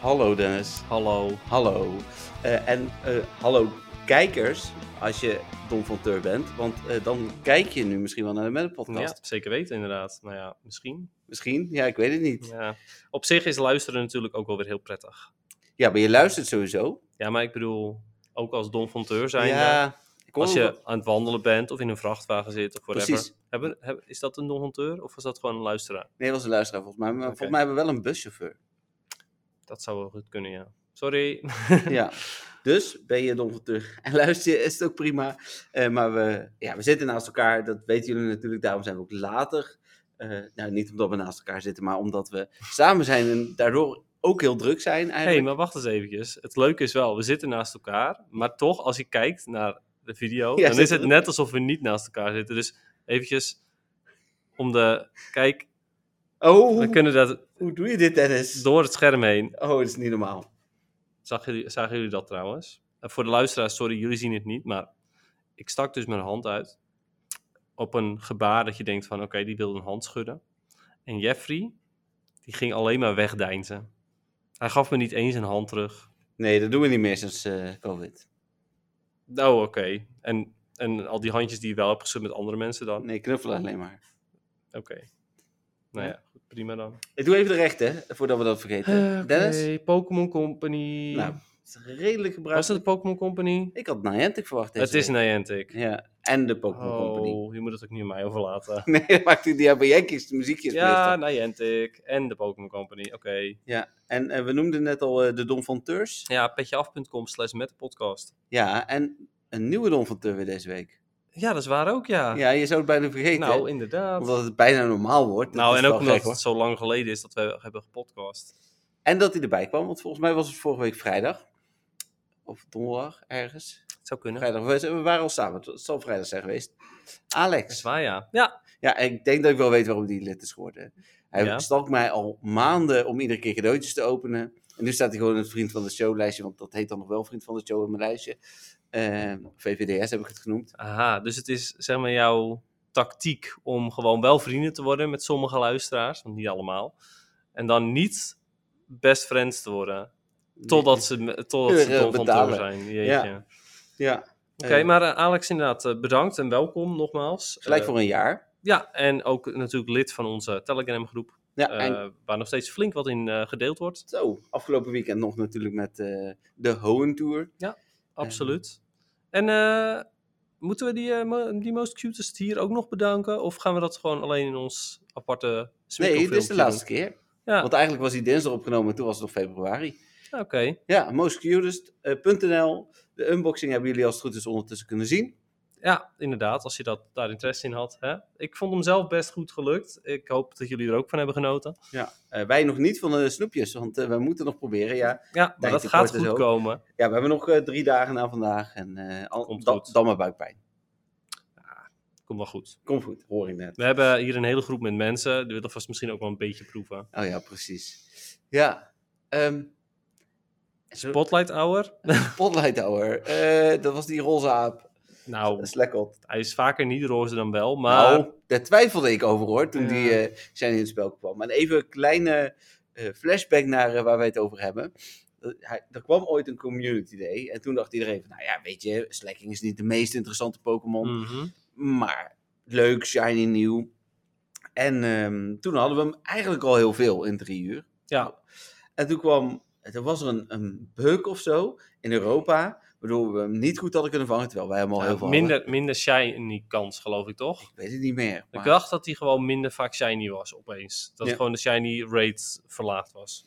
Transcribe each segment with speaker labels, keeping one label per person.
Speaker 1: Hallo Dennis.
Speaker 2: Hallo.
Speaker 1: Hallo. Eh, en eh, hallo kijkers, als je Don van Teur bent. Want eh, dan kijk je nu misschien wel naar de
Speaker 2: Ja,
Speaker 1: Madden-podcast.
Speaker 2: zeker weten inderdaad. Nou ja, misschien.
Speaker 1: Misschien? Ja, ik weet het niet. Ja.
Speaker 2: Ja. Op zich is luisteren natuurlijk ook wel weer heel prettig.
Speaker 1: maar je luistert sowieso.
Speaker 2: Ja, maar ik bedoel, ook als Don Fonteur zijn,
Speaker 1: ja, ik hoor
Speaker 2: als
Speaker 1: hem wel.
Speaker 2: je aan het wandelen bent of in een vrachtwagen zit of whatever.
Speaker 1: Precies.
Speaker 2: Hebben, hebben- is dat een Don Fonteur of is dat gewoon een luisteraar?
Speaker 1: Nee, dat was een luisteraar volgens mij. Maar volgens mij hebben we wel een buschauffeur.
Speaker 2: Dat zou wel goed kunnen, ja. Sorry.
Speaker 1: ja. Dus ben je Don van Teur en luister je, is het ook prima. Eh, maar we, ja, we zitten naast elkaar, dat weten jullie natuurlijk. Daarom zijn we ook later. eh, nou, niet omdat we naast elkaar zitten, maar omdat we samen zijn en daardoor ook heel druk zijn eigenlijk.
Speaker 2: hey, maar wacht eens eventjes. Het leuke is wel, we zitten naast elkaar, maar toch, als je kijkt naar de
Speaker 1: Ja,
Speaker 2: video, dan is het
Speaker 1: zitten-
Speaker 2: net alsof we niet naast elkaar zitten. Dus eventjes om de... Kijk,
Speaker 1: Oh,
Speaker 2: we kunnen dat
Speaker 1: hoe doe je dit, Dennis?
Speaker 2: door het scherm heen.
Speaker 1: Oh, dat is niet normaal.
Speaker 2: Zag jullie, zagen jullie dat trouwens? Eh, voor de luisteraars, sorry, jullie zien het niet, maar ik stak dus mijn hand uit op een gebaar dat je denkt van, oké, die wil een hand schudden. En Jeffrey, die ging alleen maar wegdeinzen. Hij gaf me niet eens een hand terug.
Speaker 1: Nee, dat doen we niet meer sinds eh, COVID.
Speaker 2: Oh, oké. En, en al die handjes die je wel hebt geschud met andere mensen dan?
Speaker 1: Nee, knuffelen alleen maar.
Speaker 2: Oké. Nou ja, goed, prima dan.
Speaker 1: Ik doe even de rechten, voordat we dat vergeten. Eh, Dennis?
Speaker 2: Eh, Pokémon Company.
Speaker 1: Nou, het is redelijk
Speaker 2: Was
Speaker 1: gebruikt.
Speaker 2: het de Pokémon Company?
Speaker 1: Ik had Niantic verwacht. deze
Speaker 2: Het is
Speaker 1: week.
Speaker 2: Niantic.
Speaker 1: Ja, en de Pokémon Company.
Speaker 2: Oh, je moet het ook niet aan mij overlaten.
Speaker 1: Nee, dat maakt niet die hebben Yankees, de muziekjes.
Speaker 2: Ja, nou.
Speaker 1: meestal.
Speaker 2: Niantic en de Pokémon Company. Oké.
Speaker 1: ja. En eh, we noemden net al eh, de Don van Teurs.
Speaker 2: Ja, petjeaf.com slash met de podcast.
Speaker 1: Ja, en een nieuwe Don van Teur weer deze week.
Speaker 2: Ja, dat is waar ook, ja.
Speaker 1: Ja, je zou het bijna vergeten.
Speaker 2: nou,
Speaker 1: Nou,
Speaker 2: inderdaad.
Speaker 1: omdat het bijna normaal wordt. Dat
Speaker 2: nou,
Speaker 1: is
Speaker 2: en
Speaker 1: wel
Speaker 2: ook
Speaker 1: gek,
Speaker 2: omdat
Speaker 1: hoor.
Speaker 2: het zo lang geleden is dat we hebben gepodcast.
Speaker 1: En dat hij erbij kwam, want volgens mij was het vorige week vrijdag. Of donderdag, ergens.
Speaker 2: Het zou kunnen.
Speaker 1: Vrijdag, we, we waren al samen, het zal vrijdag zijn geweest.
Speaker 2: Dat is
Speaker 1: Alex.
Speaker 2: waar, ja. Ja,
Speaker 1: Ja, en ik denk dat ik wel weet waarom die lid is geworden. Hij
Speaker 2: Ja.
Speaker 1: stalkt mij al maanden om iedere keer cadeautjes te openen. En nu staat hij gewoon in het vriend van de show lijstje, want dat heet dan nog wel vriend van de show in mijn lijstje. Ehm, VVDS heb ik het genoemd.
Speaker 2: aha. Dus het is zeg maar jouw tactiek om gewoon wel vrienden te worden met sommige luisteraars, want niet allemaal. En dan niet best friends te worden, totdat ze, me- totdat ze
Speaker 1: Euro
Speaker 2: dol van
Speaker 1: betalen.
Speaker 2: tour zijn. Jeetje. Oké,
Speaker 1: Ja, Eh.
Speaker 2: maar eh, Alex inderdaad, eh, bedankt en welkom nogmaals.
Speaker 1: gelijk
Speaker 2: Eh,
Speaker 1: voor een jaar.
Speaker 2: Ja, en ook natuurlijk lid van onze Telegram groep. eh,
Speaker 1: Ja, en
Speaker 2: waar nog steeds flink wat in eh, gedeeld wordt.
Speaker 1: zo, afgelopen weekend nog natuurlijk met eh, de Hohen Tour.
Speaker 2: Absoluut. En eh, moeten we die, eh, mo- die Most Cutest hier ook nog bedanken? Of gaan we dat gewoon alleen in ons aparte
Speaker 1: Nee, dit is de
Speaker 2: smikkelfilmpje
Speaker 1: laatste keer.
Speaker 2: doen? Ja,
Speaker 1: Want eigenlijk was hij dinsdag opgenomen, en toen was het nog februari.
Speaker 2: oké.
Speaker 1: Ja, eh, mostcutest.nl. De unboxing hebben jullie als het goed is ondertussen kunnen zien.
Speaker 2: Ja, inderdaad, als je dat, daar interesse in had. Hè? Ik vond hem zelf best goed gelukt. Ik hoop dat jullie er ook van hebben genoten.
Speaker 1: Eh, wij nog niet van de snoepjes, want eh, we moeten nog proberen. Ja,
Speaker 2: Ja, maar dat
Speaker 1: Tijdtekort
Speaker 2: gaat
Speaker 1: en
Speaker 2: goed
Speaker 1: zo.
Speaker 2: komen.
Speaker 1: ja we hebben nog eh, drie dagen na vandaag en eh, al,
Speaker 2: Komt
Speaker 1: da-
Speaker 2: goed.
Speaker 1: dan maar buikpijn.
Speaker 2: Komt wel goed.
Speaker 1: Kom goed, hoor ik net.
Speaker 2: We hebben hier een hele groep met mensen. Die willen vast misschien ook wel een beetje proeven.
Speaker 1: Oh ja, precies. Ja, ehm, zo-
Speaker 2: Spotlight Hour.
Speaker 1: Spotlight Hour. Eh, dat was die roze aap.
Speaker 2: Nou,
Speaker 1: Slackold.
Speaker 2: Hij is vaker niet roze dan wel, maar
Speaker 1: Nou, daar twijfelde ik over hoor, toen
Speaker 2: Ja.
Speaker 1: die eh, zijn in het spel kwam. Maar even een kleine eh, flashback naar eh, waar wij het over hebben. Eh, hij- er kwam ooit een community day en toen dacht iedereen van, nou ja, weet je, Slacking is niet de meest interessante Pokémon,
Speaker 2: Mhm.
Speaker 1: maar leuk, shiny, nieuw. En ehm, toen hadden we hem eigenlijk al heel veel in drie uur.
Speaker 2: ja,
Speaker 1: En toen kwam, er was er een, een bug of zo in Europa, waardoor we hem niet goed hadden kunnen vangen, terwijl wij hem al heel veel hadden.
Speaker 2: minder, minder shiny kans, geloof ik toch?
Speaker 1: Ik weet het niet meer.
Speaker 2: Ik
Speaker 1: maar-
Speaker 2: dacht dat hij gewoon minder vaak shiny was opeens. Dat
Speaker 1: Ja.
Speaker 2: gewoon de shiny rate verlaagd was.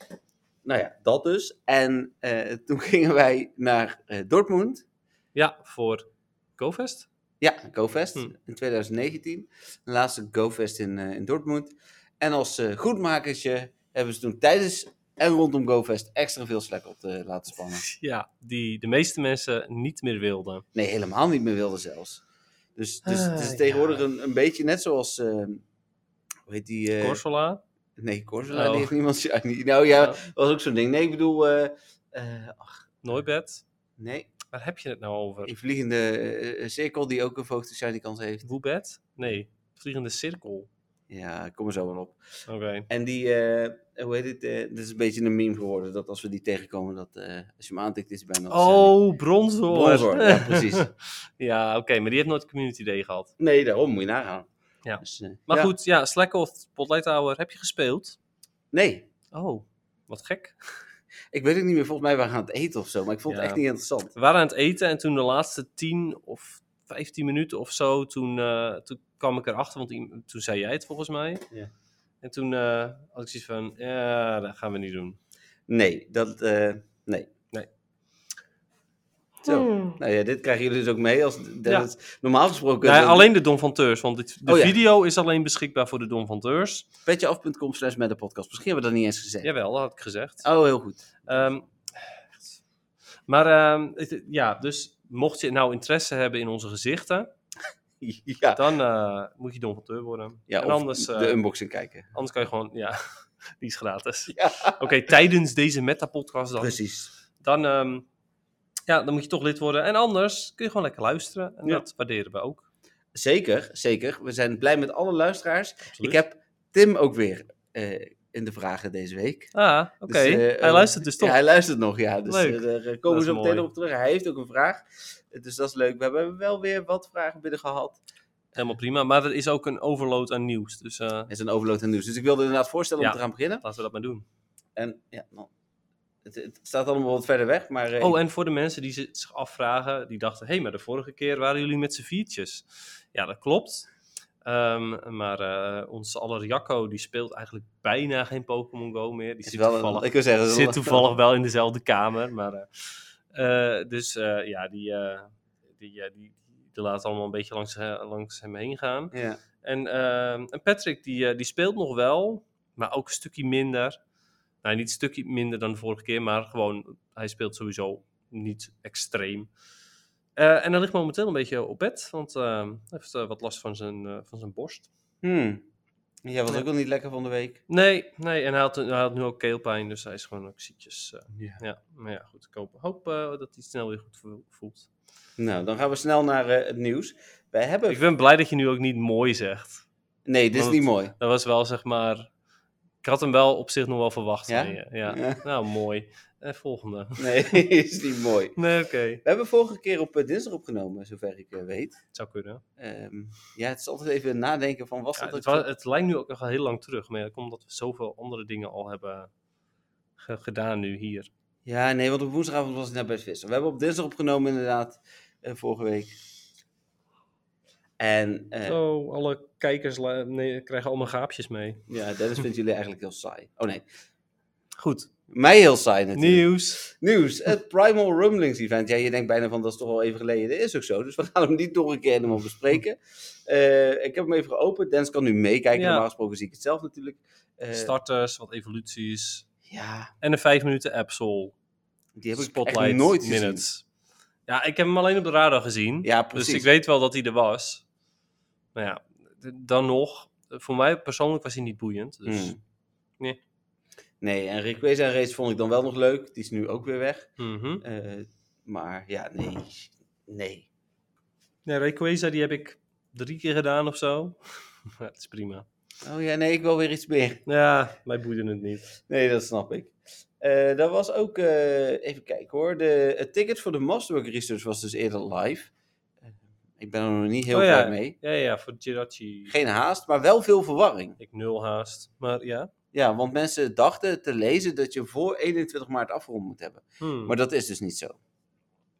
Speaker 1: Nou ja, dat dus. En eh, toen gingen wij naar eh, Dortmund.
Speaker 2: Ja, voor GoFest?
Speaker 1: Ja, GoFest
Speaker 2: Hm.
Speaker 1: in 2019. De laatste GoFest in, eh, in Dortmund. En als eh goedmakertje hebben ze toen tijdens en rondom GoFest extra veel slack op te laten spannen.
Speaker 2: Ja, die de meeste mensen niet meer wilden.
Speaker 1: Nee, helemaal niet meer wilde zelfs. Dus, dus het
Speaker 2: Ah,
Speaker 1: is
Speaker 2: ja.
Speaker 1: tegenwoordig een, een beetje net zoals, eh, hoe heet die? eh,
Speaker 2: Corsola?
Speaker 1: Nee, Corsola,
Speaker 2: Oh.
Speaker 1: die heeft niemand shiny. Nou ja,
Speaker 2: Eh,
Speaker 1: was ook zo'n ding. Nee, ik bedoel, eh, eh, ach,
Speaker 2: Nooibed?
Speaker 1: nee,
Speaker 2: Waar heb je het nou over?
Speaker 1: die vliegende eh, eh, cirkel die ook een voogd shiny kans heeft.
Speaker 2: Woebed? Nee. Vliegende cirkel.
Speaker 1: Ja, ik kom er zo wel op.
Speaker 2: Oké.
Speaker 1: En die, eh, hoe heet het, eh, dit is een beetje een meme geworden, dat als we die tegenkomen, dat eh, als je hem aantikt is het bijna al shiny.
Speaker 2: Oh, bronzor.
Speaker 1: Bronzor, ja, precies.
Speaker 2: ja, oké, maar die heeft nooit Community Day gehad.
Speaker 1: Nee, daarom moet je nagaan.
Speaker 2: Ja.
Speaker 1: Dus, eh,
Speaker 2: Maar
Speaker 1: ja.
Speaker 2: goed, ja, Slack of Spotlight Hour, heb je gespeeld?
Speaker 1: Nee,
Speaker 2: Oh, wat gek.
Speaker 1: ik weet het niet meer. Volgens mij waren we aan het eten of zo, maar ik vond het
Speaker 2: Ja.
Speaker 1: echt niet interessant.
Speaker 2: We waren aan het eten en toen de laatste 10 of 15 minuten of zo, toen, eh, toen kwam ik erachter, want i- toen zei jij het volgens mij.
Speaker 1: Ja.
Speaker 2: En toen eh, had ik zoiets van, ja, dat gaan we niet doen.
Speaker 1: Nee, dat, eh, nee.
Speaker 2: Nee.
Speaker 1: Zo. Nou ja, dit krijgen jullie dus ook mee. Als, dat
Speaker 2: Ja.
Speaker 1: het- normaal gesproken...
Speaker 2: Nee, alleen de Don van Teurs, want dit, de
Speaker 1: Oh ja.
Speaker 2: video is alleen beschikbaar voor de Don van Teurs.
Speaker 1: Petjeaf.com slash met de podcast. Misschien hebben we dat niet eens gezegd.
Speaker 2: Jawel, dat had ik gezegd.
Speaker 1: Oh, heel goed.
Speaker 2: Ehm, maar ehm, het- ja, dus mocht je nou interesse hebben in onze gezichten,
Speaker 1: Ja,
Speaker 2: dan eh, moet je donateur worden.
Speaker 1: ja
Speaker 2: en
Speaker 1: of
Speaker 2: anders, eh,
Speaker 1: de unboxing kijken.
Speaker 2: anders kan je gewoon, ja, die is gratis.
Speaker 1: Ja.
Speaker 2: Oké, tijdens deze metapodcast dan,
Speaker 1: Precies.
Speaker 2: dan, ehm, ja, dan moet je toch lid worden. En anders kun je gewoon lekker luisteren en
Speaker 1: Ja.
Speaker 2: dat waarderen we ook.
Speaker 1: Zeker, zeker. We zijn blij met alle luisteraars. Ik
Speaker 2: Absoluut.
Speaker 1: heb Tim ook weer eh, in de vragen deze week.
Speaker 2: Ah, oké.
Speaker 1: Dus, eh,
Speaker 2: hij
Speaker 1: eh,
Speaker 2: luistert dus toch.
Speaker 1: Ja, hij luistert nog, ja. Dus
Speaker 2: Leuk.
Speaker 1: eh, daar
Speaker 2: Dat
Speaker 1: komen
Speaker 2: is
Speaker 1: we zo meteen
Speaker 2: mooi.
Speaker 1: op terug. Hij heeft ook een vraag. Dus dat is leuk. We hebben wel weer wat vragen binnen gehad.
Speaker 2: Helemaal prima. Maar er is ook een overload aan nieuws. Dus eh,
Speaker 1: Er is een overload aan nieuws. Dus ik wilde inderdaad voorstellen om
Speaker 2: Ja.
Speaker 1: te gaan beginnen.
Speaker 2: laten we dat maar doen.
Speaker 1: En ja, nou, het, het staat allemaal wat verder weg. Maar eh,
Speaker 2: Oh, en voor de mensen die zi- zich afvragen, die dachten, hé, hey, maar de vorige keer waren jullie met z'n viertjes. Ja, dat klopt. Ehm, maar eh onze aller Jacco, die speelt eigenlijk bijna geen Pokémon Go meer. Die
Speaker 1: is
Speaker 2: zit,
Speaker 1: wel een-
Speaker 2: toevallig,
Speaker 1: ik wil zeggen, het is wel-
Speaker 2: zit toevallig wel in dezelfde kamer. Maar, eh, eh, dus eh, ja, die, eh, die, eh, die, die laat allemaal een beetje langs, eh, langs hem heen gaan.
Speaker 1: Ja.
Speaker 2: En, ehm, en Patrick, die, eh, die speelt nog wel, maar ook een stukje minder. Nou, niet een stukje minder dan de vorige keer, maar gewoon, hij speelt sowieso niet extreem. Eh, en hij ligt momenteel een beetje op bed, want ehm, hij heeft eh, wat last van zijn, eh, van zijn borst.
Speaker 1: Hmm. Jij was
Speaker 2: Ja.
Speaker 1: ook wel niet lekker van de week.
Speaker 2: Nee, nee, en hij had, hij had nu ook keelpijn, dus hij is gewoon ook ziekjes. eh,
Speaker 1: Ja.
Speaker 2: ja, maar ja, goed, ik hoop, hoop, eh, dat hij snel weer goed vo- voelt.
Speaker 1: Nou, dan gaan we snel naar eh, het nieuws. Wij hebben...
Speaker 2: Ik ben blij dat je nu ook niet mooi zegt.
Speaker 1: Nee, dit is
Speaker 2: Want-
Speaker 1: niet mooi.
Speaker 2: Dat was wel, zeg maar... Ik had hem wel op zich nog wel verwacht
Speaker 1: Ja?
Speaker 2: van je. Ja.
Speaker 1: Ja.
Speaker 2: Nou, mooi. Eh, volgende.
Speaker 1: Nee, dit is niet mooi.
Speaker 2: Nee, oké.
Speaker 1: We hebben vorige keer op eh, dinsdag opgenomen, zover ik eh, weet.
Speaker 2: Het zou kunnen.
Speaker 1: Ehm, ja, het is altijd even nadenken van was
Speaker 2: Ja,
Speaker 1: dat
Speaker 2: het,
Speaker 1: ook
Speaker 2: wa-
Speaker 1: zo-
Speaker 2: het lijkt nu ook nog wel heel lang terug. Maar ja, dat komt omdat we zoveel andere dingen al hebben ge- gedaan nu hier.
Speaker 1: Ja, nee, want op woensdagavond was het naar bed vissen. We hebben op dinsdag opgenomen inderdaad, eh, vorige week. En eh,
Speaker 2: Oh, alle kijkers la- nee, krijgen allemaal gaapjes mee.
Speaker 1: ja, Dennis vindt jullie eigenlijk heel saai. Oh nee,
Speaker 2: Goed.
Speaker 1: mij heel saai natuurlijk.
Speaker 2: Nieuws.
Speaker 1: Nieuws, het Primal Rumblings event. Ja, je denkt bijna van dat is toch al even geleden. Dat is ook zo, dus we gaan hem niet nog een keer helemaal bespreken. Eh, ik heb hem even geopend. Dennis kan nu meekijken,
Speaker 2: Ja.
Speaker 1: normaal gesproken zie ik het zelf natuurlijk. Eh,
Speaker 2: Starters, wat evoluties.
Speaker 1: Ja,
Speaker 2: En een 5 minuten Absol.
Speaker 1: die heb ik
Speaker 2: Spotlight
Speaker 1: echt nooit gezien.
Speaker 2: minutes. Ja, ik heb hem alleen op de radar gezien.
Speaker 1: Ja, precies.
Speaker 2: Dus ik weet wel dat hij er was. Maar ja, d- dan nog. Voor mij persoonlijk was hij niet boeiend. Dus
Speaker 1: Hmm.
Speaker 2: nee.
Speaker 1: Nee, en Rayquaza Race vond ik dan wel nog leuk. Die is nu ook weer weg.
Speaker 2: Mhm.
Speaker 1: Eh, maar ja, nee. Nee.
Speaker 2: Nee, Rayquaza die heb ik drie keer gedaan of zo. Ja, Het is prima.
Speaker 1: Oh ja, nee, ik wil weer iets meer.
Speaker 2: Ja, mij boeide het niet.
Speaker 1: Nee, dat snap ik. Eh dat was ook, eh, even kijken hoor. De, het ticket voor de Masterwork Research was dus eerder live. Eh, ik ben er nog niet heel
Speaker 2: Oh ja.
Speaker 1: blij mee.
Speaker 2: Ja, ja, voor Jirachi.
Speaker 1: Geen haast, maar wel veel verwarring.
Speaker 2: Ik nul haast. Maar ja.
Speaker 1: Ja, want mensen dachten te lezen dat je voor 21 maart afgerond moet hebben.
Speaker 2: Hmm.
Speaker 1: Maar dat is dus niet zo.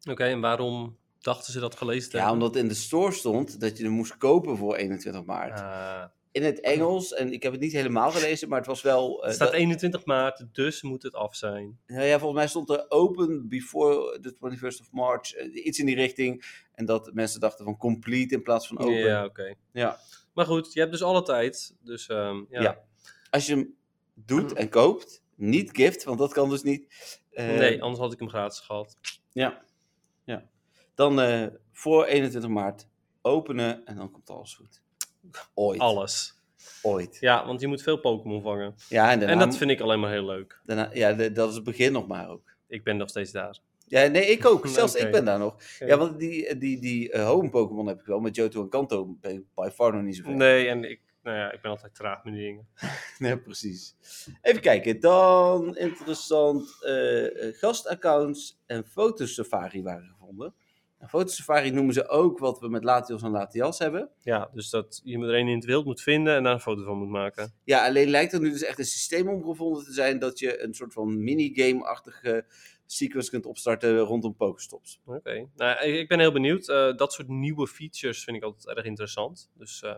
Speaker 2: Oké, en waarom dachten ze dat gelezen te
Speaker 1: Ja, omdat in de store stond dat je hem moest kopen voor 21 maart.
Speaker 2: hebben? Ah,
Speaker 1: in het Engels. En ik heb het niet helemaal gelezen, maar het was wel. eh,
Speaker 2: het staat
Speaker 1: dat-
Speaker 2: 21 maart, dus moet het af zijn.
Speaker 1: nou ja, volgens mij stond er open before the 21st of March. eh, iets in die richting. En dat mensen dachten van complete in plaats van open.
Speaker 2: Ja, oké.
Speaker 1: Ja.
Speaker 2: Maar goed, je hebt dus alle tijd. Dus ehm, ja.
Speaker 1: Ja. Als je hem doet en koopt, Niet gift, want dat kan dus niet. Eh,
Speaker 2: nee, anders had ik hem gratis gehad.
Speaker 1: Ja. ja. Dan eh, voor 21 maart openen en dan komt alles goed. Ooit.
Speaker 2: Alles.
Speaker 1: Ooit.
Speaker 2: Ja, want je moet veel Pokémon vangen.
Speaker 1: Ja, en, daarna,
Speaker 2: En dat vind ik alleen maar heel leuk.
Speaker 1: daarna- ja, de- dat is het begin nog maar ook.
Speaker 2: Ik ben nog steeds daar.
Speaker 1: Ja, nee, ik ook. Zelfs
Speaker 2: Oké.
Speaker 1: ik ben daar nog. Ja, want die, die, die eh, home Pokémon heb ik wel. Met Johto en Kanto ben ik by far nog niet zoveel.
Speaker 2: Nee, en ik, nou ja, ik ben altijd traag met die dingen.
Speaker 1: Nee, precies. Even kijken. Dan interessant. eh, eh, gastaccounts en fotosafari waren gevonden. Nou, fotosafari noemen ze ook wat we met Latios en Latias hebben.
Speaker 2: Ja, dus dat je er een in het wild moet vinden en daar een foto van moet maken.
Speaker 1: Ja, alleen lijkt er nu dus echt een systeem om gevonden te zijn dat je een soort van minigame-achtige sequence kunt opstarten rondom Pokestops.
Speaker 2: Oké. Nou, ik, ik ben heel benieuwd. Eh, dat soort nieuwe features vind ik altijd erg interessant. Dus eh,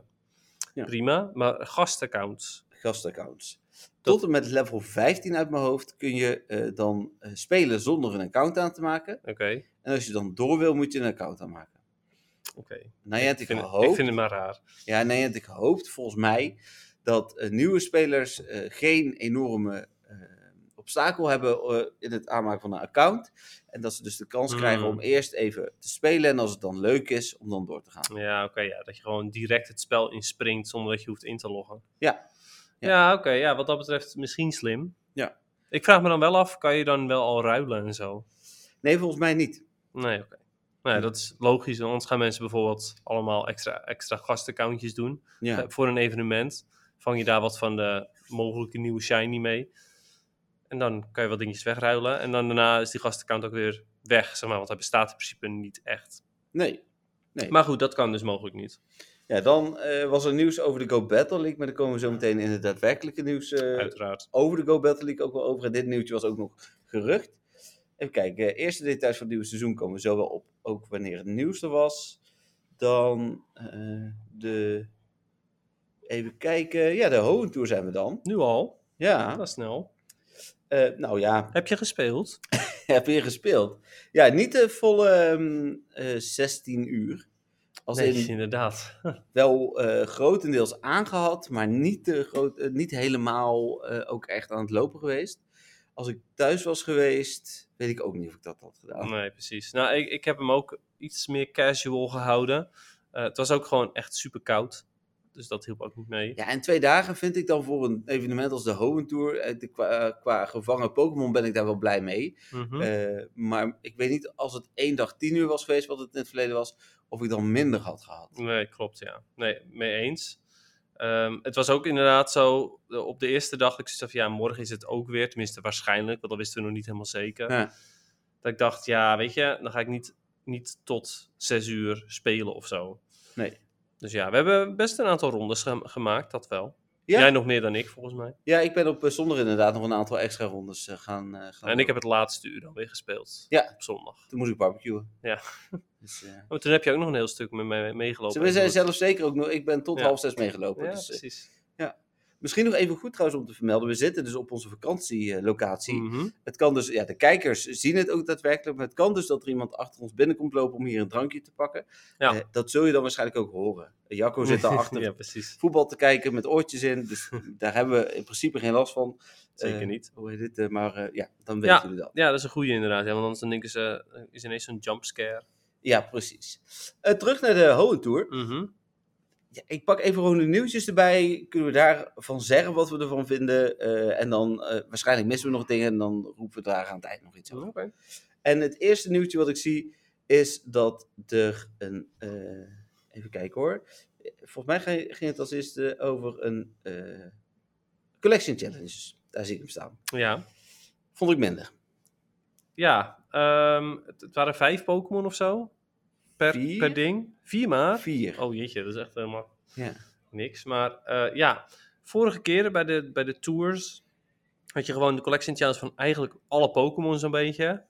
Speaker 1: Ja.
Speaker 2: prima. Maar gastaccounts.
Speaker 1: Gastaccounts.
Speaker 2: Dat-
Speaker 1: Tot en met level 15 uit mijn hoofd kun je eh, dan eh, spelen zonder een account aan te maken.
Speaker 2: Oké.
Speaker 1: En als je dan door wil, moet je een account aanmaken. Nou
Speaker 2: Oké.
Speaker 1: Niantic
Speaker 2: ik, vind het- ik
Speaker 1: hoopt-
Speaker 2: vind het maar raar.
Speaker 1: Ja, nee, want ik hoop volgens mij dat eh, nieuwe spelers eh, geen enorme eh, obstakel hebben eh, in het aanmaken van een account. En dat ze dus de kans
Speaker 2: Hmm.
Speaker 1: krijgen om eerst even te spelen. En als het dan leuk is, om dan door te gaan.
Speaker 2: Ja, oké. ja, dat je gewoon direct het spel inspringt zonder dat je hoeft in te loggen.
Speaker 1: Ja.
Speaker 2: Ja,
Speaker 1: Ja.
Speaker 2: oké. ja, wat dat betreft misschien slim.
Speaker 1: Ja.
Speaker 2: Ik vraag me dan wel af, kan je dan wel al ruilen en zo?
Speaker 1: Nee, volgens mij niet.
Speaker 2: Nee, oké. Nou ja, dat is logisch. want Anders gaan mensen bijvoorbeeld allemaal extra, extra gastaccountjes doen eh,
Speaker 1: Ja,
Speaker 2: voor een evenement. Vang je daar wat van de mogelijke nieuwe shiny mee. En dan kan je wat dingetjes wegruilen. En dan daarna is die gastaccount ook weer weg, zeg maar. Want hij bestaat in principe niet echt.
Speaker 1: nee.
Speaker 2: Maar goed, dat kan dus mogelijk niet.
Speaker 1: Ja, dan eh, was er nieuws over de Go Battle League. Maar daar komen we zo meteen in het daadwerkelijke nieuws eh,
Speaker 2: Uiteraard.
Speaker 1: over de Go Battle League ook wel over. En dit nieuwtje was ook nog gerucht. Even kijken, eh, eerste details van het nieuwe seizoen komen zo wel op. Ook wanneer het nieuws er was. Dan eh, de... Even kijken. Ja, de Hohen Tour zijn we dan.
Speaker 2: Nu al?
Speaker 1: Ja.
Speaker 2: Dat is snel.
Speaker 1: eh, nou ja,
Speaker 2: Heb je gespeeld?
Speaker 1: heb je gespeeld. Ja, niet de volle ehm, eh, 16 uur. Als
Speaker 2: nee,
Speaker 1: in
Speaker 2: inderdaad.
Speaker 1: wel eh, grotendeels aangehad, maar niet, te groot, eh, niet helemaal eh, ook echt aan het lopen geweest. Als ik thuis was geweest, weet ik ook niet of ik dat had gedaan.
Speaker 2: Nee, precies. Nou, ik, ik heb hem ook iets meer casual gehouden. Eh, het was ook gewoon echt super koud. Dus dat hielp ook niet mee.
Speaker 1: Ja, en twee dagen vind ik dan voor een evenement als de Hoentour, Tour, eh, de- qua, qua gevangen Pokémon ben ik daar wel blij mee.
Speaker 2: Mhm.
Speaker 1: Eh, maar ik weet niet, als het één dag tien uur was geweest, wat het in het verleden was, of ik dan minder had gehad.
Speaker 2: Nee, klopt, ja. Nee, mee eens. Ehm, het was ook inderdaad zo, eh, op de eerste dag dat ik zoiets van, ja, morgen is het ook weer. Tenminste, waarschijnlijk, want dat wisten we nog niet helemaal zeker.
Speaker 1: Ja.
Speaker 2: Dat ik dacht, ja, weet je, dan ga ik niet, niet tot zes uur spelen of zo.
Speaker 1: Nee.
Speaker 2: Dus ja, we hebben best een aantal rondes ge- gemaakt, dat wel.
Speaker 1: Ja.
Speaker 2: Jij nog meer dan ik, volgens mij.
Speaker 1: Ja, ik ben op eh, zondag inderdaad nog een aantal extra rondes eh, gaan, eh, gaan
Speaker 2: en
Speaker 1: doen.
Speaker 2: ik heb het laatste uur dan weer gespeeld.
Speaker 1: Ja.
Speaker 2: Op zondag.
Speaker 1: Toen moest ik barbecuen.
Speaker 2: Ja.
Speaker 1: Dus, eh,
Speaker 2: Maar toen heb je ook nog een heel stuk met mij meegelopen.
Speaker 1: Ze we zijn
Speaker 2: Even
Speaker 1: zelf zeker ook nog. Ik ben tot
Speaker 2: Ja.
Speaker 1: half zes
Speaker 2: goed.
Speaker 1: meegelopen.
Speaker 2: Ja,
Speaker 1: dus, eh,
Speaker 2: precies.
Speaker 1: misschien nog even goed trouwens om te vermelden. We zitten dus op onze vakantielocatie.
Speaker 2: Mhm.
Speaker 1: Het kan dus, ja, de kijkers zien het ook daadwerkelijk. Maar het kan dus dat er iemand achter ons binnenkomt lopen om hier een drankje te pakken.
Speaker 2: Ja.
Speaker 1: Eh, dat zul je dan waarschijnlijk ook horen. Jacco zit daar achter
Speaker 2: ja, precies.
Speaker 1: voetbal te kijken met oortjes in. Dus daar hebben we in principe geen last van.
Speaker 2: Zeker
Speaker 1: Eh,
Speaker 2: niet.
Speaker 1: Hoe heet dit? eh, maar eh, ja, dan
Speaker 2: Ja.
Speaker 1: weten jullie dat.
Speaker 2: Ja, dat is een goede inderdaad. Ja, want anders dan denken ze, eh, is ineens zo'n jumpscare.
Speaker 1: Ja, precies. Eh, terug naar de Hohen Tour.
Speaker 2: Mhm.
Speaker 1: Ja, ik pak even gewoon de nieuwtjes erbij. Kunnen we daarvan zeggen wat we ervan vinden? Eh, en dan eh, waarschijnlijk missen we nog dingen. En dan roepen we daar aan het eind nog iets over.
Speaker 2: Oké.
Speaker 1: En het eerste nieuwtje wat ik zie is dat er een. eh, even kijken hoor. Eh, Volgens mij ging- ging het als eerste over een. eh, collection challenge. Daar zie ik hem staan.
Speaker 2: Ja,
Speaker 1: Vond ik minder.
Speaker 2: ja ehm, het, het waren vijf Pokémon of zo per,
Speaker 1: Vier?
Speaker 2: per ding. Vier maar?
Speaker 1: Vier.
Speaker 2: Oh jeetje, dat is echt helemaal
Speaker 1: Ja.
Speaker 2: niks. Maar eh, ja, vorige keren bij de, bij de tours had je gewoon de collection challenge van eigenlijk alle Pokémon zo'n beetje.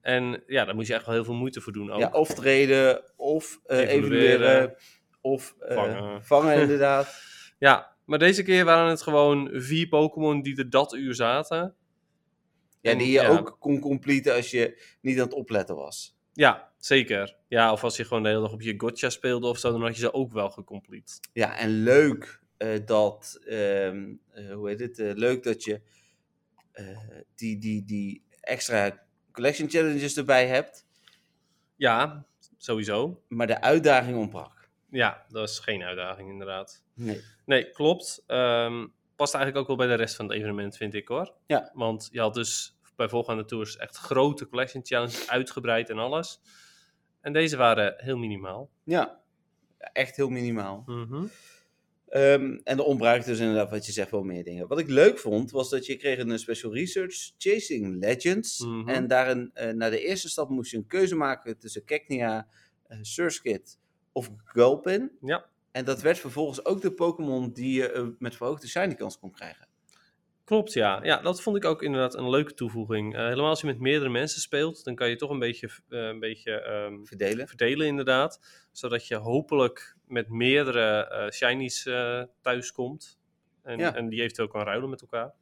Speaker 2: En ja, daar moest je echt wel heel veel moeite voor doen ook.
Speaker 1: Ja, of treden, of eh,
Speaker 2: Oh. Evalueren.
Speaker 1: evalueren, of eh,
Speaker 2: Vangen.
Speaker 1: vangen inderdaad.
Speaker 2: Ja, maar deze keer waren het gewoon vier Pokémon die er dat uur zaten.
Speaker 1: Ja, die je
Speaker 2: Ja.
Speaker 1: ook kon completen als je niet aan het opletten was.
Speaker 2: Ja, zeker. Ja, of als je gewoon de hele dag op je gotcha speelde of zo, dan had je ze ook wel gecomplete.
Speaker 1: Ja, en leuk eh, dat, ehm, eh, hoe heet het, eh, leuk dat je eh, die, die, die extra collection challenges erbij hebt.
Speaker 2: Ja, sowieso.
Speaker 1: Maar de uitdaging ontbrak.
Speaker 2: Ja, dat is geen uitdaging inderdaad.
Speaker 1: Nee.
Speaker 2: Nee, klopt. Ehm, past eigenlijk ook wel bij de rest van het evenement, vind ik hoor.
Speaker 1: Ja.
Speaker 2: Want je had dus bij voorgaande tours echt grote collection challenges uitgebreid en alles. En deze waren heel minimaal.
Speaker 1: Ja, echt heel minimaal.
Speaker 2: Mhm.
Speaker 1: Ehm, en de ontbruik dus inderdaad, wat je zegt, wel meer dingen. Wat ik leuk vond, was dat je kreeg een eh, special research, Chasing Legends.
Speaker 2: Mhm.
Speaker 1: En daarin, eh, na de eerste stap, moest je een keuze maken tussen Cacnea, eh Surskit of Gulpin.
Speaker 2: Ja.
Speaker 1: En dat werd vervolgens ook de Pokémon die je eh, met verhoogde shiny kans kon krijgen.
Speaker 2: Klopt, ja. Ja, dat vond ik ook inderdaad een leuke toevoeging. Eh, helemaal als je met meerdere mensen speelt, dan kan je toch een beetje, eh, een beetje ehm,
Speaker 1: Verdelen.
Speaker 2: verdelen inderdaad. Zodat je hopelijk met meerdere eh shinies eh thuis komt. En,
Speaker 1: Ja.
Speaker 2: en die eventueel kan ruilen met elkaar.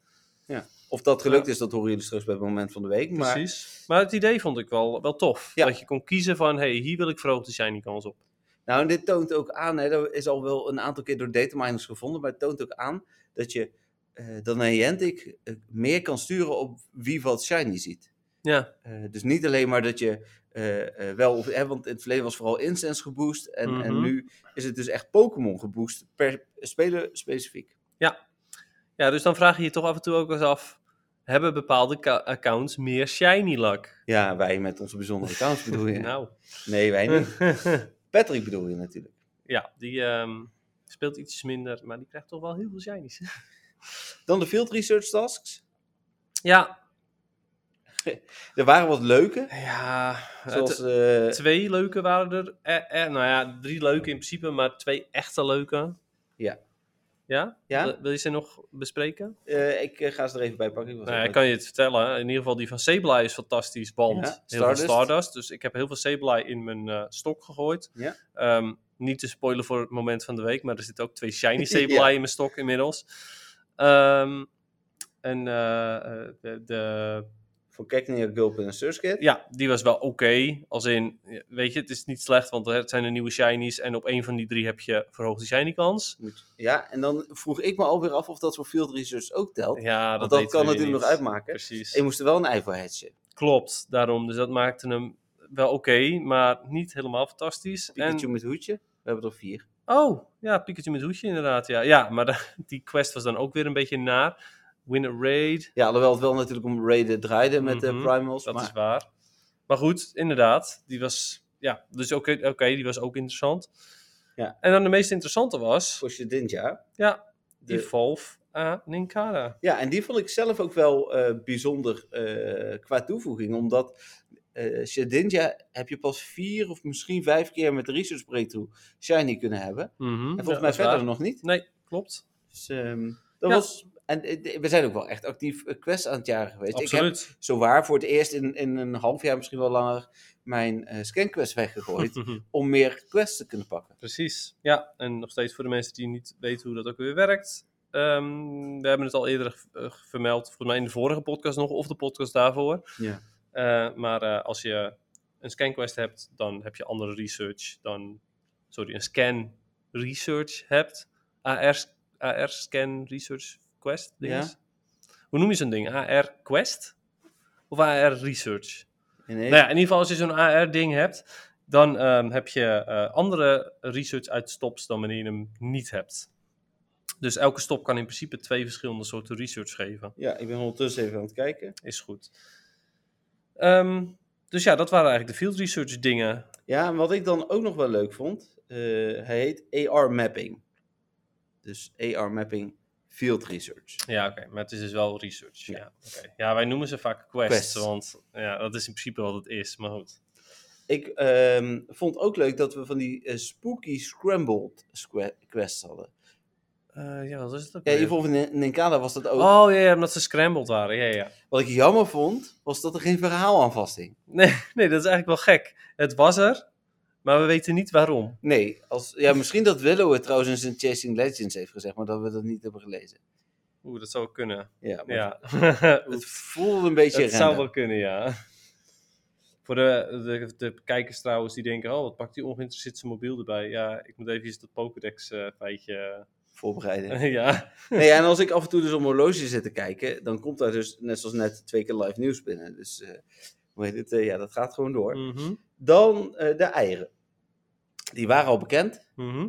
Speaker 1: Of dat gelukt is, dat horen jullie straks bij het moment van de week. Maar
Speaker 2: Precies. Maar het idee vond ik wel, wel tof.
Speaker 1: Ja.
Speaker 2: Dat je kon kiezen van, hey, hier wil ik verhoogde shiny kans op.
Speaker 1: Nou, en dit toont ook aan, hè, dat is al wel een aantal keer door dataminers gevonden, maar het toont ook aan dat je eh, dan een Niantic eh, meer kan sturen op wie wat shiny ziet.
Speaker 2: Ja,
Speaker 1: Eh, dus niet alleen maar dat je eh, eh, wel, of, hè, want in het verleden was vooral incense geboost en, en
Speaker 2: Mhm.
Speaker 1: nu is het dus echt Pokémon geboost per speler specifiek.
Speaker 2: ja dus dan vraag je je toch af en toe ook eens af... Hebben bepaalde ka- accounts meer shiny luck?
Speaker 1: Ja, wij met onze bijzondere accounts bedoel je.
Speaker 2: Nou.
Speaker 1: Nee, wij niet. Patrick bedoel je natuurlijk.
Speaker 2: ja, die ehm, speelt iets minder, maar die krijgt toch wel heel veel shinies.
Speaker 1: Dan de field research tasks.
Speaker 2: ja,
Speaker 1: Er waren wat leuke,
Speaker 2: ja.
Speaker 1: zoals...
Speaker 2: t-
Speaker 1: eh,
Speaker 2: twee leuke waren er. Eh, eh, nou ja, drie leuke in principe, maar twee echte leuke.
Speaker 1: Ja.
Speaker 2: Ja?
Speaker 1: ja,
Speaker 2: Wil- Wil je ze nog bespreken?
Speaker 1: eh, ik eh, ga ze er even bij pakken. Ik was
Speaker 2: Nou,
Speaker 1: even-
Speaker 2: ik kan je het vertellen. In ieder geval die van Sableye is fantastisch, want
Speaker 1: Ja,
Speaker 2: heel
Speaker 1: Stardust.
Speaker 2: veel Stardust. Dus ik heb heel veel Sableye in mijn eh, stok gegooid.
Speaker 1: Ja.
Speaker 2: Ehm, niet te spoilen voor het moment van de week, maar er zitten ook twee shiny Sableye
Speaker 1: Ja.
Speaker 2: in mijn stok inmiddels. Ehm, en eh, eh, de, de
Speaker 1: Voor Cacnea, Gulpin en Surskit.
Speaker 2: Ja, die was wel oké. Als in, weet je, het is niet slecht, want het zijn de nieuwe shinies. En op één van die drie heb je verhoogde shiny kans.
Speaker 1: Moet- Ja, en dan vroeg ik me alweer af of dat voor field research ook telt.
Speaker 2: Ja, dat,
Speaker 1: want dat
Speaker 2: weten
Speaker 1: kan
Speaker 2: we
Speaker 1: natuurlijk
Speaker 2: niet.
Speaker 1: nog uitmaken.
Speaker 2: Precies.
Speaker 1: Je moest er wel een ei voor hatchen.
Speaker 2: Klopt, daarom. Dus dat maakte hem wel oké, maar niet helemaal fantastisch.
Speaker 1: Pikachu
Speaker 2: En...
Speaker 1: met hoedje. We hebben er vier.
Speaker 2: Oh, ja, Pikachu met hoedje inderdaad. Ja, ja maar da- die quest was dan ook weer een beetje naar. Win a raid,
Speaker 1: Ja, alhoewel het wel natuurlijk om raiden draaide met de
Speaker 2: Mhm,
Speaker 1: primals.
Speaker 2: dat
Speaker 1: maar
Speaker 2: is waar. Maar goed, inderdaad. Die was, ja, dus oké, oké, die was ook interessant.
Speaker 1: Ja.
Speaker 2: En dan de meest interessante was...
Speaker 1: voor Shedinja.
Speaker 2: Ja, eh,
Speaker 1: De-
Speaker 2: Evolve a Ninkara.
Speaker 1: Ja, en die vond ik zelf ook wel eh, bijzonder eh, qua toevoeging. Omdat eh Shedinja heb je pas vier of misschien vijf keer met de research breakthrough shiny kunnen hebben. En volgens mij verder nog niet.
Speaker 2: Nee, klopt.
Speaker 1: Dus, ehm, dat
Speaker 2: Ja.
Speaker 1: was... En eh, we zijn ook wel echt actief eh, quest aan het jaren geweest. Ik heb
Speaker 2: Absoluut.
Speaker 1: zowaar voor het eerst in, in een half jaar, misschien wel langer, mijn eh, scanquest weggegooid. om meer quests te kunnen pakken.
Speaker 2: Precies. Ja, en nog steeds voor de mensen die niet weten hoe dat ook weer werkt. Ehm, we hebben het al eerder eh, vermeld, volgens mij in de vorige podcast nog, of de podcast daarvoor.
Speaker 1: Ja.
Speaker 2: Eh, maar eh, als je een scanquest hebt, dan heb je andere research dan, sorry, een scan research hebt. AR, AR scan research quest, dinges. Hoe noem je zo'n ding? AR quest? Of AR research?
Speaker 1: Ineens.
Speaker 2: Nou ja, in ieder geval als je zo'n AR-ding hebt, dan ehm, heb je eh, andere research uit stops dan wanneer je hem niet hebt. Dus elke stop kan in principe twee verschillende soorten research geven.
Speaker 1: ja, ik ben ondertussen even aan het kijken.
Speaker 2: Is goed. Ehm, dus ja, dat waren eigenlijk de field research dingen.
Speaker 1: Ja, en wat ik dan ook nog wel leuk vond, eh, hij heet AR Mapping. Dus AR Mapping Field Research.
Speaker 2: Ja, oké, maar het is dus wel research. Ja,
Speaker 1: Ja.
Speaker 2: oké. ja wij noemen ze vaak quests,
Speaker 1: Quests.
Speaker 2: want ja, dat is in principe wat het is. Maar goed.
Speaker 1: Ik ehm, vond ook leuk dat we van die eh, spooky scrambled squa- quests hadden.
Speaker 2: Eh, ja, wat is het ook?
Speaker 1: Ja,
Speaker 2: weer?
Speaker 1: bijvoorbeeld in Ninkada was dat ook.
Speaker 2: Oh ja, ja, omdat ze scrambled waren. Ja, ja, ja.
Speaker 1: Wat ik jammer vond, was dat er geen verhaal aan vasthing.
Speaker 2: Nee, nee, dat is eigenlijk wel gek. Het was er, maar we weten niet waarom.
Speaker 1: Nee, als, ja, misschien dat Willow het trouwens in zijn Chasing Legends heeft gezegd, maar dat we dat niet hebben gelezen.
Speaker 2: Oeh, dat zou kunnen.
Speaker 1: Ja, maar
Speaker 2: Ja.
Speaker 1: het voelde een beetje
Speaker 2: dat zou
Speaker 1: random.
Speaker 2: wel kunnen, ja. Voor de, de, de kijkers trouwens die denken, oh, wat pakt die ongeïnteresseerd zijn mobiel erbij? Ja, ik moet even dat Pokédex eh feitje
Speaker 1: voorbereiden.
Speaker 2: ja.
Speaker 1: Nee, ja, en als ik af en toe dus om horloge zit te kijken, dan komt daar dus net zoals net twee keer live nieuws binnen. Dus eh, hoe heet het? Eh, ja, dat gaat gewoon door.
Speaker 2: Mhm.
Speaker 1: Dan eh, de eieren. Die waren al bekend.
Speaker 2: Mhm.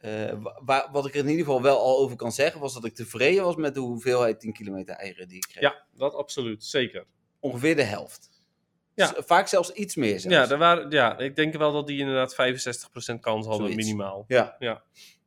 Speaker 1: Eh, wa- wa- wat ik er in ieder geval wel al over kan zeggen, was dat ik tevreden was met de hoeveelheid 10 kilometer eieren die ik kreeg.
Speaker 2: Ja, dat absoluut. Zeker.
Speaker 1: Ongeveer de helft.
Speaker 2: Ja.
Speaker 1: Z- Vaak zelfs iets meer. Zelfs.
Speaker 2: Ja, er waren, ja, ik denk wel dat die inderdaad 65% kans hadden,
Speaker 1: Zoiets.
Speaker 2: minimaal.
Speaker 1: Ja.
Speaker 2: Ja.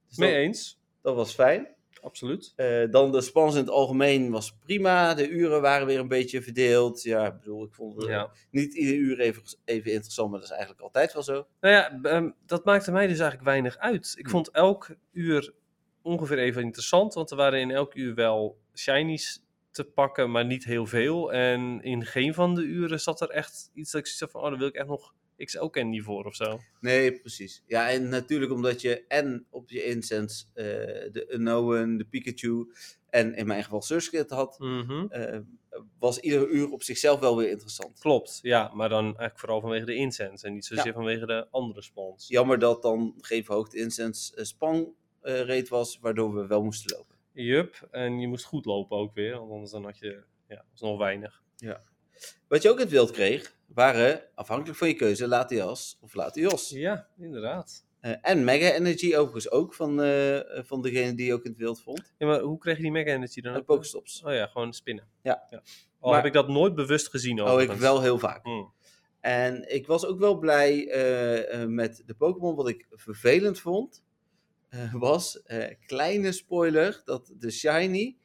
Speaker 1: Dus
Speaker 2: Mee
Speaker 1: dat,
Speaker 2: eens.
Speaker 1: dat was fijn.
Speaker 2: Absoluut.
Speaker 1: Eh, dan de spans in het algemeen was prima. De uren waren weer een beetje verdeeld. Ja, ik bedoel, ik vond eh,
Speaker 2: Ja.
Speaker 1: niet ieder uur even, even interessant, maar dat is eigenlijk altijd wel zo.
Speaker 2: Nou ja, b- ehm, dat maakte mij dus eigenlijk weinig uit. Ik
Speaker 1: Hm.
Speaker 2: vond elk uur ongeveer even interessant, want er waren in elk uur wel shinies te pakken, maar niet heel veel. En in geen van de uren zat er echt iets dat ik zoiets had van, oh, daar wil ik echt nog XL-candy voor of zo.
Speaker 1: Nee, precies. Ja, en natuurlijk omdat je en op je incense eh, de Unknown, de Pikachu en in mijn geval Surskit had,
Speaker 2: Mhm.
Speaker 1: eh, was ieder uur op zichzelf wel weer interessant.
Speaker 2: Klopt, ja, maar dan eigenlijk vooral vanwege de incense en niet zozeer
Speaker 1: Ja.
Speaker 2: vanwege de andere spons.
Speaker 1: Jammer dat dan geen verhoogde incense eh, span eh, rate was, waardoor we wel moesten lopen.
Speaker 2: Jup, en je moest goed lopen ook weer, want anders dan had je, ja, was nog weinig.
Speaker 1: Wat je ook in het wild kreeg, waren afhankelijk van je keuze Latias of Latios.
Speaker 2: Ja, inderdaad.
Speaker 1: Eh, en Mega Energy overigens ook van, eh, van degene die je ook in het wild vond.
Speaker 2: Ja, maar hoe kreeg je die mega energy dan?
Speaker 1: En
Speaker 2: ook?
Speaker 1: Pokestops.
Speaker 2: Oh ja, gewoon spinnen.
Speaker 1: Ja.
Speaker 2: Al
Speaker 1: Maar-
Speaker 2: heb ik dat nooit bewust gezien
Speaker 1: Oh, ik
Speaker 2: overigens.
Speaker 1: wel heel vaak.
Speaker 2: Hmm.
Speaker 1: En ik was ook wel blij eh, eh, met de Pokémon. Wat ik vervelend vond, eh, was, eh, kleine spoiler, dat de Shiny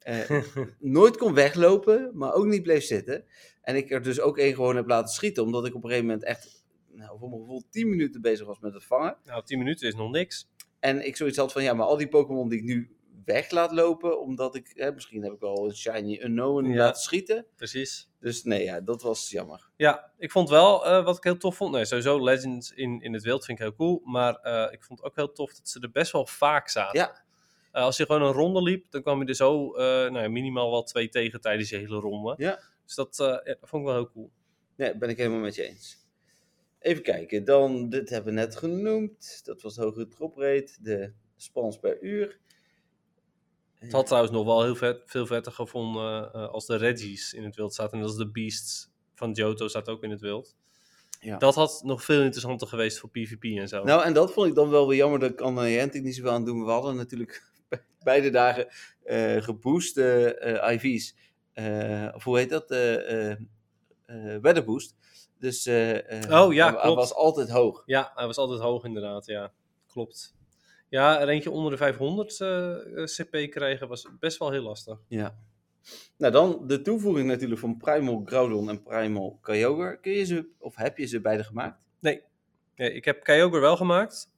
Speaker 1: eh, nooit kon weglopen, maar ook niet bleef zitten. En ik er dus ook één gewoon heb laten schieten, omdat ik op een gegeven moment echt, nou, voor mijn gevoel, 10 minuten bezig was met het vangen.
Speaker 2: Nou, 10 minuten is nog niks.
Speaker 1: En ik zoiets had van, ja, maar al die Pokémon die ik nu weg laat lopen, omdat ik, hè, misschien heb ik wel een Shiny Unknown
Speaker 2: Ja.
Speaker 1: laten schieten.
Speaker 2: Precies.
Speaker 1: Dus nee, ja, dat was jammer.
Speaker 2: Ja, ik vond wel eh, wat ik heel tof vond. Nee, sowieso Legends in, in het wild vind ik heel cool. Maar eh, ik vond ook heel tof dat ze er best wel vaak zaten.
Speaker 1: Ja.
Speaker 2: Eh, als je gewoon een ronde liep, dan kwam je er zo eh, nou ja, minimaal wel twee tegen tijdens je hele ronde.
Speaker 1: Ja.
Speaker 2: Dus dat, eh, ja, dat vond ik wel heel cool.
Speaker 1: Nee, ben ik helemaal met je eens. Even kijken, dan, dit hebben we net genoemd. Dat was de hogere drop rate, de spans per uur.
Speaker 2: Het had trouwens nog wel heel vet, veel vetter gevonden eh, als de Reggies in het wild zaten. En als de Beasts van Johto staat ook in het wild.
Speaker 1: Ja.
Speaker 2: Dat had nog veel interessanter geweest voor PvP en zo.
Speaker 1: Nou, en dat vond ik dan wel weer jammer dat ik Anna en Hentik niet zoveel aan het doen. We hadden natuurlijk be- beide dagen eh geboost eh, eh, IV's. Eh, of hoe heet dat? eh eh eh, weather boost. Dus eh, eh,
Speaker 2: Oh, ja,
Speaker 1: hij- hij
Speaker 2: klopt.
Speaker 1: was altijd hoog.
Speaker 2: Ja, hij was altijd hoog inderdaad, ja. Klopt. Ja, er eentje onder de 500 eh, eh, CP krijgen was best wel heel lastig.
Speaker 1: Ja. Nou, dan de toevoeging natuurlijk van Primal Groudon en Primal Kyogre. Kun je ze, of heb je ze beide gemaakt?
Speaker 2: Ja, ik heb Kyogre wel gemaakt.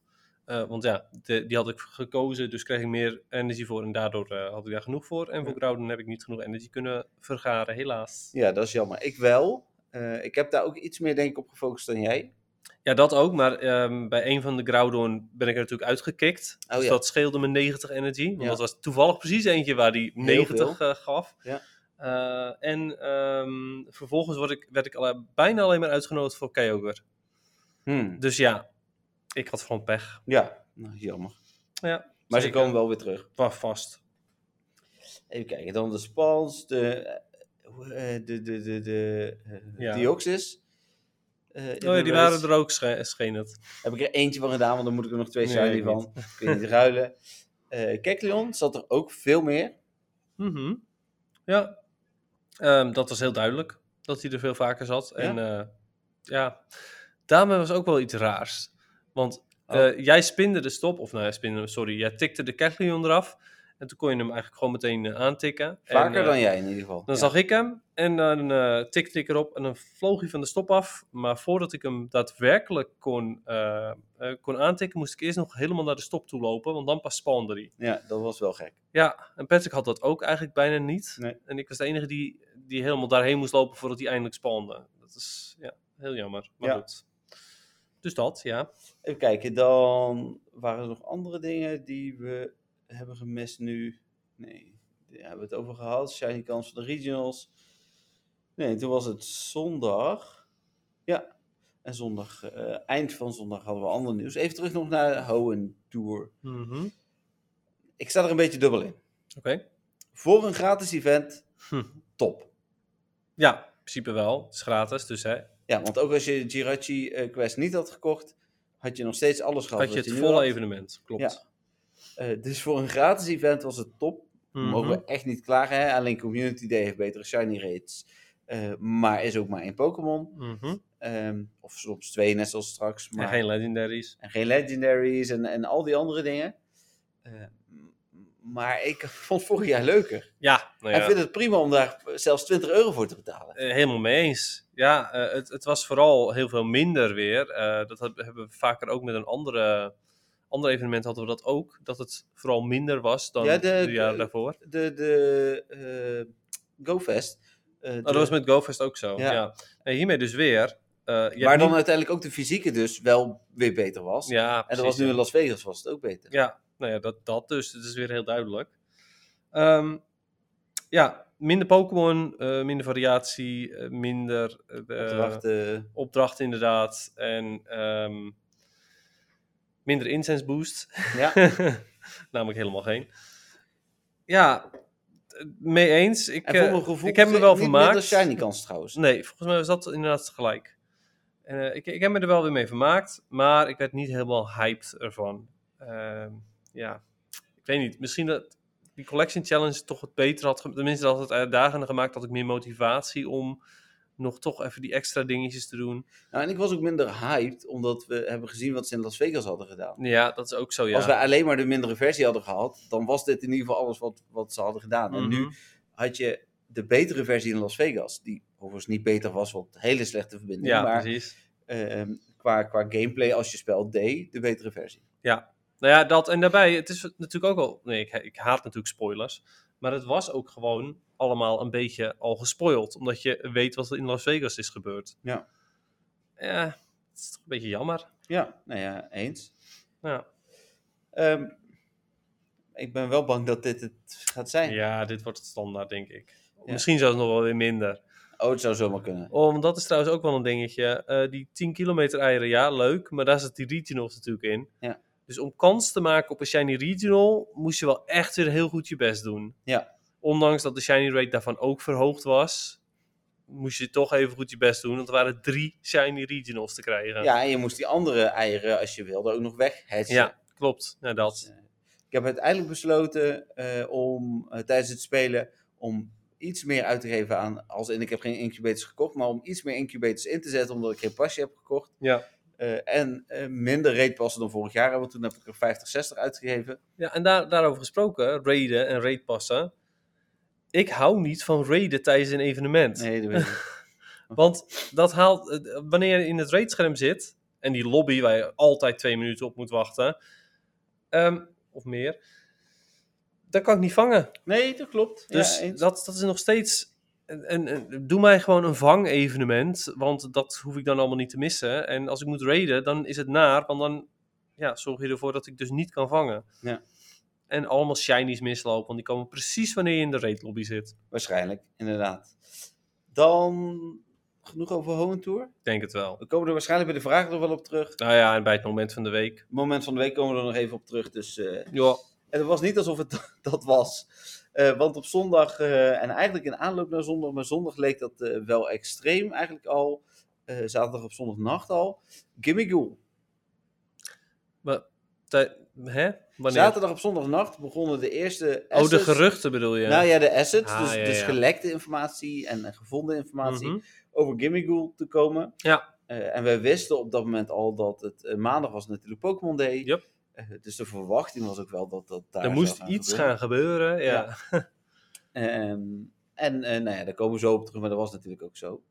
Speaker 2: eh, want ja, de- die had ik gekozen, dus kreeg ik meer energy voor. En daardoor eh, had ik daar genoeg voor. En voor Groudon heb ik niet genoeg energy kunnen vergaren, helaas.
Speaker 1: Ja, dat is jammer. Ik wel. Eh, ik heb daar ook iets meer denk ik op gefocust dan jij.
Speaker 2: Ja, dat ook. Maar ehm, bij een van de Groudon ben ik er natuurlijk uitgekikt.
Speaker 1: Oh,
Speaker 2: dus
Speaker 1: ja.
Speaker 2: dat scheelde me 90 energy. Want
Speaker 1: Ja.
Speaker 2: dat was toevallig precies eentje waar die
Speaker 1: Heel
Speaker 2: 90 eh, gaf.
Speaker 1: Ja.
Speaker 2: Eh, en ehm, vervolgens word ik, werd ik alle- bijna alleen maar uitgenodigd voor Kyogre.
Speaker 1: Hmm.
Speaker 2: Dus ja, ik had gewoon pech.
Speaker 1: Ja, nou, jammer.
Speaker 2: Ja,
Speaker 1: Maar ze
Speaker 2: zeker.
Speaker 1: komen wel weer terug.
Speaker 2: Wa- vast.
Speaker 1: Even kijken, dan de Spans, de, eh, hoe, eh, de, de, de, de eh,
Speaker 2: Ja.
Speaker 1: Deoxys. Eh, in
Speaker 2: Oh ja,
Speaker 1: de
Speaker 2: die
Speaker 1: race.
Speaker 2: waren er ook, sche- scheen het.
Speaker 1: Heb ik er eentje van gedaan, want dan moet ik er nog twee
Speaker 2: Nee,
Speaker 1: shiny
Speaker 2: ik
Speaker 1: van. Kun je niet ruilen. Eh Kekleon zat er ook veel meer.
Speaker 2: Mhm. Ja, Ehm, dat was heel duidelijk dat hij er veel vaker zat. En eh, ja, daarmee was ook wel iets raars. Want
Speaker 1: Oh.
Speaker 2: eh, jij spinde de stop, of nou, jij spinde, hem, sorry, jij tikte de Kecleon eraf. En toen kon je hem eigenlijk gewoon meteen eh, aantikken.
Speaker 1: Vaker
Speaker 2: en, eh,
Speaker 1: dan jij in ieder geval.
Speaker 2: Dan
Speaker 1: Ja.
Speaker 2: zag ik hem en dan eh, tikte ik erop en dan vloog hij van de stop af. Maar voordat ik hem daadwerkelijk kon, eh, eh, kon aantikken, moest ik eerst nog helemaal naar de stop toe lopen. Want dan pas spawnde hij.
Speaker 1: Ja, dat was wel gek.
Speaker 2: Ja, en Patrick had dat ook eigenlijk bijna niet.
Speaker 1: Nee.
Speaker 2: En ik was de enige die, die helemaal daarheen moest lopen voordat hij eindelijk spande. Dat is ja, heel jammer. Maar
Speaker 1: Ja.
Speaker 2: goed. Dus dat, ja.
Speaker 1: Even kijken, dan waren er nog andere dingen die we hebben gemist nu. Nee, daar hebben we het over gehad. Shiny kans van de regionals. Nee, toen was het zondag. Ja, en zondag, eh,
Speaker 2: Mhm.
Speaker 1: eind van zondag hadden we ander nieuws. Even terug nog naar de Hoenn Tour. Ik sta er een beetje dubbel in. Voor een gratis event,
Speaker 2: Hm.
Speaker 1: top.
Speaker 2: Ja, in principe wel. Het is gratis, dus hè,
Speaker 1: Ja, want ook als je Jirachi eh, Quest niet had gekocht, had je nog steeds alles gehad.
Speaker 2: had je
Speaker 1: wat
Speaker 2: het
Speaker 1: nu
Speaker 2: volle
Speaker 1: had.
Speaker 2: evenement. Klopt.
Speaker 1: Ja. Eh, dus voor een gratis event was het top.
Speaker 2: Mhm.
Speaker 1: Mogen we echt niet klagen. Hè? Alleen Community Day heeft betere shiny rates. Eh, maar is ook maar één Pokémon.
Speaker 2: Mhm.
Speaker 1: Ehm, of soms twee, net zoals straks. Maar...
Speaker 2: En geen legendaries.
Speaker 1: En geen legendaries en, en al die andere dingen. Eh, m- maar ik vond vorig jaar leuker.
Speaker 2: Ja, nou
Speaker 1: En
Speaker 2: ja.
Speaker 1: vind het prima om daar zelfs 20 euro voor te betalen.
Speaker 2: Eh, Helemaal mee eens. Ja, eh, het, het was vooral heel veel minder weer. Eh, dat heb- hebben we vaker ook met een andere, ander evenement hadden we dat ook. Dat het vooral minder was dan
Speaker 1: Ja,
Speaker 2: de,
Speaker 1: de-
Speaker 2: jaren
Speaker 1: de-
Speaker 2: daarvoor.
Speaker 1: De, de eh, GoFest. eh, de-
Speaker 2: Oh, dat was met GoFest ook zo. Ja.
Speaker 1: Ja.
Speaker 2: Nee, hiermee dus weer. eh, je hebt
Speaker 1: waar dan
Speaker 2: niet-
Speaker 1: uiteindelijk ook de fysieke dus wel weer beter was.
Speaker 2: Ja,
Speaker 1: en
Speaker 2: precies,
Speaker 1: dat was nu
Speaker 2: ja.
Speaker 1: in Las Vegas was het ook beter.
Speaker 2: Ja, nou ja, dat, dat dus. Het is weer heel duidelijk. Ehm, ja, minder Pokémon, eh, minder variatie, eh, minder eh,
Speaker 1: Opdracht, eh,
Speaker 2: opdracht inderdaad. En ehm, minder incense boost.
Speaker 1: ja.
Speaker 2: Namelijk helemaal geen. Ja, t- mee eens. Ik,
Speaker 1: En voor
Speaker 2: eh,
Speaker 1: mijn gevoel
Speaker 2: ik heb me wel vermaakt.
Speaker 1: Niet minder shiny kans trouwens.
Speaker 2: Nee, volgens mij was dat inderdaad gelijk. En, eh, ik, ik heb me er wel weer mee vermaakt, maar ik werd niet helemaal hyped ervan. Ehm, ja, ik weet niet. Misschien dat die Collection Challenge toch het beter had... ge- Tenminste, dat had het uitdagender gemaakt. Had ik meer motivatie om nog toch even die extra dingetjes te doen.
Speaker 1: Nou, en ik was ook minder hyped omdat we hebben gezien wat ze in Las Vegas hadden gedaan.
Speaker 2: Ja, dat is ook zo, ja.
Speaker 1: Als wij alleen maar de mindere versie hadden gehad, dan was dit in ieder geval alles wat, wat ze hadden gedaan. En nu
Speaker 2: Mhm.
Speaker 1: had je de betere versie in Las Vegas, die overigens niet beter was, want hele slechte verbinding.
Speaker 2: Ja,
Speaker 1: maar
Speaker 2: precies.
Speaker 1: ehm, qua, qua gameplay, als je spel deed, de betere versie.
Speaker 2: Nou ja, dat en daarbij, het is natuurlijk ook al. Nee, ik, ik haat natuurlijk spoilers. Maar het was ook gewoon allemaal een beetje al gespoild. Omdat je weet wat er in Las Vegas is gebeurd.
Speaker 1: Ja.
Speaker 2: Ja, het is toch een beetje jammer.
Speaker 1: Ja, nou ja, eens.
Speaker 2: Ja,
Speaker 1: Ehm, ik ben wel bang dat dit het gaat zijn.
Speaker 2: ja dit wordt het standaard, denk ik.
Speaker 1: Ja.
Speaker 2: Misschien zelfs nog wel weer minder.
Speaker 1: Oh, het zou zomaar kunnen.
Speaker 2: Oh, want dat is trouwens ook wel een dingetje. Eh, die 10 kilometer eieren, ja, leuk. Maar daar zit die regionals natuurlijk in.
Speaker 1: Ja.
Speaker 2: Dus om kans te maken op een shiny regional, moest je wel echt weer heel goed je best doen.
Speaker 1: Ja.
Speaker 2: Ondanks dat de shiny rate daarvan ook verhoogd was, moest je toch even goed je best doen. Want er waren drie shiny regionals te krijgen.
Speaker 1: Ja, en je moest die andere eieren, als je wilde, ook nog weghetsen.
Speaker 2: Ja, klopt. Nou, dat.
Speaker 1: Ik heb uiteindelijk besloten eh, om eh, tijdens het spelen om iets meer uit te geven aan, als in ik heb geen incubators gekocht, maar om iets meer incubators in te zetten omdat ik geen pasje heb gekocht.
Speaker 2: Ja.
Speaker 1: Eh, en eh, minder reetpassen dan vorig jaar, want toen heb ik er 50, 60 uitgegeven.
Speaker 2: Ja, en daar, daarover gesproken, raiden en raidpassen. Ik hou niet van raiden tijdens een evenement.
Speaker 1: Nee, dat weet ik niet.
Speaker 2: Want dat haalt, eh, wanneer je in het raidscherm zit, en die lobby waar je altijd twee minuten op moet wachten, ehm, of meer, dat kan ik niet vangen.
Speaker 1: Nee, dat klopt.
Speaker 2: Dus
Speaker 1: Ja, eens.
Speaker 2: dat, dat is nog steeds, een, een, een- doe mij gewoon een vang-evenement, want dat hoef ik dan allemaal niet te missen. En als ik moet raiden, dan is het naar, want dan ja, zorg je ervoor dat ik dus niet kan vangen.
Speaker 1: Ja.
Speaker 2: En allemaal shinies mislopen, want die komen precies wanneer je in de raidlobby zit.
Speaker 1: Waarschijnlijk, inderdaad. Dan genoeg over Home Tour.
Speaker 2: Ik denk het wel.
Speaker 1: We komen er waarschijnlijk bij de vragen nog wel op terug.
Speaker 2: Nou ja, en bij het moment van de week.
Speaker 1: Moment van de week komen we er nog even op terug. Dus eh,
Speaker 2: Ja,
Speaker 1: En het was niet alsof het dat was. Eh, want op zondag, eh, en eigenlijk in aanloop naar zondag, maar zondag leek dat eh, wel extreem eigenlijk al. eh, zaterdag op zondagnacht al. Gimme Ghoul.
Speaker 2: Maar, tij- hè? Wanneer?
Speaker 1: Zaterdag op zondagnacht begonnen de eerste
Speaker 2: oh,
Speaker 1: assets.
Speaker 2: de geruchten bedoel je?
Speaker 1: Nou ja, de assets.
Speaker 2: Ah,
Speaker 1: dus
Speaker 2: ja,
Speaker 1: dus
Speaker 2: ja.
Speaker 1: gelekte informatie en eh, gevonden informatie
Speaker 2: Mhm.
Speaker 1: over Gimme Ghoul te komen.
Speaker 2: Ja.
Speaker 1: Eh, en wij wisten op dat moment al dat het eh, maandag was natuurlijk Pokémon Day.
Speaker 2: Yep.
Speaker 1: Eh, dus de verwachting was ook wel dat dat daar
Speaker 2: Er
Speaker 1: zou
Speaker 2: moest
Speaker 1: gaan
Speaker 2: iets
Speaker 1: gebeuren.
Speaker 2: gaan gebeuren, ja.
Speaker 1: Ja. Ehm, en eh, nou ja, daar komen we zo op terug, maar dat was natuurlijk ook zo.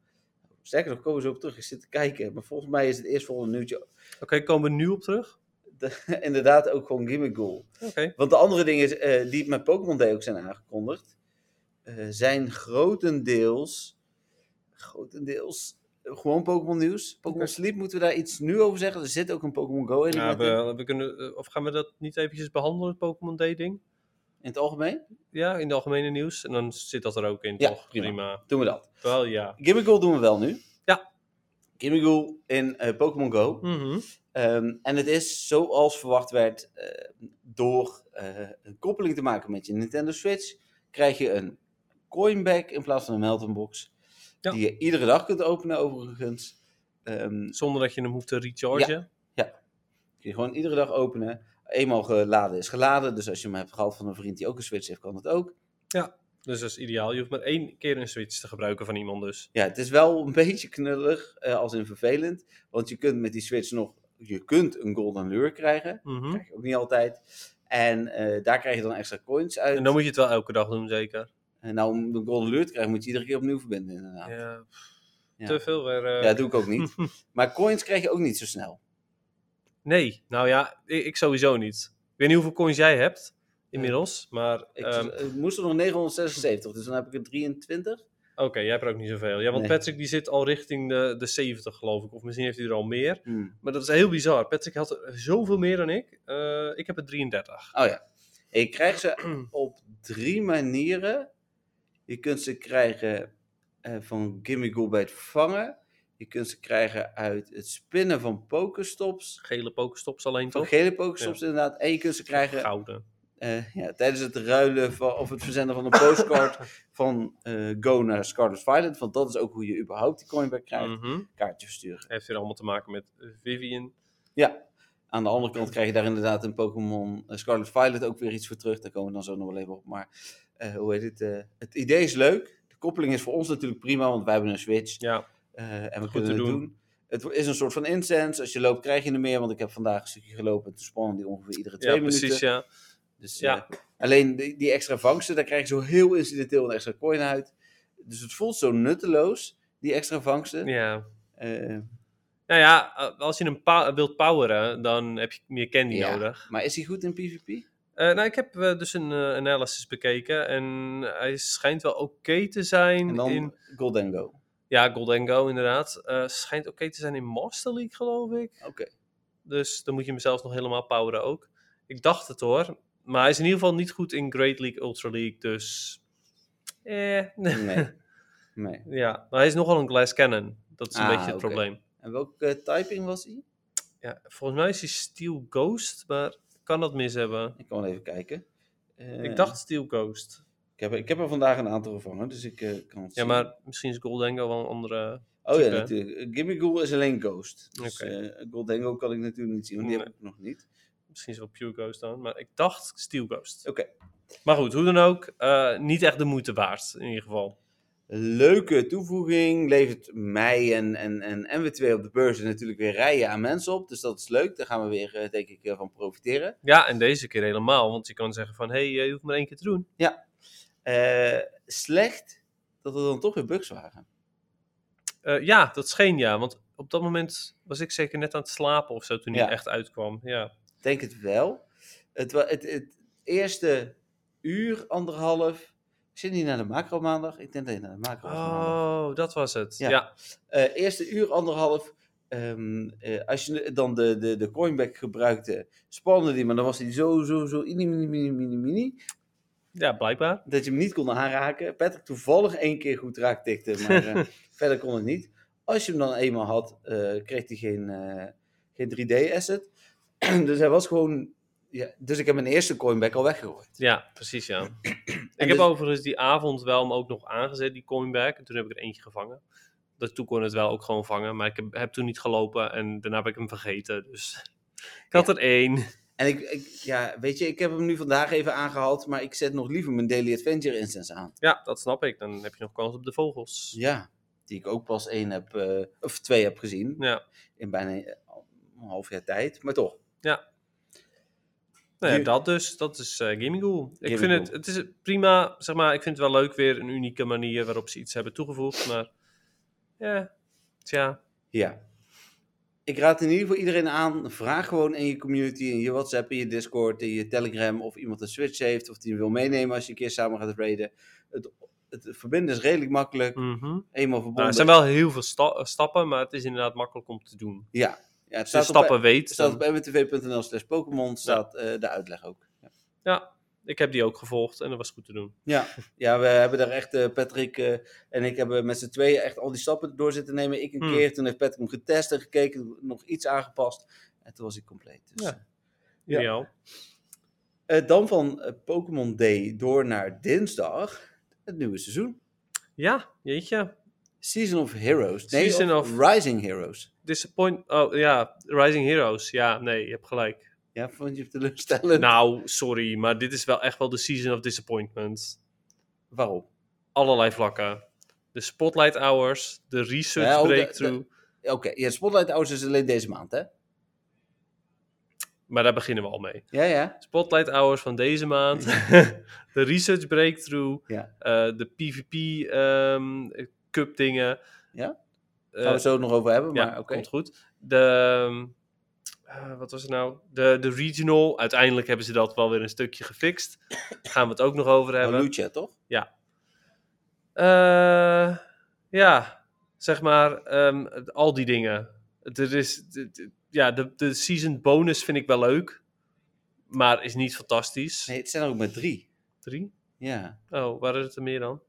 Speaker 1: Sterker nog, komen we zo op terug. Ik zit te kijken, maar volgens mij is het eerst volgende nieuwtje
Speaker 2: Oké, komen we nu op terug?
Speaker 1: de- inderdaad ook gewoon Gimmick Ghoul.
Speaker 2: Oké.
Speaker 1: Want de andere dingen is, eh, die met Pokémon Day ook zijn aangekondigd, eh, zijn grotendeels, grotendeels eh, gewoon Pokémon nieuws. Pokémon
Speaker 2: Oké.
Speaker 1: Sleep moeten we daar iets nu over zeggen. Er zit ook een Pokémon Go
Speaker 2: Ja,
Speaker 1: element in,
Speaker 2: we, we kunnen, eh, of gaan we dat niet eventjes behandelen, het Pokémon Day ding?
Speaker 1: in het algemeen.
Speaker 2: Ja, in de algemene nieuws. En dan zit dat er ook in,
Speaker 1: Ja,
Speaker 2: toch?
Speaker 1: prima.
Speaker 2: prima.
Speaker 1: Doen we dat.
Speaker 2: Wel, ja.
Speaker 1: Gimmick Ghoul doen we wel nu.
Speaker 2: Ja.
Speaker 1: Kimigul in eh, Pokémon Go.
Speaker 2: Mhm.
Speaker 1: Ehm, en het is zoals verwacht werd, eh, door eh, een koppeling te maken met je Nintendo Switch, krijg je een coinback in plaats van een melting box.
Speaker 2: Ja.
Speaker 1: Die je iedere dag kunt openen overigens. Ehm,
Speaker 2: Zonder dat je hem hoeft te rechargen.
Speaker 1: kun je gewoon iedere dag openen. Eenmaal geladen is geladen. Dus als je hem hebt gehad van een vriend die ook een Switch heeft, kan dat ook.
Speaker 2: Dus dat is ideaal. Je hoeft maar één keer een Switch te gebruiken van iemand dus.
Speaker 1: Ja, het is wel een beetje knullig, eh, als in vervelend. Want je kunt met die Switch nog, je kunt een Golden Lure krijgen.
Speaker 2: Mhm.
Speaker 1: Krijg je ook niet altijd. En eh, daar krijg je dan extra coins uit.
Speaker 2: En dan moet je het wel elke dag doen, zeker.
Speaker 1: En nou, om de Golden Lure te krijgen, moet je iedere keer opnieuw verbinden, inderdaad. Ja,
Speaker 2: Ja.
Speaker 1: Ja.
Speaker 2: Te veel weer. eh,
Speaker 1: dat doe ik ook niet. maar coins krijg je ook niet zo snel.
Speaker 2: Nee, nou ja, ik, ik sowieso niet. Ik weet niet hoeveel coins jij hebt inmiddels, maar
Speaker 1: Ik
Speaker 2: ehm,
Speaker 1: ik moest er nog 976, dus dan heb ik er 23.
Speaker 2: oké, jij hebt er ook niet zoveel. Ja, want
Speaker 1: Nee.
Speaker 2: Patrick die zit al richting de, de 70 geloof ik, of misschien heeft hij er al meer.
Speaker 1: Hmm.
Speaker 2: Maar dat is heel bizar. Patrick had er zoveel meer dan ik. Eh, ik heb er 33.
Speaker 1: Oh ja. En je krijgt ze op drie manieren. Je kunt ze krijgen eh, van Gimme Goal bij het vangen. Je kunt ze krijgen uit het spinnen van pokerstops.
Speaker 2: Gele pokerstops alleen
Speaker 1: Van
Speaker 2: toch?
Speaker 1: gele pokerstops inderdaad. En je kunt ze krijgen
Speaker 2: Gouden.
Speaker 1: eh, ja, tijdens het ruilen van, of het verzenden van een postcard van eh, Go naar Scarlet Violet. Want dat is ook hoe je überhaupt die coinback krijgt.
Speaker 2: Mhm.
Speaker 1: Kaartje versturen.
Speaker 2: Heeft weer allemaal te maken met Vivian.
Speaker 1: Ja. Aan de andere kant krijg je daar inderdaad een Pokémon eh, Scarlet Violet ook weer iets voor terug. Daar komen we dan zo nog wel even op. Maar eh, hoe heet het? eh, het idee is leuk. De koppeling is voor ons natuurlijk prima, want wij hebben een Switch.
Speaker 2: Ja,
Speaker 1: eh, en we
Speaker 2: Goed
Speaker 1: kunnen
Speaker 2: te
Speaker 1: het
Speaker 2: doen.
Speaker 1: doen. Het is een soort van incense. Als je loopt, krijg je er meer. Want ik heb vandaag een stukje gelopen. Toen spannen die ongeveer iedere twee
Speaker 2: ja
Speaker 1: minuten.
Speaker 2: precies. Ja.
Speaker 1: Dus,
Speaker 2: Ja.
Speaker 1: eh, alleen die, die extra vangsten, daar krijg je zo heel incidenteel een extra coin uit. Dus het voelt zo nutteloos, die extra vangsten.
Speaker 2: ja.
Speaker 1: Eh,
Speaker 2: Nou ja, eh, als je hem pa- wilt poweren, dan heb je meer candy
Speaker 1: Ja.
Speaker 2: nodig.
Speaker 1: maar is hij goed in PvP?
Speaker 2: Eh, nou, ik heb eh, dus een eh, analysis bekeken en hij schijnt wel oké te zijn
Speaker 1: En dan
Speaker 2: in...
Speaker 1: Golden Go.
Speaker 2: Ja, Golden Go inderdaad. Eh, schijnt oké te zijn in Master League, geloof ik.
Speaker 1: Oké.
Speaker 2: Dus dan moet je hem zelfs nog helemaal poweren ook. Ik dacht het hoor. Maar hij is in ieder geval niet goed in Great League, Ultra League, dus... Eh,
Speaker 1: Nee. nee.
Speaker 2: ja, maar hij is nogal een glass cannon. Dat is een
Speaker 1: Ah,
Speaker 2: beetje het
Speaker 1: oké.
Speaker 2: probleem.
Speaker 1: En welke eh, typing was hij?
Speaker 2: Ja, volgens mij is hij Steel Ghost, maar kan dat mis hebben.
Speaker 1: Ik kan wel even kijken. Eh,
Speaker 2: Ik dacht Steel Ghost.
Speaker 1: Ik heb, ik heb er vandaag een aantal gevangen, dus ik eh, kan het
Speaker 2: Ja,
Speaker 1: zien.
Speaker 2: maar misschien is Golden Go wel een andere...
Speaker 1: Oh ja,
Speaker 2: type.
Speaker 1: natuurlijk. Eh, Gimme Ghoul is alleen Ghost. Dus
Speaker 2: Oké.
Speaker 1: eh, Golden Go kan ik natuurlijk niet zien, want die
Speaker 2: Nee.
Speaker 1: heb ik nog niet.
Speaker 2: Misschien is het wel Pure Ghost dan, maar ik dacht Steel Ghost.
Speaker 1: Oké.
Speaker 2: Maar goed, hoe dan ook, eh, niet echt de moeite waard in ieder geval.
Speaker 1: leuke toevoeging. Levert mij en, en, en, en we twee op de beurs en natuurlijk weer rijen aan mensen op. Dus dat is leuk. Daar gaan we weer, eh, denk ik, eh, van profiteren.
Speaker 2: Ja, en deze keer helemaal, want je kan zeggen van, hé, hey, eh, je hoeft maar één keer te doen.
Speaker 1: Eh, slecht dat er dan toch weer bugs waren.
Speaker 2: Eh, ja, dat scheen ja, want op dat moment was ik zeker net aan het slapen of zo toen hij
Speaker 1: Ja.
Speaker 2: echt uitkwam. Ja,
Speaker 1: Ik denk het wel. Het, wa- het, het eerste uur, anderhalf. Ik zit niet naar de macro maandag. Ik denk dat je naar de macro was maandag.
Speaker 2: oh, dat was het. Ja,
Speaker 1: Ja. Eh, eerste uur, anderhalf. ehm, eh, als je dan de, de, de coinback gebruikte, spande die, maar dan was die zo, zo, zo, mini, mini, mini, mini, mini.
Speaker 2: Ja, blijkbaar.
Speaker 1: dat je hem niet kon aanraken. Patrick toevallig één keer goed raak tikte, maar eh, verder kon het niet. Als je hem dan eenmaal had, eh, kreeg hij geen, eh, geen 3D-asset. dus hij was gewoon... Ja, dus ik heb mijn eerste coinback al weggegooid.
Speaker 2: Ja, precies ja. ik heb
Speaker 1: dus-
Speaker 2: overigens die avond wel hem ook nog aangezet, die coinback, en toen heb ik er eentje gevangen. Dat toen kon het wel ook gewoon vangen, maar ik heb, heb toen niet gelopen en daarna heb ik hem vergeten, dus... Ik had er één.
Speaker 1: En ik, ik, ja, weet je, ik heb hem nu vandaag even aangehaald, maar ik zet nog liever mijn Daily Adventure instance aan. Dus
Speaker 2: Ja, dat snap ik. Dan heb je nog kans op de vogels.
Speaker 1: Ja, die ik ook pas één heb, eh, of twee heb gezien,
Speaker 2: Ja.
Speaker 1: in bijna eh, een half jaar tijd, maar toch.
Speaker 2: Nou ja,
Speaker 1: Je-
Speaker 2: dat dus. Dat is eh Gaming Ghoul. Ik
Speaker 1: Gaming
Speaker 2: vind het,
Speaker 1: Ghoul.
Speaker 2: het is prima, zeg maar. Ik vind het wel leuk weer een unieke manier waarop ze iets hebben toegevoegd. Maar ja, tja.
Speaker 1: Ja. Ik raad in ieder geval iedereen aan, vraag gewoon in je community, in je WhatsApp, in je Discord, in je Telegram of iemand een Switch heeft of die hem wil meenemen als je een keer samen gaat raiden. Het, het verbinden is redelijk makkelijk,
Speaker 2: Mhm.
Speaker 1: eenmaal verbonden.
Speaker 2: Nou, er zijn wel heel veel sta- stappen, maar het is inderdaad makkelijk om te doen.
Speaker 1: Ja, ja het
Speaker 2: Als je
Speaker 1: staat op,
Speaker 2: stappen weet.
Speaker 1: het staat
Speaker 2: dan-
Speaker 1: op mwtv.nl slash Pokémon, staat eh, de uitleg ook. Ja.
Speaker 2: Ja, e- ik heb die ook gevolgd en dat was goed te doen.
Speaker 1: Ja, ja we hebben daar echt, eh, Patrick eh, en ik hebben met z'n tweeën echt al die stappen door zitten nemen. Ik een
Speaker 2: Hmm.
Speaker 1: keer, toen heeft Patrick hem getest en gekeken, nog iets aangepast. En toen was hij compleet. Dus,
Speaker 2: Ja.
Speaker 1: Ja.
Speaker 2: Ideaal.
Speaker 1: eh, dan van eh, Pokémon Day door naar dinsdag, het nieuwe seizoen.
Speaker 2: Ja, jeetje.
Speaker 1: Season of Heroes. Nee,
Speaker 2: Season
Speaker 1: of
Speaker 2: of-
Speaker 1: Rising Heroes.
Speaker 2: Disappoint. Oh ja, Rising Heroes. Ja, nee, je hebt gelijk.
Speaker 1: Ja, vond je het teleurstellend?
Speaker 2: Nou, sorry, maar dit is wel echt wel de season of disappointment.
Speaker 1: Waarom?
Speaker 2: Allerlei vlakken. De spotlight hours, de research
Speaker 1: Ja, ook de-
Speaker 2: breakthrough.
Speaker 1: Oké, ja, Spotlight Hours is alleen deze maand, hè?
Speaker 2: Maar daar beginnen we al mee.
Speaker 1: Ja, ja.
Speaker 2: Spotlight hours van deze maand. de research breakthrough.
Speaker 1: Ja.
Speaker 2: eh, de PvP ehm, cup dingen.
Speaker 1: Ja?
Speaker 2: Eh,
Speaker 1: Gaan we het zo nog over hebben, maar
Speaker 2: ja,
Speaker 1: oké.
Speaker 2: komt goed. De, ehm, eh, wat was het nou? De, de regional. Uiteindelijk hebben ze dat wel weer een stukje gefixt. Gaan we het ook nog over hebben.
Speaker 1: Lucia, toch?
Speaker 2: Eh, ja, zeg maar, ehm, het- al die dingen. Het- Er is, het- het- ja, de, de season bonus vind ik wel leuk. Maar is niet fantastisch.
Speaker 1: Nee, het zijn er ook maar drie.
Speaker 2: Drie?
Speaker 1: Ja.
Speaker 2: Oh, waren het er meer dan?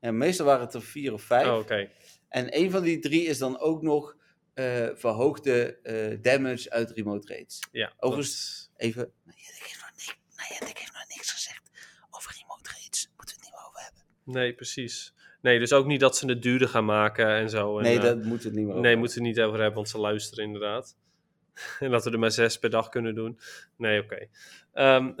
Speaker 1: En meestal waren het er vier of vijf.
Speaker 2: Oh, oké.
Speaker 1: En een van die drie is dan ook nog eh, verhoogde eh, damage uit remote raids.
Speaker 2: Ja,
Speaker 1: Overigens, even... Nayet, ik heb nog niks, Nayet, ik heb nog niks gezegd over remote raids. Moeten we het niet meer over hebben.
Speaker 2: Nee, precies. Nee, dus ook niet dat ze het duurder gaan maken en zo. En,
Speaker 1: nee,
Speaker 2: eh,
Speaker 1: dat moeten we het niet meer over
Speaker 2: Nee,
Speaker 1: hebben.
Speaker 2: moeten we het niet over hebben, want ze luisteren inderdaad. En dat we er maar zes per dag kunnen doen. Nee, oké. Ehm,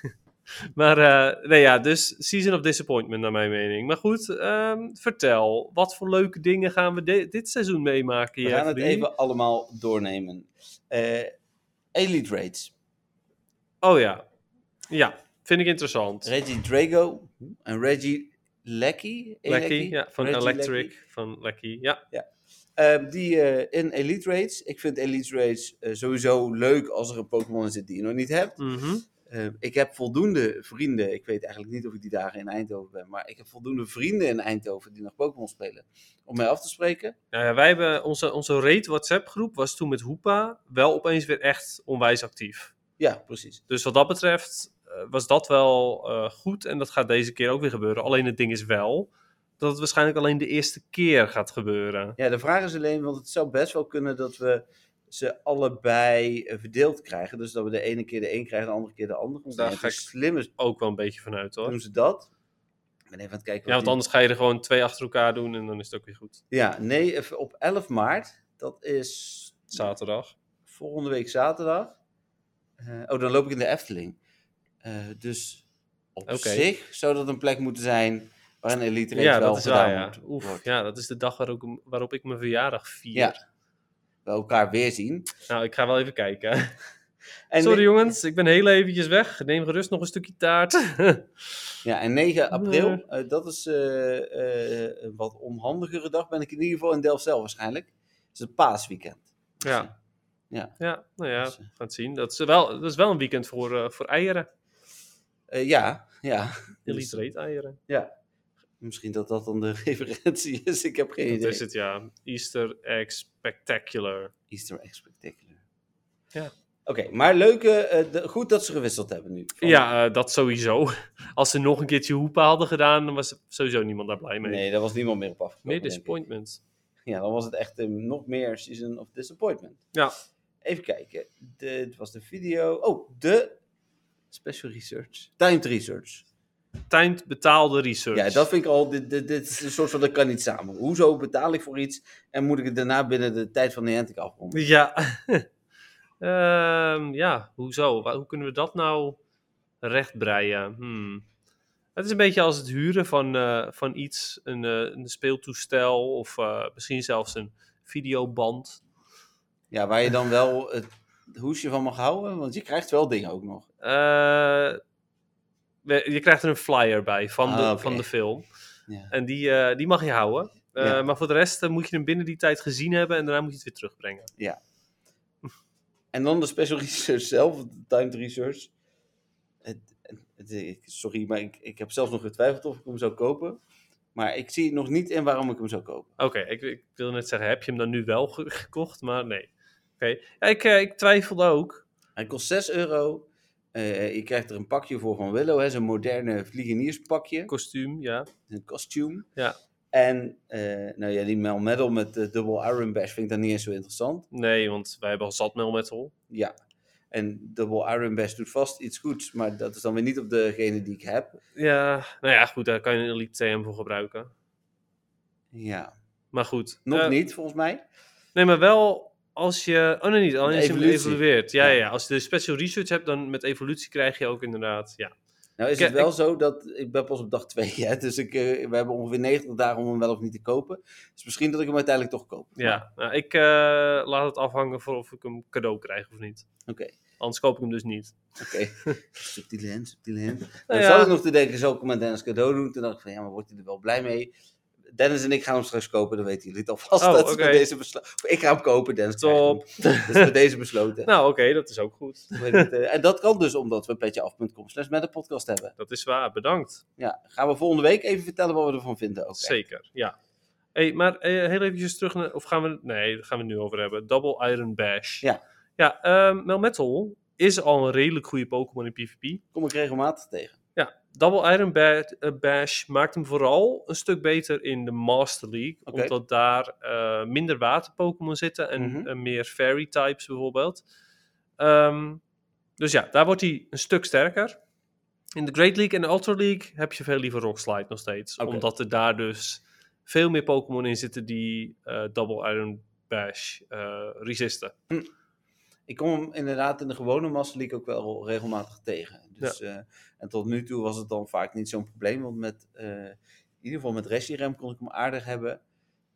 Speaker 2: maar, eh, nee ja, dus Season of Disappointment naar mijn mening. Maar goed, ehm, vertel. Wat voor leuke dingen gaan we de- dit seizoen meemaken?
Speaker 1: We gaan het
Speaker 2: Jeffrey?
Speaker 1: even allemaal doornemen. Eh, Elite raids.
Speaker 2: Oh ja. Ja, vind ik interessant.
Speaker 1: Reggie Drago en Reggie Lecky.
Speaker 2: Lecky, ja, van
Speaker 1: Reggie
Speaker 2: Electric.
Speaker 1: Lecky.
Speaker 2: Van Lecky, ja.
Speaker 1: Ehm, die eh, in Elite Raids. Ik vind Elite Raids eh, sowieso leuk als er een Pokémon in zit die je nog niet hebt.
Speaker 2: Mhm.
Speaker 1: Ehm, ik heb voldoende vrienden. Ik weet eigenlijk niet of ik die dagen in Eindhoven ben. Maar ik heb voldoende vrienden in Eindhoven die nog Pokémon spelen. Om mij af te spreken.
Speaker 2: Nou ja, wij hebben onze, onze Raid WhatsApp groep was toen met Hoepa wel opeens weer echt onwijs actief.
Speaker 1: Ja, precies.
Speaker 2: Dus wat dat betreft eh, was dat wel eh, goed. En dat gaat deze keer ook weer gebeuren. Alleen het ding is wel dat het waarschijnlijk alleen de eerste keer gaat gebeuren.
Speaker 1: Ja, de vraag is alleen, want het zou best wel kunnen dat we ze allebei eh, verdeeld krijgen. Dus dat we de ene keer de een krijgen, de andere keer de andere. Dus
Speaker 2: Daar
Speaker 1: nee, het
Speaker 2: ga
Speaker 1: is
Speaker 2: ik-
Speaker 1: slim is,
Speaker 2: Ook wel een beetje vanuit hoor.
Speaker 1: doen ze dat. Ik ben even aan het kijken.
Speaker 2: Ja,
Speaker 1: wat
Speaker 2: want
Speaker 1: die-
Speaker 2: anders ga je er gewoon twee achter elkaar doen en dan is het ook weer goed.
Speaker 1: Ja, nee, even op 11 maart. Dat is
Speaker 2: Zaterdag.
Speaker 1: volgende week zaterdag. Eh, oh, dan loop ik in de Efteling. Eh, dus op
Speaker 2: Oké.
Speaker 1: zich zou dat een plek moeten zijn waar een elite race
Speaker 2: Ja,
Speaker 1: wel
Speaker 2: dat is
Speaker 1: gedaan
Speaker 2: waar. Ja.
Speaker 1: moet-
Speaker 2: Oef,
Speaker 1: wordt.
Speaker 2: ja, dat is de dag waarop, ik- waarop ik mijn verjaardag vier.
Speaker 1: Ja. We elkaar weer zien.
Speaker 2: Nou, ik ga wel even kijken.
Speaker 1: En
Speaker 2: Sorry
Speaker 1: ne-
Speaker 2: jongens, ik ben heel eventjes weg. Neem gerust nog een stukje taart.
Speaker 1: Ja, en 9 april,
Speaker 2: Nee.
Speaker 1: eh, dat is eh, eh, een wat onhandigere dag, ben ik in ieder geval in Delft zelf waarschijnlijk. Het is het paasweekend. Dus, eh,
Speaker 2: ja.
Speaker 1: Ja.
Speaker 2: ja, nou ja,
Speaker 1: Dus, eh.
Speaker 2: we gaan het zien. Dat is wel, dat is wel een weekend voor, eh, voor eieren.
Speaker 1: eh, ja, ja. Dus,
Speaker 2: Elite
Speaker 1: eh.
Speaker 2: Raid eieren.
Speaker 1: Misschien dat dat dan de referentie is, ik heb geen
Speaker 2: Dat
Speaker 1: idee.
Speaker 2: is het, ja. Easter Egg Spectacular.
Speaker 1: Easter egg spectacular.
Speaker 2: Ja.
Speaker 1: Oké, maar leuke, eh, de- goed dat ze gewisseld hebben nu. Van-
Speaker 2: Ja, eh, dat sowieso. Als ze nog een keertje hoepa hadden gedaan, dan was sowieso niemand daar blij mee.
Speaker 1: Nee, daar was niemand meer op afgekomen.
Speaker 2: Meer
Speaker 1: denk ik.
Speaker 2: disappointment.
Speaker 1: Ja, dan was het echt eh, nog meer Season of Disappointment.
Speaker 2: Ja.
Speaker 1: Even kijken. Dit was de video. Oh, de Special Research. Timed Research.
Speaker 2: Timed betaalde research.
Speaker 1: Ja, dat vind ik al, dit, dit, dit is een soort van, dat kan niet samen. Hoezo betaal ik voor iets en moet ik het daarna binnen de tijd van de Niantic afronden?
Speaker 2: Ja. Ehm, ja, hoezo? Wa- Hoe kunnen we dat nou rechtbreien? Hmm. Het is een beetje als het huren van, eh, van iets, een, eh, een speeltoestel of eh, misschien zelfs een videoband.
Speaker 1: Ja, waar je dan wel het hoesje van mag houden, want je krijgt wel dingen ook nog.
Speaker 2: Eh, we- je krijgt er een flyer bij van de,
Speaker 1: Ah, oké.
Speaker 2: van de film.
Speaker 1: Ja.
Speaker 2: En die, eh, die mag je houden. Eh,
Speaker 1: Ja.
Speaker 2: Maar voor de rest eh, moet je hem binnen die tijd gezien hebben en daarna moet je het weer terugbrengen.
Speaker 1: En dan de special research zelf, de timed research. Het- het- ik- sorry, maar ik, ik heb zelfs nog getwijfeld of ik hem zou kopen. Maar ik zie nog niet in waarom ik hem zou kopen.
Speaker 2: Oké, ik, ik wil net zeggen, heb je hem dan nu wel ge- gekocht? Maar nee. Oké, ja, ik, eh, ik twijfelde ook.
Speaker 1: Hij kost 6 euro. Eh, je krijgt er een pakje voor van Willow, hè, zo'n moderne vliegenierspakje.
Speaker 2: Kostuum, ja.
Speaker 1: een kostuum.
Speaker 2: Ja.
Speaker 1: En eh, nou ja, die Mel Medal met de dubbel Iron Bash vind ik dan niet eens zo interessant.
Speaker 2: Nee, want wij hebben al zat metal.
Speaker 1: Ja. En dubbel Iron Bash doet vast iets goeds, maar dat is dan weer niet op degene die ik heb.
Speaker 2: Ja, nou ja, goed, daar kan je een Elite TM voor gebruiken.
Speaker 1: Ja.
Speaker 2: Maar goed.
Speaker 1: Nog
Speaker 2: eh,
Speaker 1: niet, volgens mij.
Speaker 2: Nee, maar wel als je... Oh nee, niet. Alleen als je hem
Speaker 1: evolutie.
Speaker 2: evolueert. Ja, ja.
Speaker 1: Ja.
Speaker 2: ja. Als je de special research hebt, dan met evolutie krijg je ook inderdaad... Ja,
Speaker 1: Nou is
Speaker 2: Ik-
Speaker 1: het wel zo dat ik ben pas op dag 2, hè, dus ik, eh, we hebben ongeveer 90 dagen om hem wel of niet te kopen. Dus misschien dat ik hem uiteindelijk toch koop.
Speaker 2: ja. Nou, ik eh, laat het afhangen voor of ik hem cadeau krijg of niet.
Speaker 1: Oké,
Speaker 2: Anders koop ik hem dus niet.
Speaker 1: oké. subtiele hand, subtiele hand. Dan
Speaker 2: Nou ja.
Speaker 1: zat ik nog te denken, zal ik hem aan Dennis cadeau doen? Toen dacht ik van, ja, maar wordt hij er wel blij mee? Dennis en ik gaan hem straks kopen, dan weten jullie het alvast.
Speaker 2: Oh,
Speaker 1: dat is
Speaker 2: oké.
Speaker 1: bij deze beslo- ik ga hem kopen, Dennis. krijgt hem.
Speaker 2: Top.
Speaker 1: Dat is bij deze besloten.
Speaker 2: Nou, oké, dat is ook goed.
Speaker 1: Hoe heet het, eh, en dat kan dus omdat we petjeaf.com slash met een podcast hebben.
Speaker 2: Dat is waar, bedankt.
Speaker 1: Ja, gaan we volgende week even vertellen wat we ervan vinden. ook. hè?
Speaker 2: Zeker, ja. Hey, maar eh, heel eventjes terug naar... Of gaan we... Nee, daar gaan we het nu over hebben. Double Iron Bash.
Speaker 1: Ja.
Speaker 2: Ja, ehm, Melmetal is al een redelijk goede Pokémon in PvP.
Speaker 1: Kom ik regelmatig tegen.
Speaker 2: Ja, Double Iron Ba- eh, Bash maakt hem vooral een stuk beter in de Master League.
Speaker 1: Oké.
Speaker 2: Omdat daar eh, minder water-Pokémon zitten en
Speaker 1: Mhm.
Speaker 2: eh, meer Fairy-types bijvoorbeeld. Ehm, dus ja, daar wordt hij een stuk sterker. In de Great League en de Ultra League heb je veel liever Rock Slide nog steeds.
Speaker 1: Oké.
Speaker 2: Omdat er daar dus veel meer Pokémon in zitten die eh, Double Iron Bash eh, resisten.
Speaker 1: Ik kom hem inderdaad in de gewone Master League ook wel regelmatig tegen. Dus, eh, en tot nu toe was het dan vaak niet zo'n probleem. Want met, eh, in ieder geval met Restirem kon ik hem aardig hebben.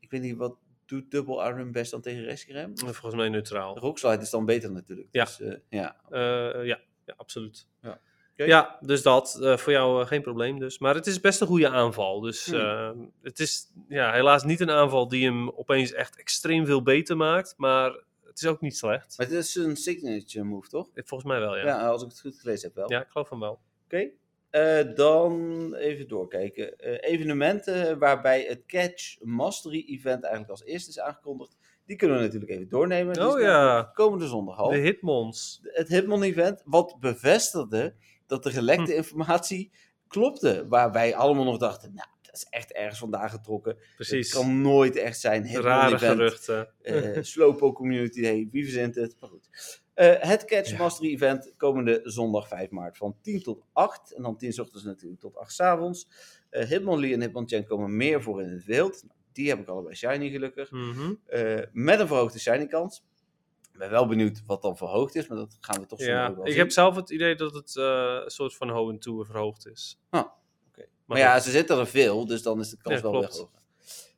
Speaker 1: Ik weet niet, wat doet dubbel Iron best dan tegen Restirem?
Speaker 2: En Volgens mij neutraal.
Speaker 1: Rockslide is dan beter natuurlijk.
Speaker 2: Ja.
Speaker 1: Dus, eh, ja.
Speaker 2: Eh, ja. ja, absoluut.
Speaker 1: Ja.
Speaker 2: Ja, dus dat. eh, voor jou eh, geen probleem dus. Maar het is best een goede aanval. Dus
Speaker 1: Hmm.
Speaker 2: eh, het is ja, helaas niet een aanval die hem opeens echt extreem veel beter maakt. Maar het is ook niet slecht.
Speaker 1: Maar het is een signature move, toch?
Speaker 2: Eh, Volgens mij wel, ja.
Speaker 1: Ja,
Speaker 2: Ja,
Speaker 1: als ik het goed gelezen heb wel.
Speaker 2: ik geloof van wel.
Speaker 1: Oké. Eh, dan even doorkijken. Eh, evenementen waarbij het Catch Mastery Event eigenlijk als eerste is aangekondigd. Die kunnen we natuurlijk even doornemen. Die
Speaker 2: Oh
Speaker 1: is
Speaker 2: ja.
Speaker 1: namelijk Komende zondag al.
Speaker 2: De Hitmons.
Speaker 1: Het Hitmon Event, wat bevestigde dat de gelekte
Speaker 2: Hm.
Speaker 1: informatie klopte. Waar wij allemaal nog dachten, nou, dat is echt ergens vandaan getrokken.
Speaker 2: Precies.
Speaker 1: Het kan nooit echt zijn. Hitmon
Speaker 2: Rare
Speaker 1: Event
Speaker 2: geruchten.
Speaker 1: eh Slowpoke Community, hey, wie verzint het? Maar goed. Eh, het Catch
Speaker 2: Ja.
Speaker 1: Mastery Event komende zondag 5 maart van 10 tot 8. En dan 10 's ochtends natuurlijk tot 8 's avonds. Eh Hitmonlee en Hitmonchan komen meer voor in het wild. Nou, die heb ik allebei shiny gelukkig.
Speaker 2: Mhm.
Speaker 1: Eh, met een verhoogde shiny kans. Ik ben wel benieuwd wat dan verhoogd is, maar dat gaan we toch zo
Speaker 2: Ja,
Speaker 1: ook wel
Speaker 2: ik
Speaker 1: zien.
Speaker 2: heb zelf het idee dat het eh, een soort van hoe en toe verhoogd is.
Speaker 1: Ah,
Speaker 2: oké.
Speaker 1: Maar ja, ze zitten er veel, dus dan is de kans
Speaker 2: Ja,
Speaker 1: wel
Speaker 2: klopt.
Speaker 1: weg.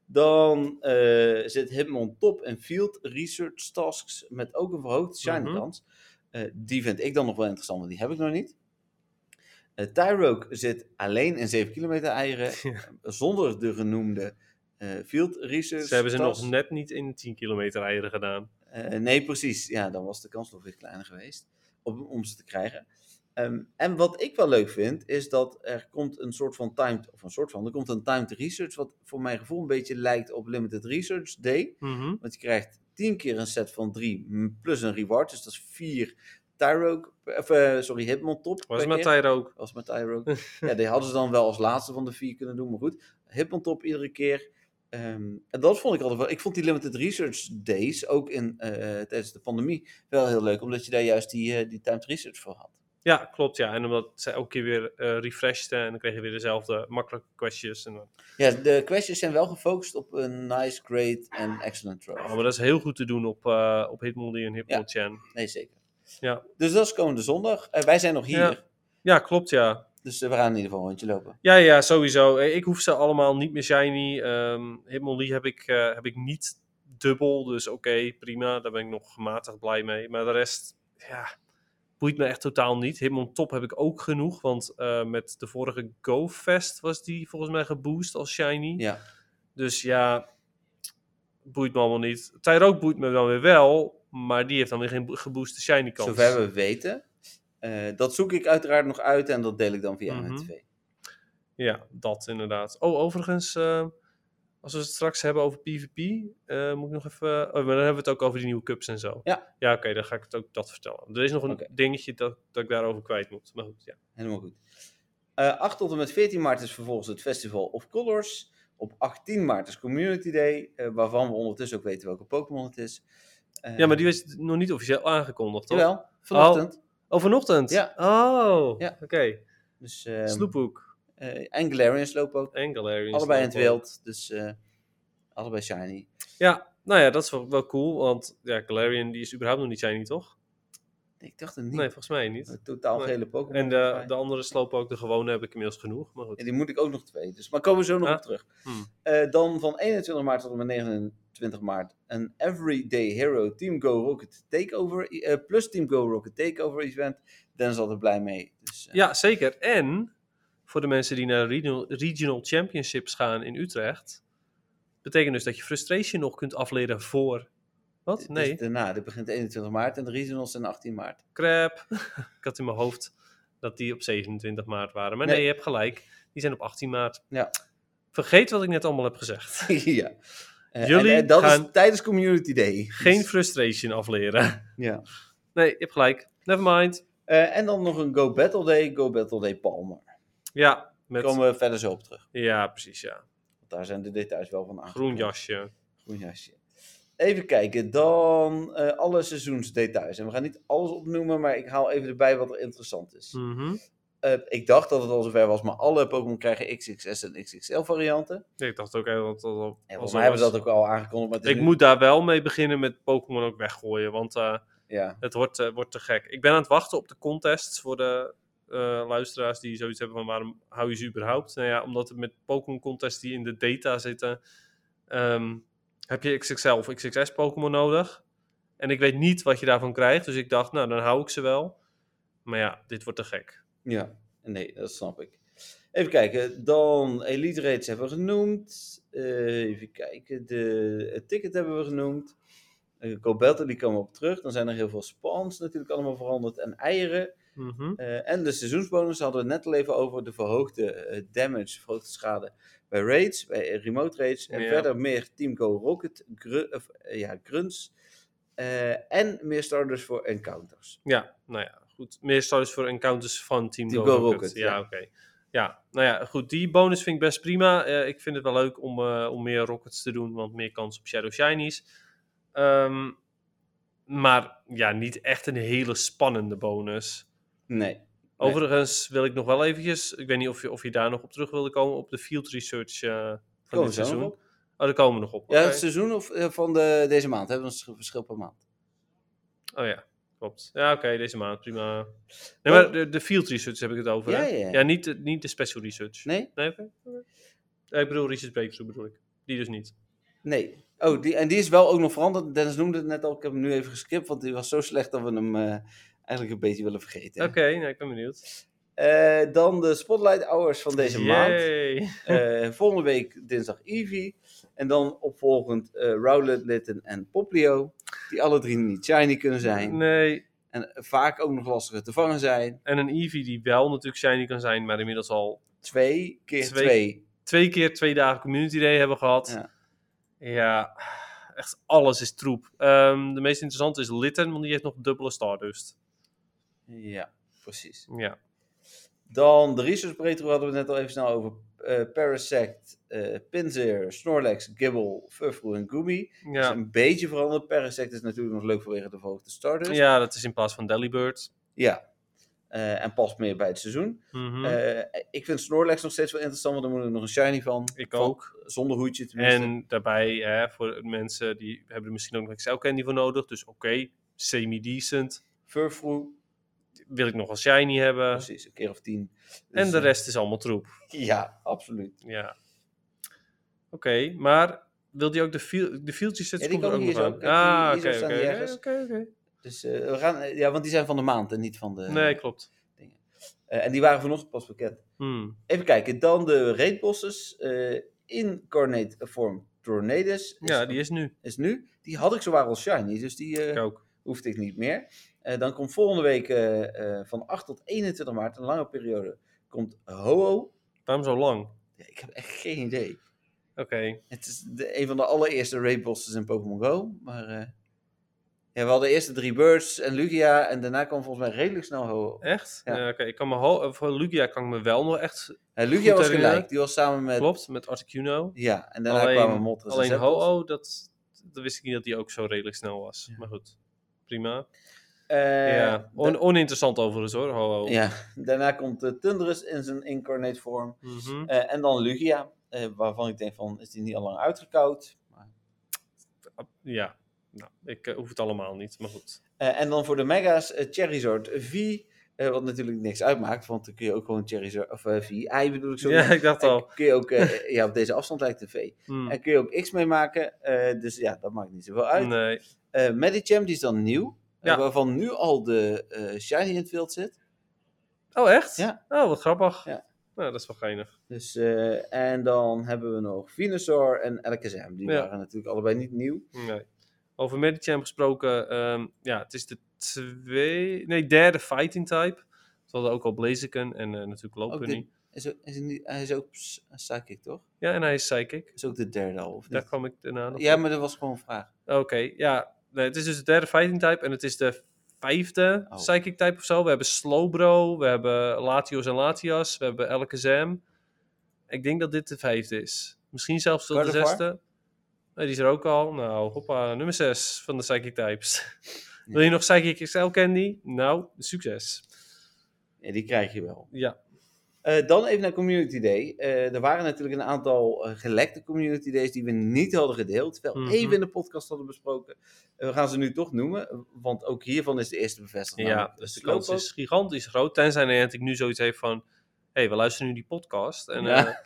Speaker 1: Dan eh, zit Hitmon top en field research tasks met ook een verhoogde shiny
Speaker 2: Mhm.
Speaker 1: kans. Eh, die vind ik dan nog wel interessant, want die heb ik nog niet. Eh Tyroke zit alleen in 7 kilometer eieren, zonder de genoemde eh, field research
Speaker 2: Ze hebben ze
Speaker 1: task.
Speaker 2: nog net niet in 10 kilometer eieren gedaan.
Speaker 1: Eh, nee, precies. Ja, dan was de kans nog weer kleiner geweest om, om ze te krijgen. Ehm, en wat ik wel leuk vind, is dat er komt een soort van timed, of een soort van, er komt een timed research, wat voor mijn gevoel een beetje lijkt op Limited Research Day.
Speaker 2: Mhm.
Speaker 1: Want je krijgt 10 keer een set van 3 plus een reward, dus dat is 4 Tyroke, of, eh, sorry, Hitmon top.
Speaker 2: Was
Speaker 1: per
Speaker 2: het met
Speaker 1: keer.
Speaker 2: Tyro ook?
Speaker 1: Was met Tyroke. ja, die hadden ze dan wel als laatste van de vier kunnen doen, maar goed. Hitmon top iedere keer. Ehm, en dat vond ik altijd wel. Ik vond die limited research days ook in, eh, tijdens de pandemie wel heel leuk, omdat je daar juist die, eh, die timed research voor had.
Speaker 2: Ja, klopt. Ja. En omdat zij elke keer weer eh refreshten en dan kregen we weer dezelfde makkelijke questjes. En, dan-
Speaker 1: Ja, de questions zijn wel gefocust op een nice, great en excellent throw.
Speaker 2: oh, maar dat is heel goed te doen op, eh op Hitmonlee en Hitmonchan. Ja.
Speaker 1: Nee, zeker.
Speaker 2: Ja.
Speaker 1: Dus dat is komende zondag. Eh, wij zijn nog hier,
Speaker 2: Ja. klopt. Ja.
Speaker 1: dus eh, we gaan in ieder geval een rondje lopen.
Speaker 2: Ja, ja, sowieso. Eh, Ik hoef ze allemaal niet meer shiny. Ehm Hitmonlee heb ik, eh, heb ik niet dubbel. Dus oké, prima. Daar ben ik nog matig blij mee. Maar de rest, ja, boeit me echt totaal niet. Hitmon top heb ik ook genoeg. Want eh, met de vorige Go-Fest was die volgens mij geboost als shiny.
Speaker 1: Ja.
Speaker 2: Dus ja, boeit me allemaal niet. Tyroke boeit me dan weer wel, maar die heeft dan weer geen bo- gebooste shiny kans.
Speaker 1: Zover we weten. Eh, dat zoek ik uiteraard nog uit en dat deel ik dan via
Speaker 2: Mhm.
Speaker 1: MTV.
Speaker 2: Ja, dat inderdaad. Oh, overigens, eh, Als we het straks hebben over PvP, eh, moet ik nog even... Oh, maar dan hebben we het ook over die nieuwe cups en zo.
Speaker 1: Ja.
Speaker 2: Ja, oké, dan ga ik het ook dat vertellen. Er is nog een
Speaker 1: Oké.
Speaker 2: dingetje dat, dat ik daarover kwijt moet. Maar goed, ja.
Speaker 1: Helemaal goed. Eh 8 tot en met 14 maart is vervolgens het Festival of Colors. Op 18 maart is Community Day, eh, waarvan we ondertussen ook weten welke Pokémon het is. Eh,
Speaker 2: Ja, maar die is nog niet officieel aangekondigd, toch?
Speaker 1: Jawel, vanochtend.
Speaker 2: Oh, vanochtend?
Speaker 1: Ja.
Speaker 2: Oh,
Speaker 1: Ja.
Speaker 2: oké.
Speaker 1: Dus, ehm,
Speaker 2: Sloephoek
Speaker 1: eh, en Galarian Slowpoke.
Speaker 2: en Oh. Galarian.
Speaker 1: Allebei in het
Speaker 2: Slowpoke.
Speaker 1: wild, dus eh, allebei shiny.
Speaker 2: Ja, nou ja, dat is wel, wel cool, want ja, Galarian die is überhaupt nog niet shiny, toch?
Speaker 1: Ik dacht het niet.
Speaker 2: Nee, volgens mij niet.
Speaker 1: Een Totaal
Speaker 2: Nee.
Speaker 1: gele Pokémon.
Speaker 2: En
Speaker 1: volgens
Speaker 2: de,
Speaker 1: mij.
Speaker 2: de andere Slowpoke, de gewone, heb ik inmiddels genoeg. Maar
Speaker 1: En
Speaker 2: goed.
Speaker 1: die moet ik ook nog twee. Dus, maar komen we zo nog
Speaker 2: Ah.
Speaker 1: op terug.
Speaker 2: Hmm.
Speaker 1: Eh, dan van 21 maart tot en met 29 maart een Everyday Hero Team Go Rocket Takeover eh, plus Team Go Rocket Takeover event. Dan is altijd blij mee. Dus, eh,
Speaker 2: Ja, zeker. En voor de mensen die naar regional, regional championships gaan in Utrecht, betekent dus dat je frustration nog kunt afleren voor. Wat?
Speaker 1: dus
Speaker 2: Nee,
Speaker 1: daarna, dit begint 21 maart en de regionals zijn 18 maart.
Speaker 2: crap. ik had in mijn hoofd dat die op 27 maart waren. Maar nee,
Speaker 1: Nee.
Speaker 2: je hebt gelijk. Die zijn op 18 maart.
Speaker 1: Ja.
Speaker 2: Vergeet wat ik net allemaal heb gezegd.
Speaker 1: ja. Eh,
Speaker 2: Jullie
Speaker 1: en, eh, dat
Speaker 2: gaan-
Speaker 1: is tijdens Community Day.
Speaker 2: Geen
Speaker 1: Dus,
Speaker 2: frustration afleren.
Speaker 1: ja.
Speaker 2: Nee, je hebt gelijk. Never mind.
Speaker 1: Eh, en dan nog een Go Battle Day, Go Battle Day Palmer.
Speaker 2: Ja,
Speaker 1: Daar
Speaker 2: met...
Speaker 1: komen we verder zo op terug.
Speaker 2: ja precies. Ja.
Speaker 1: Want daar zijn de details wel van aan.
Speaker 2: Groen jasje.
Speaker 1: Groen jasje. Even kijken, dan eh, alle seizoensdetails. En we gaan niet alles opnoemen, maar ik haal even erbij wat er interessant is.
Speaker 2: Mhm.
Speaker 1: Eh, ik dacht dat het al zover was, maar alle Pokémon krijgen XXS en XXL varianten.
Speaker 2: Nee, ik dacht ook even dat dat al-
Speaker 1: En
Speaker 2: al
Speaker 1: volgens
Speaker 2: zo
Speaker 1: mij hebben ze
Speaker 2: was.
Speaker 1: dat ook al aangekondigd. Maar het is
Speaker 2: Ik
Speaker 1: nu-
Speaker 2: moet daar wel mee beginnen met Pokémon ook weggooien, want eh,
Speaker 1: Ja,
Speaker 2: het wordt, eh, wordt te gek. Ik ben aan het wachten op de contests voor de eh, luisteraars die zoiets hebben van waarom hou je ze überhaupt? Nou ja, omdat het met Pokémon contests die in de data zitten, ehm, heb je XXL of XXS Pokémon nodig. En ik weet niet wat je daarvan krijgt, dus ik dacht, nou dan hou ik ze wel. Maar ja, dit wordt te gek.
Speaker 1: ja, nee, dat snap ik. Even kijken, dan Elite Rates hebben we genoemd. Eh, even kijken, de, het ticket hebben we genoemd. Uh, Gobelta, die komen we op terug. Dan zijn er heel veel spawns natuurlijk allemaal veranderd. En eieren.
Speaker 2: Mhm.
Speaker 1: Eh, en de seizoensbonus hadden we het net al even over de verhoogde eh, damage, verhoogde schade bij raids, bij eh, remote raids. En
Speaker 2: Ja.
Speaker 1: verder meer Team Go Rocket, gru- of, eh, ja, grunts. Eh, en meer starters voor encounters.
Speaker 2: Ja, nou ja, goed. Meer starters voor encounters van Team,
Speaker 1: Team
Speaker 2: Go,
Speaker 1: Go
Speaker 2: Rocket.
Speaker 1: Rocket,
Speaker 2: Ja,
Speaker 1: ja.
Speaker 2: oké. Ja, nou ja, goed. Die bonus vind ik best prima. Eh, ik vind het wel leuk om, eh, om meer Rockets te doen, want meer kans op Shadow Shinies. Ehm, maar ja, niet echt een hele spannende bonus.
Speaker 1: Nee. Nee.
Speaker 2: Overigens wil ik nog wel eventjes, ik weet niet of je, of je daar nog op terug wilde komen, op de field research eh, van
Speaker 1: Komen
Speaker 2: dit
Speaker 1: we zo nog
Speaker 2: seizoen.
Speaker 1: op?
Speaker 2: Oh, daar komen we nog op.
Speaker 1: Ja,
Speaker 2: oké.
Speaker 1: het seizoen of, eh, van de, deze maand. Hebben we een sch- verschil per maand.
Speaker 2: Oh ja, klopt. Ja, oké, deze maand, prima. Nee,
Speaker 1: Oh.
Speaker 2: maar de, de field research heb ik het over,
Speaker 1: Ja,
Speaker 2: hè?
Speaker 1: ja, ja.
Speaker 2: niet, de, niet de special research.
Speaker 1: Nee?
Speaker 2: Nee, oké. oké. Eh, Ik bedoel research breakthrough bedoel ik. Die dus niet.
Speaker 1: Nee. Oh, die, en die is wel ook nog veranderd. Dennis noemde het net al. Ik heb hem nu even geskipt, want die was zo slecht dat we hem eh, eigenlijk een beetje willen vergeten.
Speaker 2: Oké, nou, ik ben benieuwd.
Speaker 1: Eh, dan de spotlight hours van deze maand.
Speaker 2: Yay.
Speaker 1: Eh, volgende week dinsdag Eevee. En dan opvolgend eh Rowlet, Litten en Poplio. Die alle drie niet shiny kunnen zijn.
Speaker 2: Nee.
Speaker 1: En eh, vaak ook nog lastiger te vangen zijn.
Speaker 2: En een Eevee die wel natuurlijk shiny kan zijn, maar inmiddels al
Speaker 1: Twee keer
Speaker 2: Twee.
Speaker 1: twee.
Speaker 2: twee keer twee dagen community day hebben gehad. Ja,
Speaker 1: Ja.
Speaker 2: echt alles is troep. Ehm, de meest interessante is Litten, want die heeft nog dubbele Stardust.
Speaker 1: Ja, precies.
Speaker 2: Ja.
Speaker 1: Dan de Research Pretro hadden we net al even snel over. eh Parasect, eh Pinsir, Snorlax, Gibble, Furfru en Goomy. Dat is
Speaker 2: Ja.
Speaker 1: een beetje veranderd. Parasect is natuurlijk nog leuk vanwege de verhoogde starters.
Speaker 2: ja, dat is in plaats van Delibird.
Speaker 1: Ja. Eh, en past meer bij het seizoen.
Speaker 2: Mhm.
Speaker 1: Eh, ik vind Snorlax nog steeds wel interessant, want daar moet ik nog een shiny van.
Speaker 2: Ik
Speaker 1: Van-
Speaker 2: ook.
Speaker 1: Zonder hoedje tenminste.
Speaker 2: En daarbij, hè, voor mensen die hebben er misschien ook nog XL Candy voor nodig. Dus oké, semi-decent. eh,
Speaker 1: Furfru,
Speaker 2: Wil ik nog een shiny hebben.
Speaker 1: precies, een keer of tien. Dus,
Speaker 2: en de
Speaker 1: eh,
Speaker 2: rest is allemaal troep.
Speaker 1: Ja, absoluut.
Speaker 2: Ja. Oké, maar wil die ook de, field, de fieldjes
Speaker 1: Ja,
Speaker 2: zetten?
Speaker 1: die
Speaker 2: Komt er
Speaker 1: komen
Speaker 2: ook
Speaker 1: hier
Speaker 2: nog
Speaker 1: zo.
Speaker 2: aan.
Speaker 1: Kijk,
Speaker 2: Ah,
Speaker 1: hier zo
Speaker 2: oké,
Speaker 1: staan die
Speaker 2: oké.
Speaker 1: ergens.
Speaker 2: Oké, oké.
Speaker 1: Dus eh, we gaan, eh, ja, want die zijn van de maand en niet van de...
Speaker 2: Nee, klopt.
Speaker 1: Eh, en die waren vanochtend pas bekend.
Speaker 2: Hmm.
Speaker 1: Even kijken, dan de raidbosses. eh incarnate vorm Tornadus is,
Speaker 2: Ja, die is nu.
Speaker 1: is nu. Die had ik zowaar al shiny, dus die eh,
Speaker 2: Ik ook.
Speaker 1: hoefde ik niet meer. Eh, dan komt volgende week eh, eh, van 8 tot 21 maart, een lange periode, komt Ho-Oh.
Speaker 2: Waarom zo lang?
Speaker 1: Ja, ik heb echt geen idee.
Speaker 2: Oké.
Speaker 1: Het is de, een van de allereerste raidbosses in Pokémon Go. Maar eh, ja, we hadden eerst de drie Birds en Lugia. En daarna kwam volgens mij redelijk snel Ho.
Speaker 2: Echt?
Speaker 1: Ja.
Speaker 2: Ja. Oké, ik kan me ho- eh, voor Lugia kan ik me wel nog echt...
Speaker 1: En
Speaker 2: Goed
Speaker 1: Lugia was
Speaker 2: herinneren.
Speaker 1: gelijk. Die was samen met...
Speaker 2: Klopt, met Articuno.
Speaker 1: Ja, en daarna
Speaker 2: Alleen-
Speaker 1: kwamen Moltres en
Speaker 2: Alleen
Speaker 1: Zapdos.
Speaker 2: Ho-Oh, dat, dat wist ik niet dat die ook zo redelijk snel was. Maar goed, prima.
Speaker 1: Eh,
Speaker 2: ja. oh, On-
Speaker 1: da-
Speaker 2: oninteressant overigens hoor, Ho-Oh.
Speaker 1: ja, daarna komt de Tundrus in zijn incarnate vorm.
Speaker 2: Mhm.
Speaker 1: Eh, en dan Lugia, eh, waarvan ik denk van, is die niet al lang uitgekoud? Maar-
Speaker 2: ja. Nou, ik eh, hoef het allemaal niet, maar goed.
Speaker 1: Eh, en dan voor de mega's eh, Charizard V, eh, wat natuurlijk niks uitmaakt, want dan kun je ook gewoon Charizard, of eh, V, I bedoel ik zo.
Speaker 2: Ja, ik dacht al.
Speaker 1: kun je ook, eh, ja, op deze afstand lijkt een V.
Speaker 2: Hmm.
Speaker 1: En kun je ook X mee maken, eh, dus ja, dat maakt niet zoveel uit.
Speaker 2: Nee.
Speaker 1: Eh Medicham, die is dan nieuw, eh,
Speaker 2: Ja.
Speaker 1: waarvan nu al de eh, Shiny in het veld zit.
Speaker 2: Oh, echt?
Speaker 1: Ja.
Speaker 2: Oh, wat grappig.
Speaker 1: Ja.
Speaker 2: Nou, dat is wel geinig.
Speaker 1: Dus, eh, en dan hebben we nog Venusaur en Alakazam, die
Speaker 2: Ja.
Speaker 1: waren natuurlijk allebei niet nieuw.
Speaker 2: Nee. Over Medicham gesproken, ehm, ja, het is de twee, nee, derde fighting type. We hadden ook al Blaziken en eh, natuurlijk
Speaker 1: Ook
Speaker 2: Lopunny.
Speaker 1: de, is ook, is hij, niet- hij is ook ps- psychic, toch?
Speaker 2: Ja, en hij is psychic.
Speaker 1: is ook de derde al, of
Speaker 2: Daar
Speaker 1: niet?
Speaker 2: kwam ik daarna nog
Speaker 1: Ja, maar dat was gewoon een vraag.
Speaker 2: Oké, ja. Nee, het is dus de derde fighting type en het is de vijfde
Speaker 1: Oh.
Speaker 2: psychic type of zo. We hebben Slowbro, we hebben Latios en Latias, we hebben Alakazam. Ik denk dat dit de vijfde is. Misschien zelfs wel de
Speaker 1: Gardevoir?
Speaker 2: zesde. Nee, die is er ook al. Nou, hoppa, nummer zes van de psychic types. Wil je nog psychic XL candy? Nou, succes.
Speaker 1: Ja, die krijg je wel.
Speaker 2: Ja,
Speaker 1: Eh, dan even naar Community Day. Eh, er waren natuurlijk een aantal eh, gelekte Community Days die we niet hadden gedeeld. Wel
Speaker 2: Mhm.
Speaker 1: even in de podcast hadden besproken. Eh, we gaan ze nu toch noemen, want ook hiervan is de eerste bevestiging.
Speaker 2: ja
Speaker 1: namelijk
Speaker 2: dus de
Speaker 1: Slowpoke.
Speaker 2: kans is gigantisch groot. Tenzij Niantic nu zoiets heeft van... Hé, hey, we luisteren nu die podcast en
Speaker 1: Ja.
Speaker 2: eh,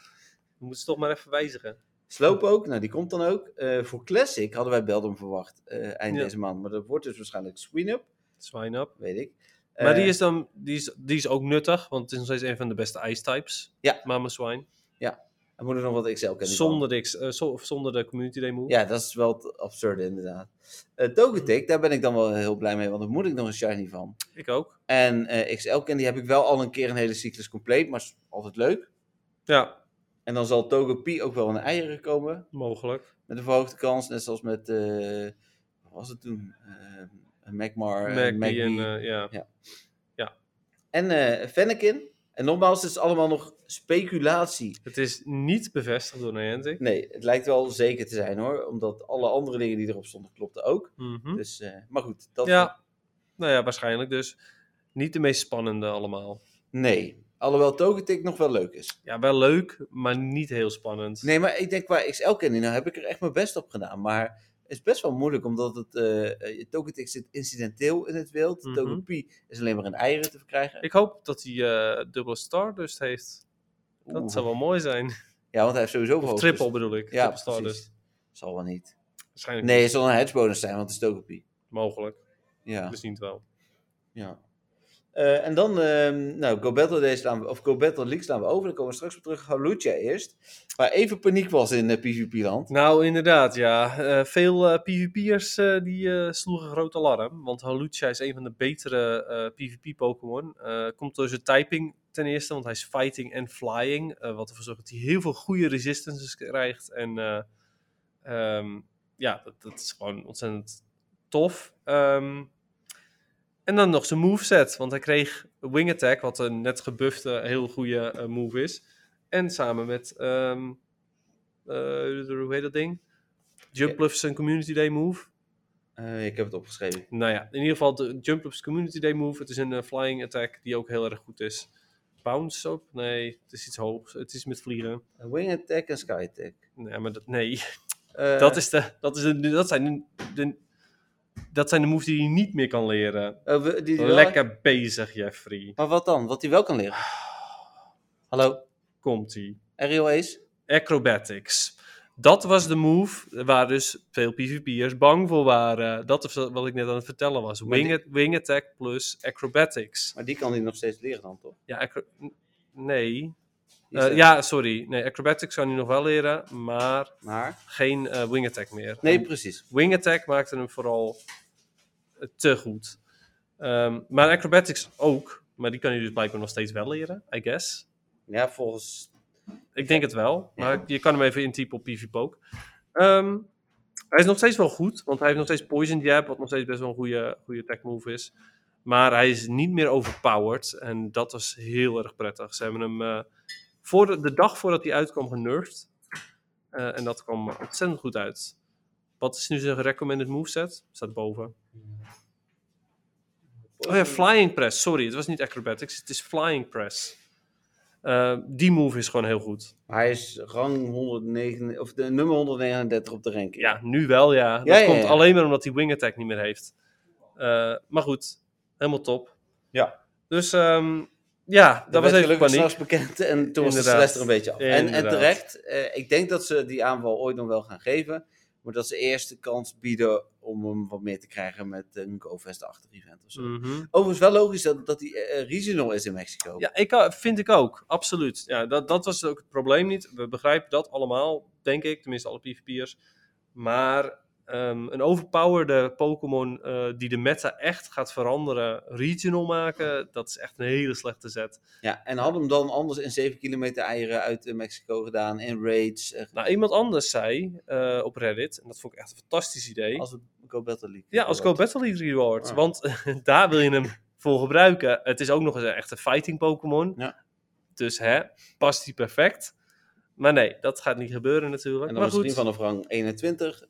Speaker 2: we moeten ze toch maar even wijzigen.
Speaker 1: Slowpoke, nou die komt dan ook. Eh, voor Classic hadden wij Beldum verwacht eh, eind
Speaker 2: Ja.
Speaker 1: deze maand. Maar dat wordt dus waarschijnlijk Sweenup,
Speaker 2: Swine up.
Speaker 1: weet ik.
Speaker 2: Maar
Speaker 1: Eh,
Speaker 2: die is dan die is, die is ook nuttig, want het is nog steeds een van de beste ice types.
Speaker 1: Ja.
Speaker 2: Mama Swine.
Speaker 1: Er moeten nog wat XL-candy
Speaker 2: Zonder de, X- eh, zo- of zonder de community day move.
Speaker 1: Ja, dat is wel het absurde inderdaad. Eh Togetic, daar ben ik dan wel heel blij mee, want daar moet ik nog een shiny van.
Speaker 2: Ik ook.
Speaker 1: En eh XL Candy heb ik wel al een keer een hele cyclus compleet, maar is altijd leuk.
Speaker 2: Ja,
Speaker 1: En dan zal Togepi ook wel een eieren komen,
Speaker 2: mogelijk.
Speaker 1: met een verhoogde kans. Net zoals met, eh, wat was het toen? Eh Magmar, eh,
Speaker 2: Magby
Speaker 1: Magby.
Speaker 2: en eh, ja.
Speaker 1: En eh Fennekin. En nogmaals, het is allemaal nog speculatie.
Speaker 2: Het is niet bevestigd door Niantic.
Speaker 1: Nee, het lijkt wel zeker te zijn hoor, omdat alle andere dingen die erop stonden klopten ook.
Speaker 2: Mhm.
Speaker 1: Dus, eh, maar goed, dat,
Speaker 2: Ja, nou ja, waarschijnlijk dus. Niet de meest spannende allemaal.
Speaker 1: Nee. Alhoewel Togetic nog wel leuk is.
Speaker 2: Ja, wel leuk, maar niet heel spannend.
Speaker 1: Nee, maar ik denk qua XL Candy, nou heb ik er echt mijn best op gedaan. Maar het is best wel moeilijk, omdat het eh, eh, Togetic zit incidenteel in het wild.
Speaker 2: Mhm.
Speaker 1: Togepi is alleen maar in eieren te verkrijgen.
Speaker 2: Ik hoop dat hij eh dubbele stardust heeft. Dat
Speaker 1: Oeh.
Speaker 2: zou wel mooi zijn.
Speaker 1: Ja, want hij heeft sowieso
Speaker 2: Of
Speaker 1: hoogtes.
Speaker 2: triple bedoel
Speaker 1: Ja,
Speaker 2: ik. triple dus. stardust.
Speaker 1: precies. Zal wel niet.
Speaker 2: Waarschijnlijk
Speaker 1: Nee, het zal een hedgebonus zijn, want het is Togepi.
Speaker 2: mogelijk.
Speaker 1: Ja.
Speaker 2: Misschien het wel.
Speaker 1: ja. Eh, en dan, ehm nou, Go Battle Day slaan we, of Go Battle League slaan we over. Dan komen we straks op terug. Halucha eerst. Waar even paniek was in eh, PvP-land.
Speaker 2: Nou, inderdaad, ja. Eh, veel eh, PvP'ers eh, die eh, sloegen groot alarm. Want Halucha is een van de betere eh, PvP-Pokémon. Eh, komt door zijn typing ten eerste, want hij is fighting en flying. eh, wat ervoor zorgt dat hij heel veel goede resistances krijgt. En eh, ehm, ja, dat, dat is gewoon ontzettend tof. Ehm, en dan nog zijn moveset. Want hij kreeg Wing Attack, wat een net gebufte, heel goede eh, move is. En samen met... ehm, eh, hoe heet dat ding? Jump
Speaker 1: Ja.
Speaker 2: Bluffs en Community Day Move.
Speaker 1: Eh, ik heb het opgeschreven.
Speaker 2: Nou ja, in ieder geval de Jump Bluffs Community Day Move. Het is een eh, flying attack die ook heel erg goed is. Bounce op? Nee, het is iets hoogs. Het is met vliegen.
Speaker 1: Wing Attack Eh, en Sky Attack.
Speaker 2: Nee, maar dat, nee.
Speaker 1: Eh,
Speaker 2: dat, is de, dat, is de, dat, zijn de, de- dat zijn de moves die je niet meer kan leren.
Speaker 1: Oh, we- die- die wel-
Speaker 2: Lekker bezig, Jeffrey.
Speaker 1: Maar wat dan? Wat hij wel kan leren? Hallo,
Speaker 2: Komt-ie.
Speaker 1: Ariel Ace?
Speaker 2: Acrobatics. Dat was de move waar dus veel PvP'ers bang voor waren. Dat is wat ik net aan het vertellen was.
Speaker 1: Maar
Speaker 2: Wing, wing attack plus acrobatics.
Speaker 1: Maar die kan hij nog steeds leren dan, toch?
Speaker 2: Ja, acro- n- nee.
Speaker 1: Die
Speaker 2: Eh,
Speaker 1: is er.
Speaker 2: ja, sorry. Nee, acrobatics kan hij nog wel leren, maar
Speaker 1: Maar?
Speaker 2: geen eh, wing attack meer.
Speaker 1: Nee,
Speaker 2: En
Speaker 1: precies.
Speaker 2: wing attack maakte hem vooral eh, te goed. Ehm, maar acrobatics ook. Maar die kan hij dus blijkbaar nog steeds wel leren, I guess.
Speaker 1: Ja, volgens
Speaker 2: Ik denk het wel, maar je kan hem even intypen op PvPoke. Ehm hij is nog steeds wel goed, want hij heeft nog steeds Poison Jab, wat nog steeds best wel een goede, goede attack move is. Maar hij is niet meer overpowered en dat was heel erg prettig. Ze hebben hem eh, voor de, de dag voordat hij uitkwam genervd. Eh, en dat kwam ontzettend goed uit. Wat is nu zijn recommended moveset? Staat boven. Oh ja, flying press. Sorry, het was niet acrobatics. Het is flying press. Eh, die move is gewoon heel goed.
Speaker 1: Hij is rang 109, of de, nummer 139 op de ranking.
Speaker 2: Ja, nu wel ja. Dat
Speaker 1: Ja, ja,
Speaker 2: komt
Speaker 1: ja.
Speaker 2: alleen maar omdat hij wing attack niet meer heeft. Eh, maar goed, helemaal top.
Speaker 3: Ja.
Speaker 2: Dus ehm, ja, dat was even
Speaker 1: gelukkig
Speaker 2: paniek.
Speaker 1: s'nachts bekend en toen was de
Speaker 2: Inderdaad.
Speaker 1: stress er een beetje af. En, en
Speaker 2: Inderdaad.
Speaker 1: terecht, eh, ik denk dat ze die aanval ooit nog wel gaan geven. Maar dat ze eerst de kans bieden om hem wat meer te krijgen met een GoFest achter event of zo.
Speaker 2: Mhm.
Speaker 1: Overigens wel logisch dat, dat die eh, regional is in Mexico.
Speaker 2: Ja, ik, eh, vind ik ook. Absoluut. Ja, dat, dat was ook het probleem niet. We begrijpen dat allemaal, denk ik. Tenminste, alle PvP'ers. Maar ehm, een overpowerde Pokémon eh, die de meta echt gaat veranderen, regional maken, dat is echt een hele slechte zet.
Speaker 1: Ja, en hadden hem dan anders in 7 kilometer eieren uit eh, Mexico gedaan, in raids. eh,
Speaker 2: Nou, iemand anders zei eh, op Reddit, en dat vond ik echt een fantastisch idee.
Speaker 1: als het Go Battle League.
Speaker 2: Ja, als Go Battle League Reward.
Speaker 1: Ah.
Speaker 2: Want daar wil je hem voor gebruiken. Het is ook nog eens een echte fighting Pokémon.
Speaker 1: Ja.
Speaker 2: Dus hè, past die perfect. Maar nee, dat gaat niet gebeuren natuurlijk.
Speaker 1: En dan
Speaker 2: maar
Speaker 1: was het
Speaker 2: goed,
Speaker 1: niet van of rang 21.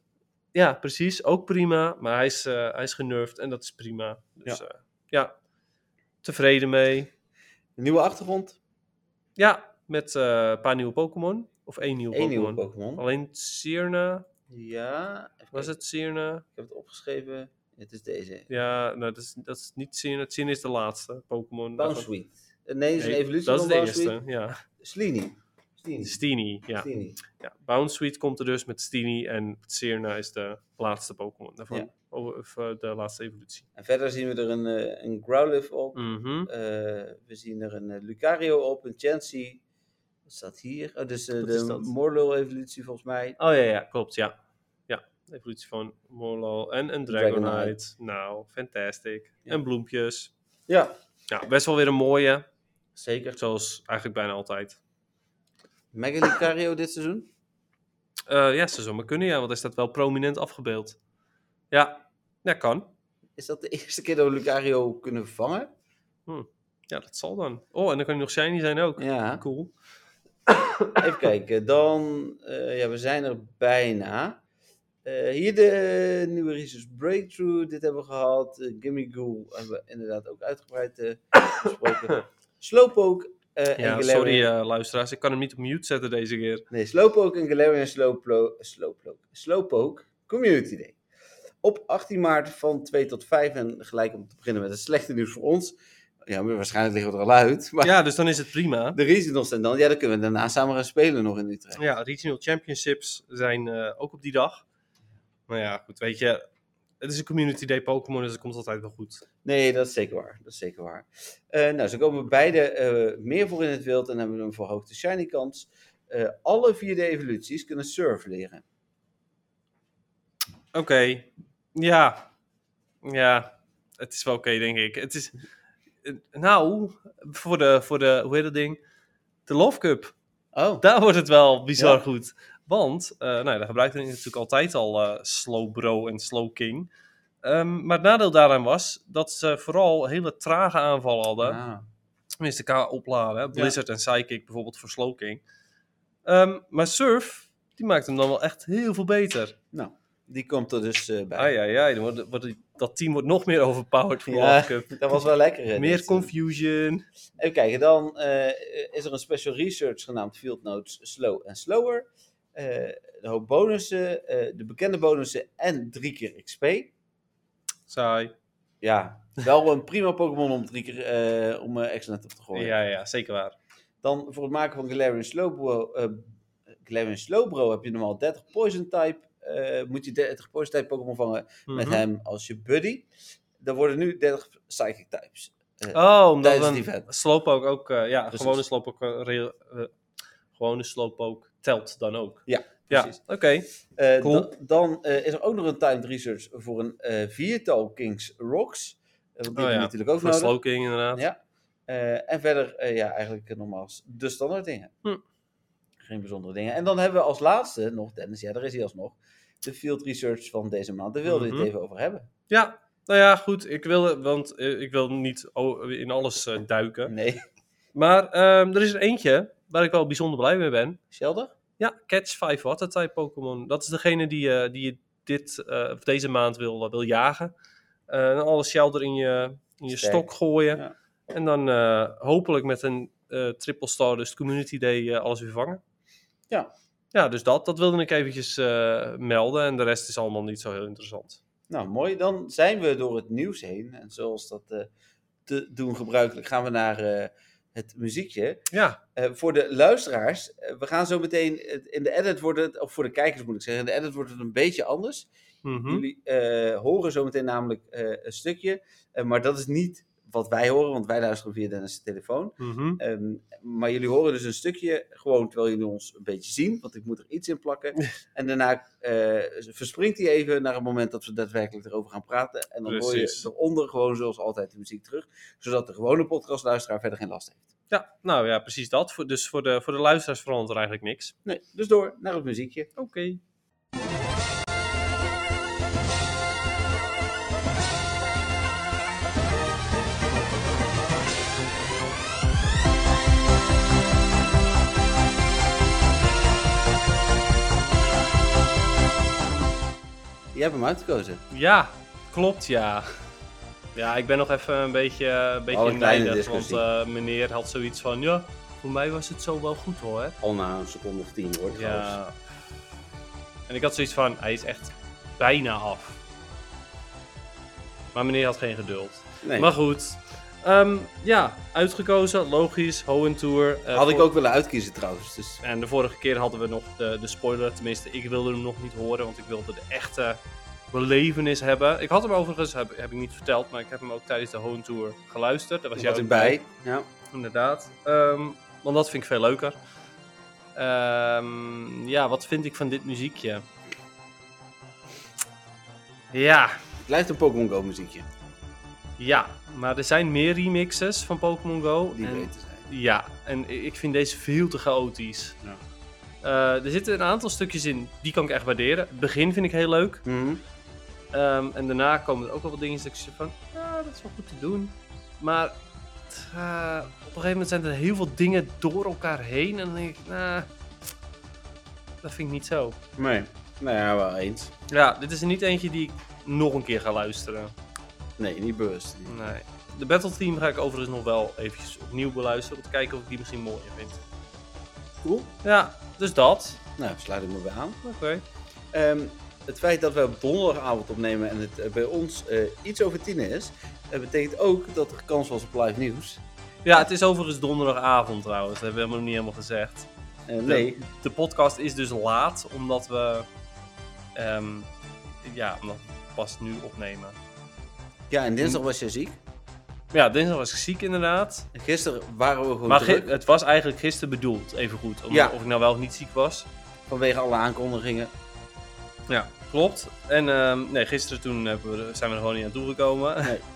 Speaker 2: ja, precies. Ook prima. Maar hij is, eh hij is genervd en dat is prima. Dus ja, ja tevreden mee.
Speaker 1: Een nieuwe achtergrond,
Speaker 2: Ja, met eh, een paar nieuwe Pokémon. Of één nieuwe
Speaker 1: één nieuwe
Speaker 2: Pokémon.
Speaker 1: Pokémon.
Speaker 2: Alleen Sirna.
Speaker 1: Ja, even
Speaker 2: Was
Speaker 1: kijken.
Speaker 2: het Sirna?
Speaker 1: ik heb het opgeschreven. Het is deze.
Speaker 2: Ja, nou, dat, is, dat is niet Sirna. Sirna is de laatste Pokémon.
Speaker 1: Bounce Sweet. Eh, Nee, het is een
Speaker 2: Nee,
Speaker 1: evolutie
Speaker 2: Dat is
Speaker 1: van
Speaker 2: de
Speaker 1: Bounce Sweet.
Speaker 2: eerste, ja.
Speaker 1: Slini. Slini.
Speaker 2: Steenie, ja.
Speaker 1: Slini.
Speaker 2: ja. Bounce Suite komt er dus met Steenie en Sirna is de laatste Pokémon daarvan.
Speaker 1: Ja.
Speaker 2: Oh, of eh, de laatste evolutie.
Speaker 1: En verder zien we er een, eh, een Growlithe op.
Speaker 2: Mhm.
Speaker 1: Eh, we zien er een eh, Lucario op, een Chansey. Wat staat hier? Oh, dus eh,
Speaker 2: Wat is
Speaker 1: de
Speaker 2: dat?
Speaker 1: Morlul-evolutie volgens mij.
Speaker 2: Oh ja, ja, klopt, ja. Ja, evolutie van Morlo en een Dragonite.
Speaker 1: Dragonite.
Speaker 2: Nou, fantastic.
Speaker 1: Ja.
Speaker 2: En bloempjes.
Speaker 1: Ja,
Speaker 2: Ja, best wel weer een mooie,
Speaker 1: zeker.
Speaker 2: zoals eigenlijk bijna altijd.
Speaker 1: Mega Lucario dit seizoen?
Speaker 2: Eh, ja, ze zou maar kunnen, ja, want hij staat wel prominent afgebeeld. Ja, ja kan.
Speaker 1: Is dat de eerste keer dat we Lucario kunnen vangen?
Speaker 2: Ja, dat zal dan. Oh, en dan kan hij nog shiny zijn ook.
Speaker 1: Ja.
Speaker 2: Cool.
Speaker 1: Even kijken, dan... eh, ja, we zijn er bijna. Eh, hier de eh, nieuwe Research Breakthrough, dit hebben we gehad. Eh, Gimme Ghoul hebben we inderdaad ook uitgebreid eh, besproken. Slowpoke eh,
Speaker 2: Ja,
Speaker 1: en Galarian.
Speaker 2: sorry eh, luisteraars, ik kan hem niet op mute zetten deze keer.
Speaker 1: Nee, Slowpoke en Galarian Slowplo Slowpoke, Slowpoke Community Day. Op 18 maart van 2 tot 5 en gelijk om te beginnen met het slechte nieuws voor ons. Ja, maar waarschijnlijk liggen we er al uit. Maar
Speaker 2: Ja, dus dan is het prima.
Speaker 1: de regionals en dan, ja, dan kunnen we daarna samen gaan spelen nog in Utrecht.
Speaker 2: Ja, regional championships zijn eh, ook op die dag. Maar ja, goed, weet je. Het is een community day Pokémon, dus het komt altijd wel goed.
Speaker 1: Nee, dat is zeker waar. Dat is zeker waar. Eh, nou, ze komen beide eh, meer voor in het wild en hebben een verhoogde shiny kans. Eh, alle vier de evoluties kunnen surf leren.
Speaker 2: Oké. Ja. Ja. Het is wel oké, denk ik. Het is... eh, Nou, voor de, voor de... Hoe heet dat ding? De Love Cup.
Speaker 1: Oh,
Speaker 2: Daar wordt het wel bizar
Speaker 1: Ja.
Speaker 2: goed. Want, eh nou, ja, daar gebruikte ik natuurlijk altijd al eh, Slow Bro en Slow King. Ehm, maar het nadeel daaraan was dat ze vooral hele trage aanvallen hadden.
Speaker 1: Ah.
Speaker 2: tenminste elkaar opladen. hè. Blizzard en Psychic bijvoorbeeld voor Slow King. Ehm, maar Surf, die maakt hem dan wel echt heel veel beter.
Speaker 1: nou, die komt er dus eh, bij.
Speaker 2: Ai, ai, ai. Dan wordt, wordt die- dat team wordt nog meer overpowered voor de
Speaker 1: Ja,
Speaker 2: World Cup.
Speaker 1: Dat was wel lekker. eh, hè,
Speaker 2: Meer
Speaker 1: dit.
Speaker 2: confusion.
Speaker 1: Even kijken, dan eh, is er een special research genaamd Field Notes Slow en Slower. Eh, een hoop bonussen, eh, de bekende bonussen en drie keer XP.
Speaker 2: Saai.
Speaker 1: Ja, wel een prima Pokémon om drie keer eh, om eh excellent op te gooien.
Speaker 2: Ja, ja, zeker waar.
Speaker 1: Dan voor het maken van Galarian Slowbro, eh, Galarian Slowbro heb je normaal 30 Poison type. eh, moet je 30 Poison type Pokémon vangen met
Speaker 2: Mhm.
Speaker 1: hem als je buddy. Dan worden nu 30 Psychic types.
Speaker 2: Oh, omdat
Speaker 1: Tijdens het
Speaker 2: een
Speaker 1: event.
Speaker 2: Slowpoke ook... eh, ja,
Speaker 1: Precies.
Speaker 2: gewone Slowpoke, eh, real- eh, gewone Slowpoke telt dan ook.
Speaker 1: Ja,
Speaker 2: Ja,
Speaker 1: precies.
Speaker 2: oké.
Speaker 1: Eh,
Speaker 2: Cool.
Speaker 1: da- dan eh, is er ook nog een timed research voor een eh, viertal Kings Rocks. Eh, want die
Speaker 2: Oh
Speaker 1: hebben we
Speaker 2: ja,
Speaker 1: natuurlijk ook
Speaker 2: Voor
Speaker 1: nodig.
Speaker 2: Slow King inderdaad. Hm.
Speaker 1: Ja. Eh, en verder, eh, ja, eigenlijk eh, nogmaals de standaard dingen. geen bijzondere dingen. En dan hebben we als laatste nog, Dennis, ja, daar is hij alsnog, de field research van deze maand. Daar wilden we
Speaker 2: Mhm.
Speaker 1: het even over hebben.
Speaker 2: Ja, nou ja, goed. Ik wil, want eh, ik wil niet o- in alles eh, duiken.
Speaker 1: Nee,
Speaker 2: Maar ehm, er is er eentje waar ik wel bijzonder blij mee ben.
Speaker 1: Sheldon?
Speaker 2: Ja, Catch 5 Water type Pokémon. Dat is degene die, eh, die je dit, eh, of deze maand wil, eh, wil jagen. Eh, en alle shelter in je, in je
Speaker 1: Sterk.
Speaker 2: stok gooien.
Speaker 1: Ja.
Speaker 2: En dan eh, hopelijk met een eh, triple star, dus community day, eh, alles weer vangen.
Speaker 1: Ja.
Speaker 2: Ja, dus dat, dat wilde ik eventjes eh, melden. En de rest is allemaal niet zo heel interessant.
Speaker 1: Nou, mooi. Dan zijn we door het nieuws heen. En zoals dat eh, te doen gebruikelijk, gaan we naar eh, het muziekje.
Speaker 2: Ja,
Speaker 1: Eh, voor de luisteraars, eh, we gaan zo meteen, het- in de edit wordt het, of voor de kijkers moet ik zeggen, in de edit wordt het een beetje anders.
Speaker 2: mhm.
Speaker 1: Jullie eh, horen zometeen namelijk eh, een stukje, eh, maar dat is niet wat wij horen, want wij luisteren via Dennis' telefoon.
Speaker 2: Mhm.
Speaker 1: Ehm, maar jullie horen dus een stukje, gewoon terwijl jullie ons een beetje zien, want ik moet er iets in plakken. en daarna eh, verspringt hij even naar het moment dat we daadwerkelijk erover gaan praten. En dan hoor je
Speaker 2: Precies.
Speaker 1: eronder gewoon zoals altijd de muziek terug, zodat de gewone podcastluisteraar verder geen last heeft.
Speaker 2: Ja, nou ja, precies dat. Voor- Dus voor de, voor de luisteraars verandert er eigenlijk niks.
Speaker 1: Nee, dus door naar het muziekje.
Speaker 2: Oké.
Speaker 1: Jij hebt hem uitgekozen.
Speaker 2: Ja, klopt ja. Ja, ik ben nog even een beetje, eh, een beetje
Speaker 1: Alle
Speaker 2: in
Speaker 1: kleine
Speaker 2: nijdig, want
Speaker 1: discussie.
Speaker 2: eh, meneer had zoiets van, ja, voor mij was het zo wel goed hoor.
Speaker 1: Al na een seconde of tien hoor. trouwens.
Speaker 2: Ja. En ik had zoiets van, hij is echt bijna af. Maar meneer had geen geduld.
Speaker 1: Nee.
Speaker 2: Maar goed. Ehm, ja, uitgekozen, logisch, Hohentour. eh,
Speaker 1: Had ik
Speaker 2: voor-
Speaker 1: ook willen uitkiezen trouwens. Dus
Speaker 2: En de vorige keer hadden we nog de, de spoiler. Tenminste, ik wilde hem nog niet horen, want ik wilde de echte belevenis hebben. Ik had hem overigens, heb, heb ik niet verteld, maar ik heb hem ook tijdens de Home Tour geluisterd. Daar was
Speaker 1: was jij
Speaker 2: jij ook
Speaker 1: erbij. Ja.
Speaker 2: Inderdaad. Ehm, want dat vind ik veel leuker. Ehm, ja, wat vind ik van dit muziekje? Ja,
Speaker 1: Het lijkt een Pokémon Go muziekje.
Speaker 2: ja. Maar er zijn meer remixes van Pokémon Go.
Speaker 1: Die
Speaker 2: en-
Speaker 1: beter zijn.
Speaker 2: Ja, en i- ik vind deze veel te chaotisch.
Speaker 1: Ja.
Speaker 2: Eh, er zitten een aantal stukjes in, die kan ik echt waarderen. Het begin vind ik heel leuk.
Speaker 1: Mhm.
Speaker 2: Ehm, en daarna komen er ook wel wat dingen dat ik zeg van, ah, dat is wel goed te doen. Maar t- eh, op een gegeven moment zijn er heel veel dingen door elkaar heen. En dan denk ik, nou, dat vind ik niet zo.
Speaker 1: Nee. Nou ja, wel eens.
Speaker 2: Ja, dit is er niet eentje die ik nog een keer ga luisteren.
Speaker 1: Nee, niet bewust.
Speaker 2: Nee. De Battle Team ga ik overigens nog wel eventjes opnieuw beluisteren. Om te kijken of ik die misschien mooier vind.
Speaker 1: Cool.
Speaker 2: Ja, dus dat.
Speaker 1: Nou, daar sluit ik me bij aan.
Speaker 2: Oké.
Speaker 1: Ehm, het feit dat wij op donderdagavond opnemen en het eh, bij ons eh, iets over tien is, eh, betekent ook dat er kans was op live nieuws.
Speaker 2: Ja, het is overigens donderdagavond trouwens. Dat hebben we helemaal niet helemaal gezegd.
Speaker 1: Eh, nee,
Speaker 2: De podcast is dus laat, omdat we... ehm, ja, omdat we pas nu opnemen.
Speaker 1: ja, en
Speaker 2: Mm.
Speaker 1: dinsdag was jij ziek.
Speaker 2: Ja, dinsdag was ik ziek inderdaad.
Speaker 1: En gisteren waren we gewoon
Speaker 2: Maar
Speaker 1: Oh, druk
Speaker 2: gi- het was eigenlijk gisteren bedoeld, even goed. Om,
Speaker 1: Ja.
Speaker 2: Of ik nou wel of niet ziek was.
Speaker 1: eh, vanwege alle aankondigingen.
Speaker 2: Ja, klopt. En ehm, nee, gisteren toen hebben we, er- zijn we er gewoon niet aan toegekomen.
Speaker 1: Nee.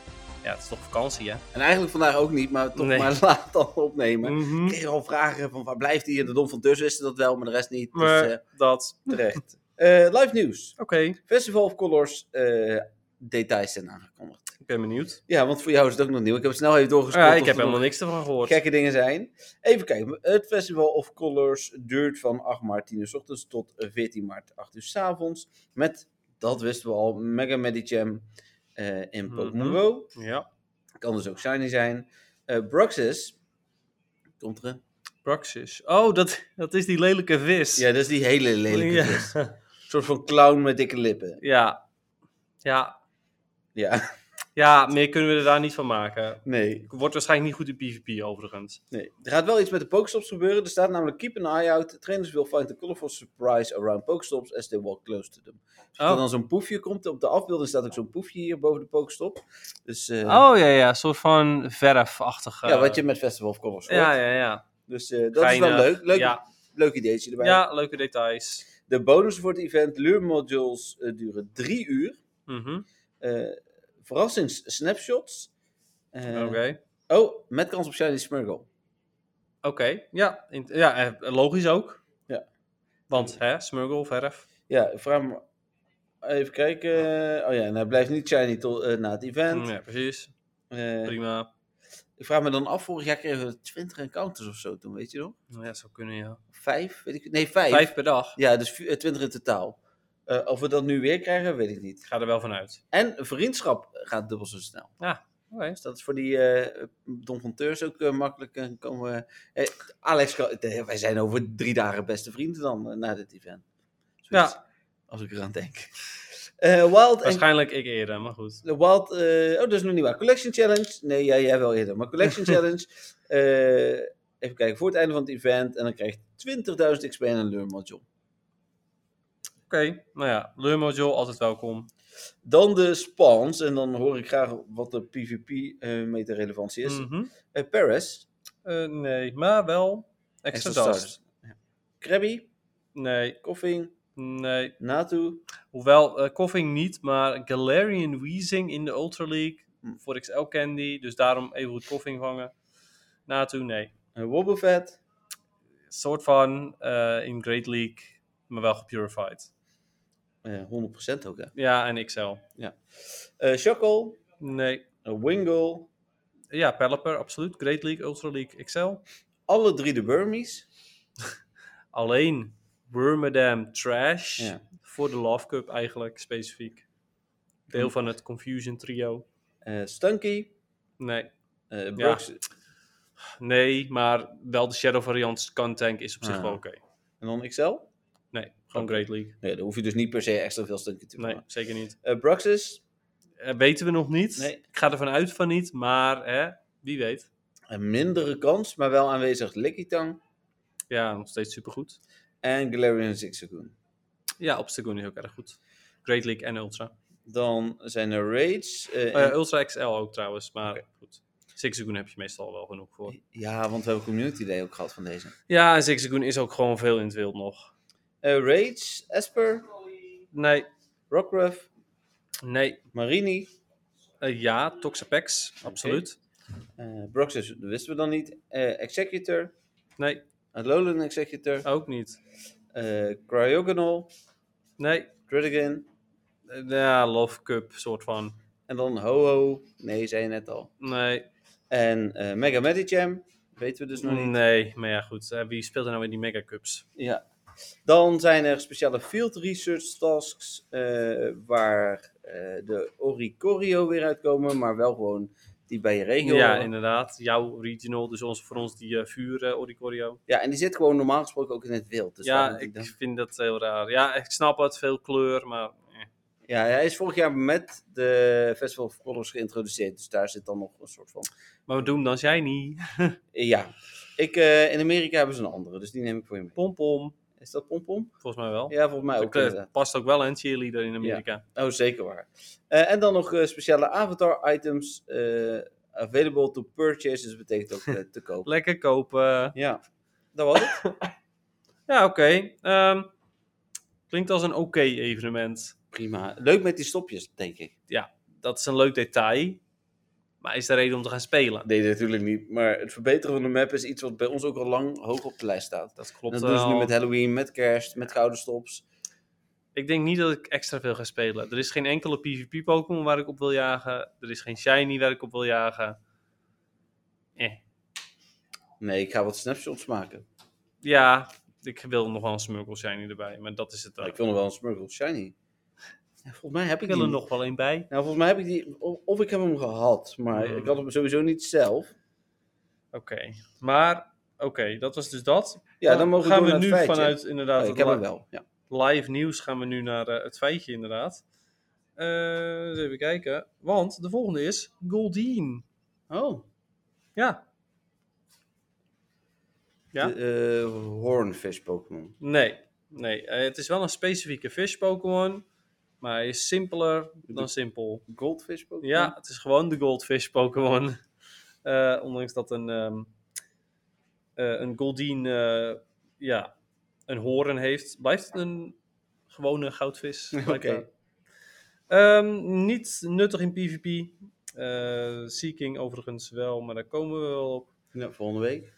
Speaker 2: Ja, het is toch vakantie, hè?
Speaker 1: En eigenlijk vandaag ook niet, maar toch
Speaker 2: Nee.
Speaker 1: maar laat dan opnemen. Ik
Speaker 2: Mhm.
Speaker 1: kreeg al vragen van waar blijft hij? En de Don van Dus wisten dat wel, maar de rest niet. Dus
Speaker 2: Maar
Speaker 1: eh,
Speaker 2: dat...
Speaker 1: terecht. Eh, live nieuws.
Speaker 2: Oké,
Speaker 1: Festival of Colors eh, details zijn aangekondigd.
Speaker 2: ik ben benieuwd.
Speaker 1: Ja, want voor jou is het ook nog nieuw. Ik heb het snel even doorgescrollt.
Speaker 2: Ja,
Speaker 1: of
Speaker 2: ik heb
Speaker 1: er nog
Speaker 2: helemaal niks ervan gehoord.
Speaker 1: gekke dingen zijn. Even kijken. Het Festival of Colors duurt van 8 maart 10 uur 's ochtends tot 14 maart 8 uur 's avonds. Met, dat wisten we al, Mega Medicham eh in Pokémon
Speaker 2: Mhm.
Speaker 1: Go.
Speaker 2: Ja.
Speaker 1: Kan dus ook Shiny zijn. Eh Bruxis. Komt er een?
Speaker 2: Praxis. Oh, dat, dat is die lelijke vis.
Speaker 1: Ja, dat is die hele lelijke
Speaker 2: Ja.
Speaker 1: vis. Een soort van clown met dikke lippen.
Speaker 2: Ja. Ja.
Speaker 1: Ja,
Speaker 2: Ja, meer kunnen we er daar niet van maken.
Speaker 1: nee.
Speaker 2: Wordt waarschijnlijk niet goed in PvP overigens.
Speaker 1: nee. Er gaat wel iets met de Pokestops gebeuren. Er staat namelijk keep an eye out. Trainers will find a colorful surprise around Pokestops as they walk close to them. Dus als
Speaker 2: Oh.
Speaker 1: er dan zo'n poefje komt op de afbeelding, staat ook zo'n poefje hier boven de Pokestop. Dus eh,
Speaker 2: Oh ja, ja. Een soort van verfachtige.
Speaker 1: ja, wat je met Festival of Colors hoort.
Speaker 2: Ja, ja, ja.
Speaker 1: Dus eh, dat
Speaker 2: Geinig.
Speaker 1: is wel leuk. Leuk,
Speaker 2: Ja.
Speaker 1: leuk ideetje erbij.
Speaker 2: Ja, leuke details.
Speaker 1: De bonus voor het event, lure modules, eh, duren drie uur.
Speaker 2: Mhm.
Speaker 1: Eh Verrassings-snapshots. Eh,
Speaker 2: Oké.
Speaker 1: Oh, met kans op Shiny Smurgle.
Speaker 2: Oké. Ja, in- ja, eh, logisch ook. Want, hè, smurgle, verf.
Speaker 1: Ja, ik vraag me. Even kijken. Oh ja, en hij blijft niet shiny tot, eh, na het event.
Speaker 2: Ja, precies.
Speaker 1: Eh,
Speaker 2: Prima.
Speaker 1: ik vraag me dan af, vorig jaar kregen we 20 encounters of zo toen, weet je nog?
Speaker 2: Nou Ja, zou kunnen, ja.
Speaker 1: Vijf? Weet ik, nee, vijf.
Speaker 2: Vijf per dag.
Speaker 1: Ja, dus vi- eh, 20 in totaal. Eh, of we dat nu weer krijgen, weet ik niet.
Speaker 2: Ik ga er wel van uit.
Speaker 1: En vriendschap gaat dubbel zo snel.
Speaker 2: Oké.
Speaker 1: Dus dat is voor die eh donfonteurs ook eh, makkelijk. eh, komen, eh, Alex, kan- eh, wij zijn over drie dagen beste vrienden dan eh, na dit event. Zoiets,
Speaker 2: Ja.
Speaker 1: Als ik eraan denk. Eh, Wild en
Speaker 2: Waarschijnlijk ik eerder, maar goed.
Speaker 1: De Wild, eh, oh, dat is nog niet waar. Collection Challenge. Nee, ja, jij wel eerder. Maar Collection Challenge. eh, even kijken, voor het einde van het event. En dan krijgt 20.000 XP en een leurmodule.
Speaker 2: Oké, nou ja. Lure module, altijd welkom.
Speaker 1: Dan de spawns. En dan hoor ik graag wat de PvP-meter eh, relevantie is.
Speaker 2: Mhm.
Speaker 1: Eh, Paris.
Speaker 2: Eh, nee, maar wel extra, dust.
Speaker 1: Ja. Krabby.
Speaker 2: Nee,
Speaker 1: Koffing.
Speaker 2: nee.
Speaker 1: Natu.
Speaker 2: Hoewel, eh Koffing niet, maar Galarian Weezing in de Ultra League
Speaker 1: Hm.
Speaker 2: voor XL Candy. Dus daarom even goed Koffing vangen. Naartoe, nee.
Speaker 1: eh, Wobbuffet.
Speaker 2: Soort van eh, in Great League, maar wel gepurified.
Speaker 1: eh 100% ook, hè.
Speaker 2: Ja, en XL.
Speaker 1: Eh Shackle.
Speaker 2: Nee.
Speaker 1: eh, Wingle.
Speaker 2: Ja, Pelipper, absoluut. Great League, Ultra League, XL.
Speaker 1: Alle drie de Burmies.
Speaker 2: Alleen Wormadam Trash
Speaker 1: Ja.
Speaker 2: voor de Love Cup eigenlijk, specifiek. Deel van het Confusion trio.
Speaker 1: eh Stunky.
Speaker 2: Nee.
Speaker 1: eh
Speaker 2: Ja.
Speaker 1: Brooks.
Speaker 2: Nee, maar wel de Shadow variant kan tank is op zich
Speaker 1: Ah.
Speaker 2: wel oké.
Speaker 1: En dan XL.
Speaker 2: Nee, gewoon
Speaker 1: Oké.
Speaker 2: Great League.
Speaker 1: Nee, dan hoef je dus niet per se extra veel stunken te
Speaker 2: Nee,
Speaker 1: vangen.
Speaker 2: zeker niet.
Speaker 1: Eh, Bruxus,
Speaker 2: Eh, weten we nog niet.
Speaker 1: Nee.
Speaker 2: Ik ga ervan uit van niet, maar hè, wie weet.
Speaker 1: een mindere kans, maar wel aanwezig Lickitung.
Speaker 2: Ja, nog steeds supergoed.
Speaker 1: En Galarian Zigzagoon.
Speaker 2: Ja, Obstagoon is ook erg goed. Great League en Ultra.
Speaker 1: Dan zijn er Raids. eh,
Speaker 2: Eh,
Speaker 1: en-
Speaker 2: Ultra XL ook trouwens, maar goed. Zigzagoon heb je meestal wel genoeg voor.
Speaker 1: Ja, want we hebben Community Day ook gehad van deze.
Speaker 2: Ja, en Zigzagoon is ook gewoon veel in het wild nog.
Speaker 1: Eh, Raids, Esper,
Speaker 2: Nee,
Speaker 1: Rockruff,
Speaker 2: nee.
Speaker 1: Marini.
Speaker 2: Eh, ja, Toxapex, absoluut.
Speaker 1: eh Bruxus dat wisten we dan niet. Eh, Executor,
Speaker 2: Nee,
Speaker 1: Alolan Executor.
Speaker 2: ook niet.
Speaker 1: eh Cryogonal,
Speaker 2: Nee,
Speaker 1: Dridigan.
Speaker 2: Eh, ja, Love Cup soort van.
Speaker 1: En dan Ho-Ho. Nee, zei je net al.
Speaker 2: Nee,
Speaker 1: En eh Mega Medicham. Weten we dus nog niet.
Speaker 2: nee, maar ja, goed. Eh, wie speelt er nou in die Mega Cups?
Speaker 1: Ja. Dan zijn er speciale field research tasks eh, waar eh, de Oricorio weer uitkomen, maar wel gewoon die bij je regio.
Speaker 2: Ja,
Speaker 1: horen.
Speaker 2: inderdaad. Jouw regional, dus ons, voor ons die eh, vuur eh, Oricorio.
Speaker 1: ja, en die zit gewoon normaal gesproken ook in het wild. Dus
Speaker 2: ja,
Speaker 1: daarom
Speaker 2: ik
Speaker 1: denk ik
Speaker 2: vind dat heel raar. Ja, ik snap het, veel kleur, maar... eh.
Speaker 1: dan- ja, hij is vorig jaar met de Festival of Colors geïntroduceerd, dus daar zit dan nog een soort van.
Speaker 2: Maar we doen dan jij niet.
Speaker 1: Eh, ja, ik, eh, in Amerika hebben ze een andere, dus die neem ik voor je mee.
Speaker 2: Pom pom,
Speaker 1: Is dat pompom?
Speaker 2: volgens mij wel.
Speaker 1: Ja, volgens mij
Speaker 2: Dat
Speaker 1: ook.
Speaker 2: kle-
Speaker 1: inderdaad.
Speaker 2: past ook wel, hè, een cheerleader in Amerika.
Speaker 1: Oh, zeker waar. Eh, en dan nog eh, speciale avatar items eh, available to purchase, dus dat betekent ook eh, te kopen.
Speaker 2: Lekker kopen.
Speaker 1: Ja, dat was het.
Speaker 2: Ja, oké. Ehm, klinkt als een oké evenement.
Speaker 1: Prima. Leuk met die stopjes, denk ik.
Speaker 2: Dat is een leuk detail. Maar is de reden om te gaan spelen?
Speaker 1: Nee, natuurlijk niet. Maar het verbeteren van de map is iets wat bij ons ook al lang hoog op de lijst staat. eh,
Speaker 2: Dat
Speaker 1: En
Speaker 2: klopt
Speaker 1: dat doen ze nu
Speaker 2: wel.
Speaker 1: met Halloween, met kerst, met gouden stops.
Speaker 2: Ik denk niet dat ik extra veel ga spelen. Er is geen enkele PvP-Pokémon waar ik op wil jagen. Er is geen Shiny waar ik op wil jagen. Eh.
Speaker 1: Nee, ik ga wat snapshots maken.
Speaker 2: Ja, ik wil nog wel een Smurgle Shiny erbij. Maar dat is het dan.
Speaker 1: Ik wil nog wel een Smurgle Shiny. Ja, volgens mij heb ik
Speaker 2: Ik wil
Speaker 1: die
Speaker 2: er nog wel een bij.
Speaker 1: Nou, volgens mij heb ik die... Of, of ik heb hem gehad, maar
Speaker 2: Hmm.
Speaker 1: ik had hem sowieso niet zelf.
Speaker 2: Oké. Maar, oké, dat was dus dat.
Speaker 1: Ja, dan mogen
Speaker 2: gaan
Speaker 1: we,
Speaker 2: we,
Speaker 1: door
Speaker 2: nu
Speaker 1: naar het feitje.
Speaker 2: vanuit inderdaad
Speaker 1: Oh,
Speaker 2: het
Speaker 1: ik heb
Speaker 2: li-
Speaker 1: hem wel, ja.
Speaker 2: live nieuws gaan we nu naar eh, het feitje inderdaad. Eh, eens even kijken. Want de volgende is Goldeen.
Speaker 1: Oh.
Speaker 2: Ja. Ja?
Speaker 1: De, eh, Hornfish Pokémon.
Speaker 2: Nee, nee. Eh, het is wel een specifieke fish Pokémon. Maar hij is simpeler dan simpel.
Speaker 1: Goldfish Pokémon?
Speaker 2: Ja, het is gewoon de Goldfish Pokémon. Eh, ondanks dat een, ehm eh, een Goldeen eh, ja, een horen heeft, blijft het een gewone goudvis. blijkbaar.
Speaker 1: Oké.
Speaker 2: Ehm, niet nuttig in PvP. Eh Seeking overigens wel, maar daar komen we wel op.
Speaker 1: Ja, volgende week.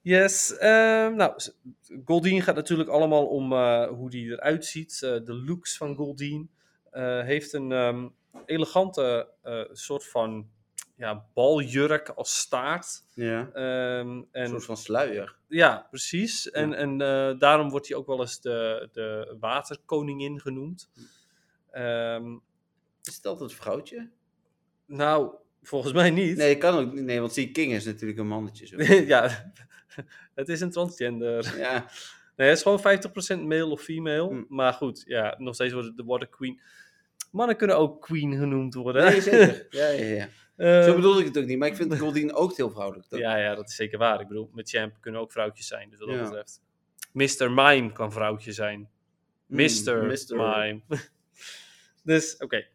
Speaker 2: Yes, ehm, nou, s- Goldeen gaat natuurlijk allemaal om eh, hoe die eruit ziet. eh, de looks van Goldeen. Eh, heeft een ehm, elegante eh, soort van ja, baljurk als staart.
Speaker 1: Ja.
Speaker 2: Ehm,
Speaker 1: Een
Speaker 2: en,
Speaker 1: soort van sluier.
Speaker 2: Ja, precies. En, en eh, daarom wordt hij ook wel eens de, de waterkoningin genoemd. Ehm,
Speaker 1: Is het altijd een vrouwtje?
Speaker 2: nou, volgens mij niet.
Speaker 1: Nee, kan ook niet. Nee, want Sea King is natuurlijk een mannetje. Zo.
Speaker 2: ja, het is een transgender.
Speaker 1: ja.
Speaker 2: Nee, het is gewoon 50% male of female.
Speaker 1: Hm.
Speaker 2: Maar goed, ja, nog steeds wordt het de water queen. Mannen kunnen ook queen genoemd worden.
Speaker 1: Nee, zeker. Ja, ja, ja.
Speaker 2: Eh,
Speaker 1: Zo bedoelde ik het ook niet. Maar ik vind Goldien ook heel vrouwelijk. Dat-
Speaker 2: ja, ja, dat is zeker waar. Ik bedoel, met champ kunnen ook vrouwtjes zijn. Dus wat dat
Speaker 1: Ja.
Speaker 2: betreft. Mr. Mime kan vrouwtje zijn.
Speaker 1: Mm,
Speaker 2: Mr.
Speaker 1: Mr..
Speaker 2: Mime. dus, oké.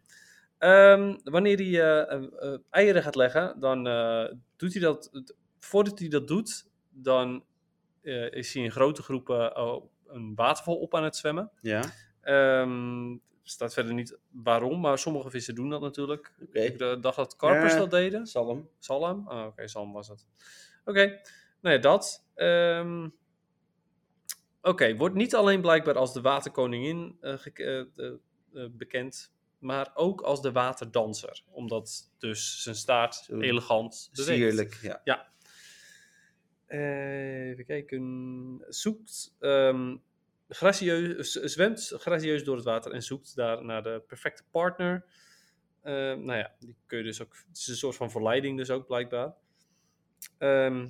Speaker 2: Ehm, wanneer hij eh, eh, eh, eieren gaat leggen, dan eh, doet hij dat... het- Voordat hij dat doet, dan eh, is hij in grote groepen eh, een waterval op aan het zwemmen.
Speaker 1: Ja,
Speaker 2: Ehm, staat verder niet waarom, maar sommige vissen doen dat natuurlijk.
Speaker 1: oké.
Speaker 2: Ik eh, dacht dat karpers
Speaker 1: Ja.
Speaker 2: dat deden.
Speaker 1: Salm.
Speaker 2: Salm? Ah, oké, salm was het. Oké, nee, dat. Ehm, oké, wordt niet alleen blijkbaar als de waterkoningin eh, gek- eh, eh, eh, bekend, maar ook als de waterdanser. Omdat dus zijn staart
Speaker 1: Zo
Speaker 2: elegant beweegt.
Speaker 1: Sierlijk, ja.
Speaker 2: Eh, even kijken. Zoekt. ehm, gracieus, z- zwemt gracieus door het water en zoekt daar naar de perfecte partner. Ehm, nou ja, die kun je dus ook. Het is een soort van verleiding, dus ook blijkbaar. Ehm,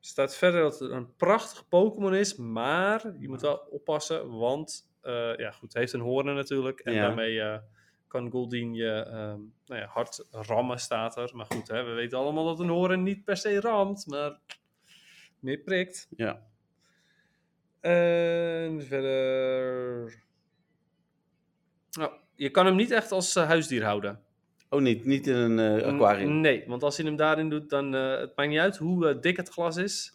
Speaker 2: staat verder dat het een prachtig Pokémon is, maar je moet wel oppassen, want. eh, ja, goed, hij heeft een hoorn natuurlijk. En
Speaker 1: Ja.
Speaker 2: daarmee eh, kan Goldien je ehm, nou ja, hard rammen, staat er. Maar goed, hè, we weten allemaal dat een hoorn niet per se ramt, maar meer prikt.
Speaker 1: Ja.
Speaker 2: En verder. Nou, je kan hem niet echt als eh, huisdier houden.
Speaker 1: Oh, niet, niet in een eh, aquarium.
Speaker 2: N- Nee, want als je hem daarin doet, dan eh het maakt niet uit hoe eh, dik het glas is.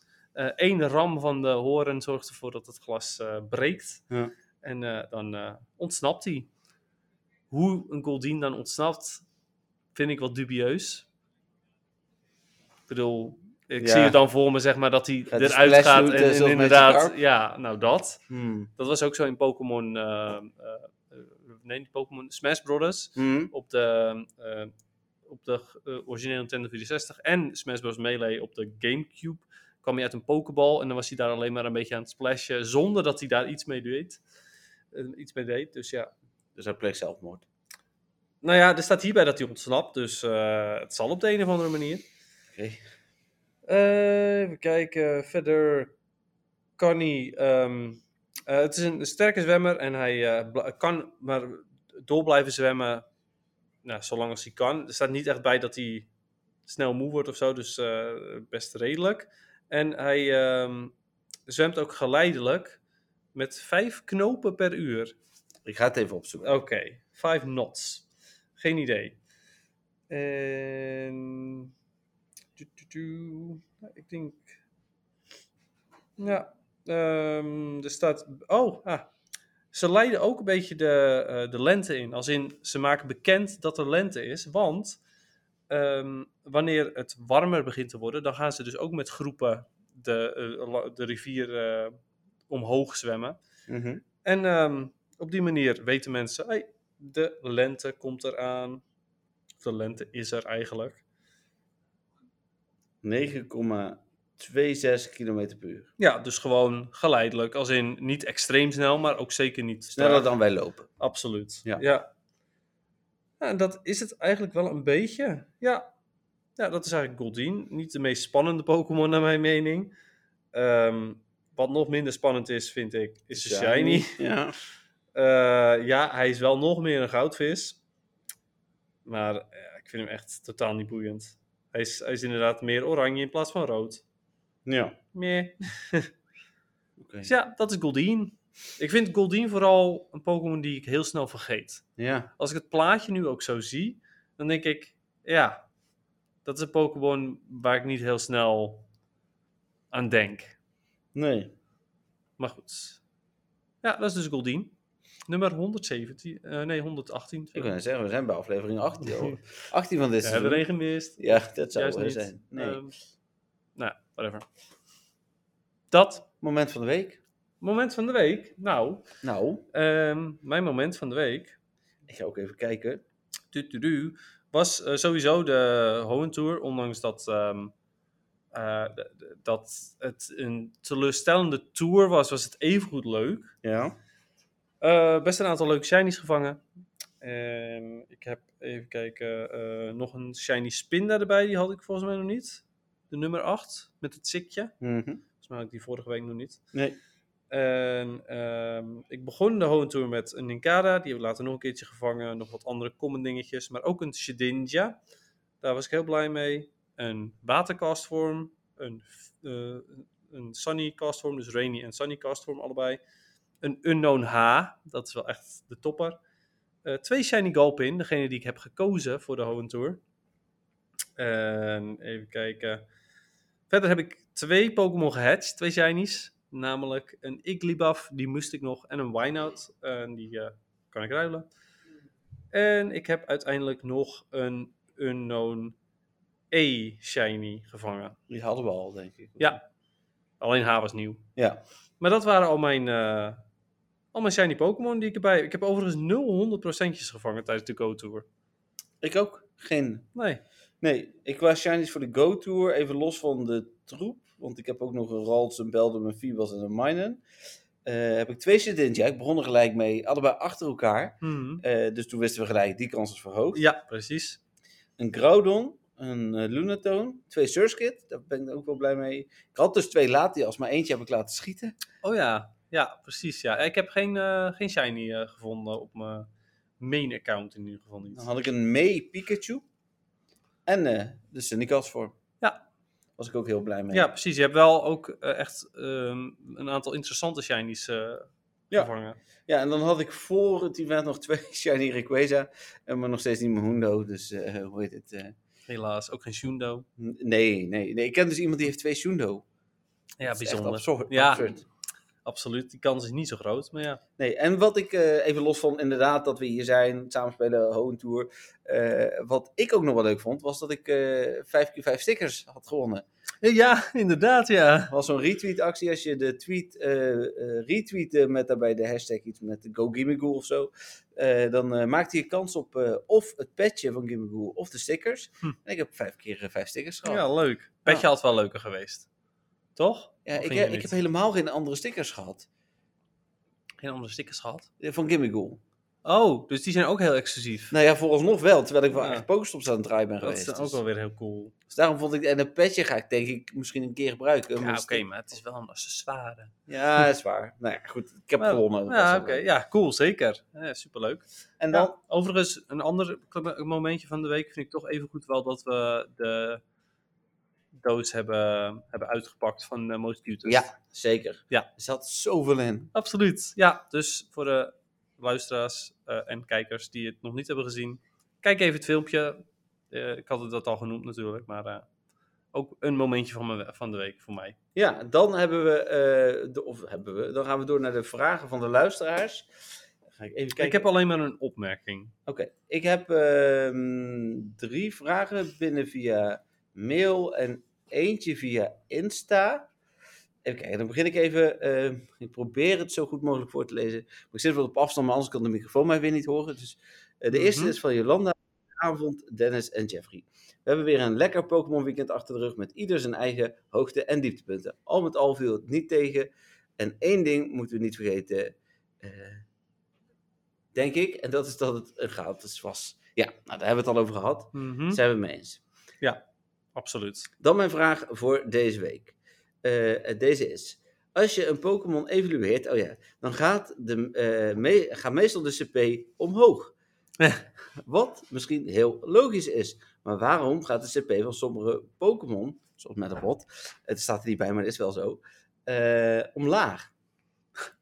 Speaker 2: Eén ram van de horen zorgt ervoor dat het glas eh, breekt.
Speaker 1: Ja.
Speaker 2: En eh, dan eh, ontsnapt hij. Hoe een Goldien dan ontsnapt, vind ik wel dubieus. Ik bedoel, ik
Speaker 1: Ja.
Speaker 2: zie het dan voor me zeg maar dat hij
Speaker 1: Gaat een
Speaker 2: eruit
Speaker 1: splash
Speaker 2: gaat
Speaker 1: doen, eh,
Speaker 2: en,
Speaker 1: zoals
Speaker 2: en
Speaker 1: met die
Speaker 2: inderdaad,
Speaker 1: karp?
Speaker 2: ja, nou dat.
Speaker 1: Hmm.
Speaker 2: Dat was ook zo in Pokémon, eh, eh, eh, nee niet Pokémon, Smash Brothers
Speaker 1: Hmm.
Speaker 2: op de, eh, op de eh, originele Nintendo 64 en Smash Bros. Melee op de Gamecube kwam hij uit een pokeball en dan was hij daar alleen maar een beetje aan het splashen zonder dat hij daar iets mee deed. Eh, iets mee deed, dus ja.
Speaker 1: Dus hij pleegt zelfmoord.
Speaker 2: Nou ja, er staat hierbij dat hij ontsnapt, dus eh, het zal op de een of andere manier.
Speaker 1: Oké.
Speaker 2: Eh, even kijken, verder kan hij... ehm, eh, het is een sterke zwemmer en hij eh, bla- kan maar door blijven zwemmen nou, zolang als hij kan. Er staat niet echt bij dat hij snel moe wordt of zo, dus eh, best redelijk. En hij ehm, zwemt ook geleidelijk met vijf knopen per uur.
Speaker 1: Ik ga het even opzoeken.
Speaker 2: Oké, vijf knots. Geen idee. En... tu, tu, tu. Nou, Ik denk... Ja, ehm, er staat... Oh, ah. ze leiden ook een beetje de, eh, de lente in. Als in, ze maken bekend dat er lente is, want... ehm, wanneer het warmer begint te worden, dan gaan ze dus ook met groepen de, eh, la- de rivier eh, omhoog zwemmen.
Speaker 1: Mhm.
Speaker 2: En ehm, op die manier weten mensen, hey, de lente komt eraan. Of De lente is er eigenlijk.
Speaker 1: 9,26 km per uur.
Speaker 2: Ja, dus gewoon geleidelijk. Als in niet extreem snel, maar ook zeker niet
Speaker 1: Sneller
Speaker 2: traag.
Speaker 1: dan wij lopen.
Speaker 2: Absoluut.
Speaker 1: Ja.
Speaker 2: ja. Nou, en dat is het eigenlijk wel een beetje. Ja, ja dat is eigenlijk Goldeen. Niet de meest spannende Pokémon naar mijn mening. Ehm, wat nog minder spannend is, vind ik, is de Shiny.
Speaker 1: Ja.
Speaker 2: Eh, ja, hij is wel nog meer een goudvis. Maar eh, ik vind hem echt totaal niet boeiend. Hij is, hij is inderdaad meer oranje in plaats van rood.
Speaker 1: Ja.
Speaker 2: Meh.
Speaker 1: Oké.
Speaker 2: Dus ja, dat is Goldeen. Ik vind Goldeen vooral een Pokémon die ik heel snel vergeet.
Speaker 1: Ja.
Speaker 2: Als ik het plaatje nu ook zo zie, dan denk ik... Ja, dat is een Pokémon waar ik niet heel snel aan denk.
Speaker 1: Nee.
Speaker 2: Maar goed. Ja, dat is dus Goldeen. Nummer 117... eh, nee, 118.
Speaker 1: Ik wil net zeggen, we zijn bij aflevering 18. joh. 18 van dit
Speaker 2: Ja, hebben we
Speaker 1: seizoen.
Speaker 2: er één gemist?
Speaker 1: Ja, dat zou
Speaker 2: Juist
Speaker 1: wel
Speaker 2: niet.
Speaker 1: zijn. Nee.
Speaker 2: Ehm, nou, whatever. Dat
Speaker 1: Moment van de week.
Speaker 2: moment van de week. Nou,
Speaker 1: Nou,
Speaker 2: ehm, mijn moment van de week
Speaker 1: ik ga ook even kijken.
Speaker 2: tutudu, was eh, sowieso de Hohen Tour, ondanks dat, ehm, eh, d- d- dat het een teleurstellende tour was, was het evengoed leuk.
Speaker 1: Ja.
Speaker 2: Eh, best een aantal leuke shinies gevangen. Ehm, ik heb even kijken, eh, nog een shiny Spinda erbij, die had ik volgens mij nog niet. De nummer 8, met het sikje.
Speaker 1: Mhm.
Speaker 2: Volgens mij had ik die vorige week nog niet.
Speaker 1: Nee.
Speaker 2: En ehm, ik begon de Home Tour met een Ninkada. Die hebben we later nog een keertje gevangen. Nog wat andere common dingetjes. Maar ook een Shedinja. Daar was ik heel blij mee. Een watercastvorm. Een, eh, een sunny castvorm. Dus rainy en sunny castvorm allebei. Een unknown H. Dat is wel echt de topper. Eh, twee shiny Galpin. Degene die ik heb gekozen voor de Home Tour. En even kijken. Verder heb ik twee Pokémon gehatcht, twee shinies. Namelijk een Igglybuff, die moest ik nog, en een Wynout, en die eh, kan ik ruilen. En ik heb uiteindelijk nog een Unknown E-shiny gevangen.
Speaker 1: Die hadden we al, denk ik.
Speaker 2: Ja, alleen H was nieuw.
Speaker 1: Ja.
Speaker 2: Maar dat waren al mijn, eh, al mijn shiny Pokémon die ik erbij... Ik heb overigens 0 procentjes gevangen tijdens de Go-Tour.
Speaker 1: Ik ook. Geen
Speaker 2: Nee,
Speaker 1: Nee, ik was shinies voor de Go Tour, even los van de troep. Want ik heb ook nog een Ralts, een Beldum, een Fibas en een Minen. Eh, heb ik twee zitten Ja, ik begon er gelijk mee, allebei achter elkaar.
Speaker 2: Hmm.
Speaker 1: Eh, dus toen wisten we gelijk, die kans is verhoogd.
Speaker 2: Ja, precies.
Speaker 1: Een Groudon, een eh, Lunatone, twee Surskit. Daar ben ik ook wel blij mee. Ik had dus twee Latias, maar eentje heb ik laten schieten.
Speaker 2: Oh ja, ja, precies. Ja. Ik heb geen, eh, geen shiny eh, gevonden op mijn main account in ieder geval
Speaker 1: Dan
Speaker 2: niet.
Speaker 1: had ik een Mei Pikachu en eh de Sunnycast vorm.
Speaker 2: Ja.
Speaker 1: Was ik ook heel blij mee.
Speaker 2: Ja, precies. Je hebt wel ook eh, echt ehm, een aantal interessante shinies eh,
Speaker 1: Ja.
Speaker 2: gevangen.
Speaker 1: Ja, en dan had ik voor het event nog twee Shiny Rayquaza, en maar nog steeds niet mijn Hundo, dus eh, hoe heet het? eh,
Speaker 2: Helaas, ook geen Shundo.
Speaker 1: n- nee, nee, nee. Ik ken dus iemand die heeft twee Shundo.
Speaker 2: Ja,
Speaker 1: Dat is echt
Speaker 2: bijzonder.
Speaker 1: absurd-
Speaker 2: Ja.
Speaker 1: absurd.
Speaker 2: Absoluut. Die kans is niet zo groot, maar ja.
Speaker 1: Nee, en wat ik, eh, even los van inderdaad dat we hier zijn, samen spelen, Home Tour. eh, wat ik ook nog wel leuk vond, was dat ik eh 5x5 stickers had gewonnen.
Speaker 2: Eh, Ja, inderdaad, ja.
Speaker 1: Er was zo'n retweet actie, als je de tweet eh, eh, retweette met daarbij de hashtag iets met GoGimmeGoo of zo. eh, dan eh, maakte je kans op eh, of het patchje van GimmeGoo of de stickers.
Speaker 2: Hm.
Speaker 1: En ik heb vijf keer eh, vijf stickers gehad.
Speaker 2: Ja, leuk. Oh. Petje had wel leuker geweest. Toch?
Speaker 1: Ja,
Speaker 2: Of
Speaker 1: ik,
Speaker 2: vind je
Speaker 1: heb, ik
Speaker 2: niet?
Speaker 1: heb helemaal geen andere stickers gehad.
Speaker 2: geen andere stickers gehad.
Speaker 1: eh, Van Gimmigool.
Speaker 2: Oh, dus die zijn ook heel exclusief.
Speaker 1: Nou ja, vooralsnog wel. Terwijl ik wel
Speaker 2: Ja.
Speaker 1: echt Pokestops aan het draaien ben
Speaker 2: dat is
Speaker 1: geweest.
Speaker 2: dan ook
Speaker 1: dus,
Speaker 2: wel weer heel cool.
Speaker 1: dus daarom vond ik... En een petje ga ik denk ik misschien een keer gebruiken.
Speaker 2: Ja,
Speaker 1: maar
Speaker 2: oké,
Speaker 1: sti-
Speaker 2: maar het is wel een accessoire.
Speaker 1: Ja, is waar. Nou ja, goed. Ik heb
Speaker 2: Maar-
Speaker 1: gewonnen. dat was
Speaker 2: Ja,
Speaker 1: wel
Speaker 2: oké.
Speaker 1: leuk.
Speaker 2: Ja, cool, zeker. Ja, superleuk.
Speaker 1: En
Speaker 2: En
Speaker 1: dan...
Speaker 2: dan, overigens, een ander kle- momentje van de week vind ik toch even goed wel dat we de doos hebben, hebben uitgepakt van eh Most Cutest.
Speaker 1: Ja, zeker.
Speaker 2: Ja.
Speaker 1: Er zat zoveel in.
Speaker 2: Absoluut. Ja, dus voor de luisteraars eh, en kijkers die het nog niet hebben gezien, kijk even het filmpje. Eh, ik had het dat al genoemd natuurlijk, maar eh, ook een momentje van, mijn, van de week voor mij.
Speaker 1: Ja, dan hebben we... eh, de, of hebben we... Dan gaan we door naar de vragen van de luisteraars. Ga ik even kijken.
Speaker 2: Ik heb alleen maar een opmerking.
Speaker 1: Oké, ik heb ehm, drie vragen binnen via mail en eentje via Insta. Even kijken, dan begin ik even. ehm, ik probeer het zo goed mogelijk voor te lezen. Maar ik zit wel op afstand, maar anders kan de microfoon mij weer niet horen. Dus, eh, de eerste
Speaker 2: Mhm.
Speaker 1: is van Jolanda. Avond, Dennis en Jeffrey. We hebben weer een lekker Pokémon weekend achter de rug met ieder zijn eigen hoogte- en dieptepunten. Al met al viel het niet tegen. En één ding moeten we niet vergeten. eh, denk ik. En dat is dat het een gratis was. Ja, nou, daar hebben we het al over gehad.
Speaker 2: Mhm,
Speaker 1: Zijn we het mee eens.
Speaker 2: Absoluut.
Speaker 1: Dan mijn vraag voor deze week. Eh, deze is. Als je een Pokémon evolueert, oh ja, dan gaat, de, eh, me- gaat meestal de CP omhoog. Wat misschien heel logisch is. Maar waarom gaat de CP van sommige Pokémon, zoals Metapod, het staat er niet bij, maar het is wel zo, eh, omlaag?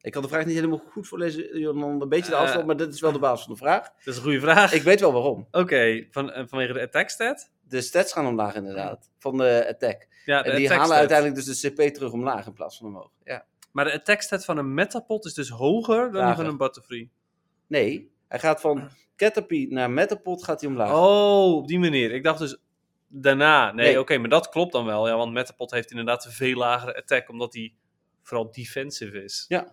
Speaker 1: Ik kan de vraag niet helemaal goed voorlezen, Jonan, een beetje de
Speaker 2: Eh.
Speaker 1: afstand, maar dit is wel de basis van de vraag.
Speaker 2: Dat is een goede vraag.
Speaker 1: Ik weet wel waarom.
Speaker 2: Oké, van, eh, vanwege de attack stat?
Speaker 1: de stats gaan omlaag inderdaad, van de attack.
Speaker 2: Ja, de
Speaker 1: En die
Speaker 2: attack
Speaker 1: halen
Speaker 2: stat.
Speaker 1: uiteindelijk dus de CP terug omlaag in plaats van omhoog. Ja.
Speaker 2: Maar de attack stat van een Metapod is dus hoger dan die
Speaker 1: Lager.
Speaker 2: van een Butterfree.
Speaker 1: Nee, hij gaat van Caterpie naar Metapod gaat hij omlaag.
Speaker 2: Oh, op die manier. Ik dacht dus daarna. Nee,
Speaker 1: Nee.
Speaker 2: oké, maar dat klopt dan wel. Ja, want Metapod heeft inderdaad een veel lagere attack, omdat hij vooral defensive is.
Speaker 1: Ja.
Speaker 2: Ja,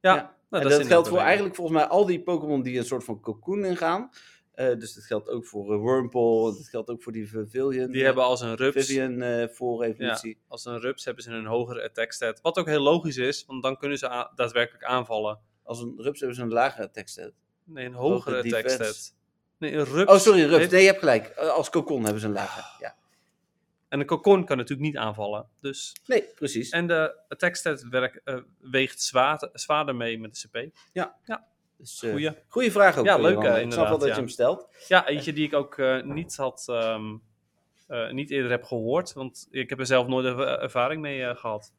Speaker 1: Ja. en
Speaker 2: nou, is
Speaker 1: dat geldt
Speaker 2: inderdaad
Speaker 1: voor
Speaker 2: een
Speaker 1: eigenlijk volgens mij al die Pokémon die een soort van cocoon ingaan. Eh, dus dat geldt ook voor eh, Wurmple, dat geldt ook voor die Vivian.
Speaker 2: reden. Die hebben als een rups,
Speaker 1: Vivian eh, voor evolutie.
Speaker 2: als een rups hebben ze een hogere attack stat. Wat ook heel logisch is, want dan kunnen ze a- daadwerkelijk aanvallen.
Speaker 1: Als een rups hebben ze een lagere tekst.
Speaker 2: Nee, een
Speaker 1: Hogere
Speaker 2: hogere attack
Speaker 1: defense.
Speaker 2: stat. Nee, een rups.
Speaker 1: Oh, sorry, rups.
Speaker 2: heeft-
Speaker 1: Nee, je hebt gelijk. Eh, Als cocon hebben ze een lagere. Ja.
Speaker 2: En een cocon kan natuurlijk niet aanvallen. Dus.
Speaker 1: Nee, precies.
Speaker 2: En de attack stat werk, eh, weegt zwaar, zwaarder mee met de CP.
Speaker 1: Dus, eh,
Speaker 2: Goeie.
Speaker 1: goeie vraag ook.
Speaker 2: Ja,
Speaker 1: eh,
Speaker 2: leuk,
Speaker 1: Johan.
Speaker 2: eh,
Speaker 1: Ik snap wel
Speaker 2: inderdaad,
Speaker 1: dat
Speaker 2: ja.
Speaker 1: je hem stelt.
Speaker 2: Ja, eentje die ik ook eh, niet had, ehm, eh, niet eerder heb gehoord, want ik heb er zelf nooit erva- ervaring mee eh, gehad.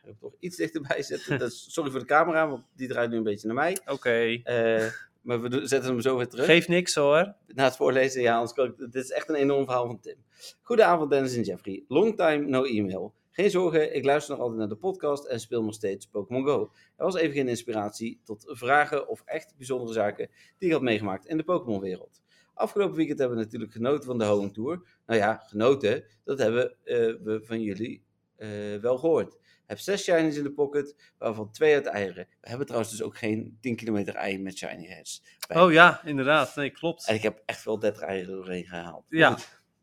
Speaker 1: Ik heb toch iets dichterbij zetten. Dat is- sorry voor de camera, want die draait nu een beetje naar mij.
Speaker 2: Oké,
Speaker 1: Eh, maar we doen- zetten hem zo weer terug.
Speaker 2: geeft niks hoor.
Speaker 1: na het voorlezen, ja, anders kan ik, dit is echt een enorm verhaal van Tim. Goedenavond Dennis en Jeffrey. Long time, no email. Geen zorgen, ik luister nog altijd naar de podcast en speel nog steeds Pokémon Go. Er was even geen inspiratie tot vragen of echt bijzondere zaken die ik had meegemaakt in de Pokémon-wereld. Afgelopen weekend hebben we natuurlijk genoten van de Home Tour. Nou ja, genoten, dat hebben eh, we van jullie eh, wel gehoord. Ik heb zes shinies in de pocket, waarvan twee uit eieren. We hebben trouwens dus ook geen 10 kilometer ei met shiny heads. bij.
Speaker 2: Oh ja, inderdaad. Nee, klopt.
Speaker 1: En ik heb echt wel 30 eieren doorheen gehaald.
Speaker 2: Ja,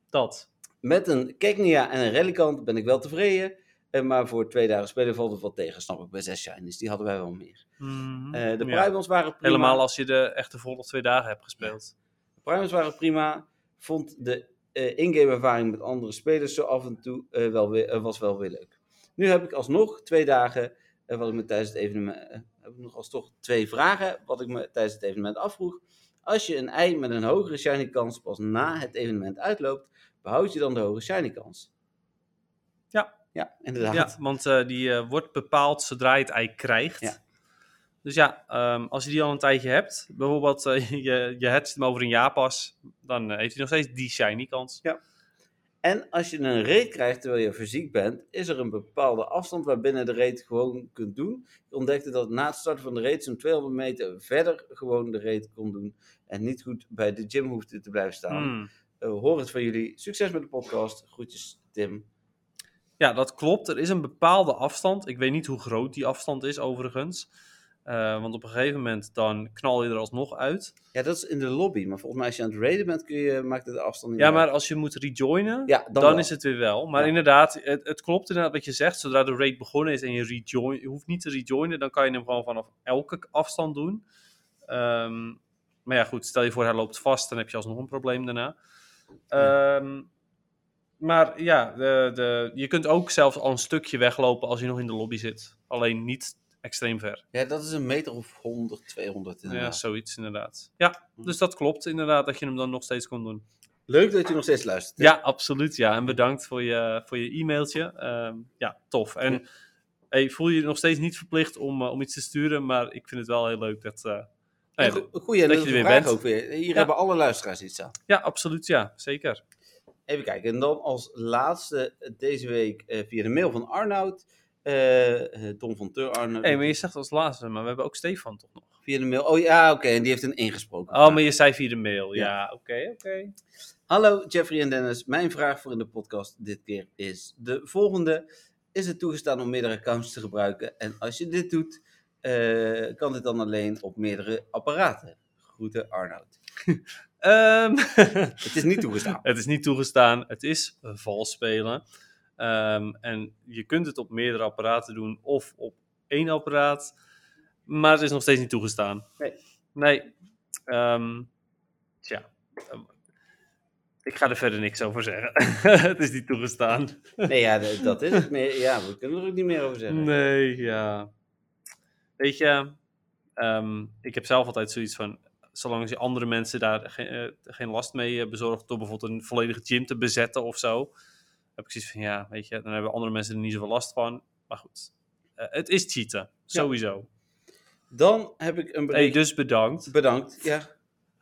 Speaker 2: dat.
Speaker 1: Met een Keknia en een Relicant ben ik wel tevreden. Eh, Maar voor twee dagen spelen valt het wat tegen, snap ik. Bij zes shinies, die hadden wij wel meer.
Speaker 2: Mhm.
Speaker 1: Eh, de
Speaker 2: Ja.
Speaker 1: Primals waren prima.
Speaker 2: Helemaal als je de echte volgende twee dagen hebt gespeeld.
Speaker 1: De Primals waren prima. Vond de eh in-game ervaring met andere spelers zo af en toe eh, wel weer, eh, was wel weer leuk. Nu heb ik alsnog twee dagen, eh, wat ik me tijdens het evenement... eh, heb ik nog als toch twee vragen, wat ik me tijdens het evenement afvroeg. Als je een ei met een hogere shiny kans pas na het evenement uitloopt, behoud je dan de hogere shiny kans?
Speaker 2: Ja.
Speaker 1: Ja,
Speaker 2: Ja,
Speaker 1: inderdaad.
Speaker 2: want eh, die eh, wordt bepaald zodra je het ei krijgt.
Speaker 1: Ja.
Speaker 2: Dus ja, ehm, als je die al een tijdje hebt, bijvoorbeeld eh, je, je hatcht hem over een jaar pas, dan eh, heeft hij nog steeds die shiny kans.
Speaker 1: En als je een raid krijgt terwijl je fysiek bent, is er een bepaalde afstand waarbinnen de raid gewoon kunt doen. Ik ontdekte dat na het starten van de raid zo'n 200 meter verder gewoon de raid kon doen. En niet goed bij de gym hoefde te blijven staan.
Speaker 2: Hmm.
Speaker 1: Eh, hoor het van jullie. Succes met de podcast. Groetjes, Tim.
Speaker 2: Ja, dat klopt. Er is een bepaalde afstand. Ik weet niet hoe groot die afstand is overigens. Eh, want op een gegeven moment dan knal je er alsnog uit.
Speaker 1: Ja, dat is in de lobby. Maar volgens mij als je aan het raiden bent, kun je, maakt het de afstand niet
Speaker 2: Ja,
Speaker 1: uit.
Speaker 2: maar als je moet rejoinen,
Speaker 1: Ja, dan,
Speaker 2: dan,
Speaker 1: wel.
Speaker 2: is het weer wel. Maar
Speaker 1: Ja.
Speaker 2: inderdaad, het, het klopt inderdaad wat je zegt. Zodra de raid begonnen is en je, rejoin, je hoeft niet te rejoinen, dan kan je hem gewoon vanaf elke afstand doen. Ehm, maar ja, goed, stel je voor hij loopt vast, dan heb je alsnog een probleem daarna. Ehm, Maar ja, de, de, je kunt ook zelfs al een stukje weglopen als je nog in de lobby zit. Alleen niet extreem ver.
Speaker 1: Ja, dat is een meter of 100, 200
Speaker 2: Ja,
Speaker 1: inderdaad.
Speaker 2: zoiets inderdaad. Ja, dus dat klopt inderdaad dat je hem dan nog steeds kon doen.
Speaker 1: Leuk dat je nog steeds luistert.
Speaker 2: Ja, absoluut. Ja, en bedankt voor je, voor je e-mailtje. Ehm, ja, tof. En hey, voel je je nog steeds niet verplicht om, eh, om iets te sturen, maar ik vind het wel heel leuk dat. eh, nou ja,
Speaker 1: En
Speaker 2: dat-
Speaker 1: go- Goeie, en
Speaker 2: dat
Speaker 1: dat
Speaker 2: je
Speaker 1: is
Speaker 2: er
Speaker 1: een
Speaker 2: weer
Speaker 1: vraag
Speaker 2: bent.
Speaker 1: ook weer. Hier
Speaker 2: Ja.
Speaker 1: hebben alle luisteraars iets aan.
Speaker 2: ja, absoluut. Ja, zeker.
Speaker 1: Even kijken. En dan als laatste eh, deze week eh, via de mail van Arnoud. eh, eh, Tom van Teur Arnoud.
Speaker 2: Hey, maar je zegt als laatste, maar we hebben ook Stefan toch nog?
Speaker 1: Via de mail. Oh ja, oké. en die heeft een ingesproken.
Speaker 2: Oh, maar je zei via de mail.
Speaker 1: Ja.
Speaker 2: Ja, oké, oké.
Speaker 1: Hallo Jeffrey en Dennis. Mijn vraag voor in de podcast dit keer is de volgende. Is het toegestaan om meerdere accounts te gebruiken? En als je dit doet, eh, kan dit dan alleen op meerdere apparaten? Groeten Arnoud.
Speaker 2: Ehm,
Speaker 1: Het is niet toegestaan.
Speaker 2: het is niet toegestaan. Het is eh, vals spelen. Ehm, en je kunt het op meerdere apparaten doen of op één apparaat. Maar het is nog steeds niet toegestaan.
Speaker 1: Nee.
Speaker 2: Nee. Ehm, tja. Ehm, Ik ga er verder niks over zeggen. het is niet toegestaan.
Speaker 1: Nee, ja, d- dat is het. Nee, ja, we kunnen er ook niet meer over zeggen.
Speaker 2: Nee, ja. Weet je, ehm, ik heb zelf altijd zoiets van. Zolang je andere mensen daar geen, eh, geen last mee eh, bezorgt. door bijvoorbeeld een volledige gym te bezetten of zo. heb ik zoiets van ja, weet je. dan hebben andere mensen er niet zoveel last van. Maar goed, eh, het is cheaten. Sowieso.
Speaker 1: Dan heb ik een
Speaker 2: Hey,
Speaker 1: bericht.
Speaker 2: dus bedankt.
Speaker 1: Bedankt. Ja,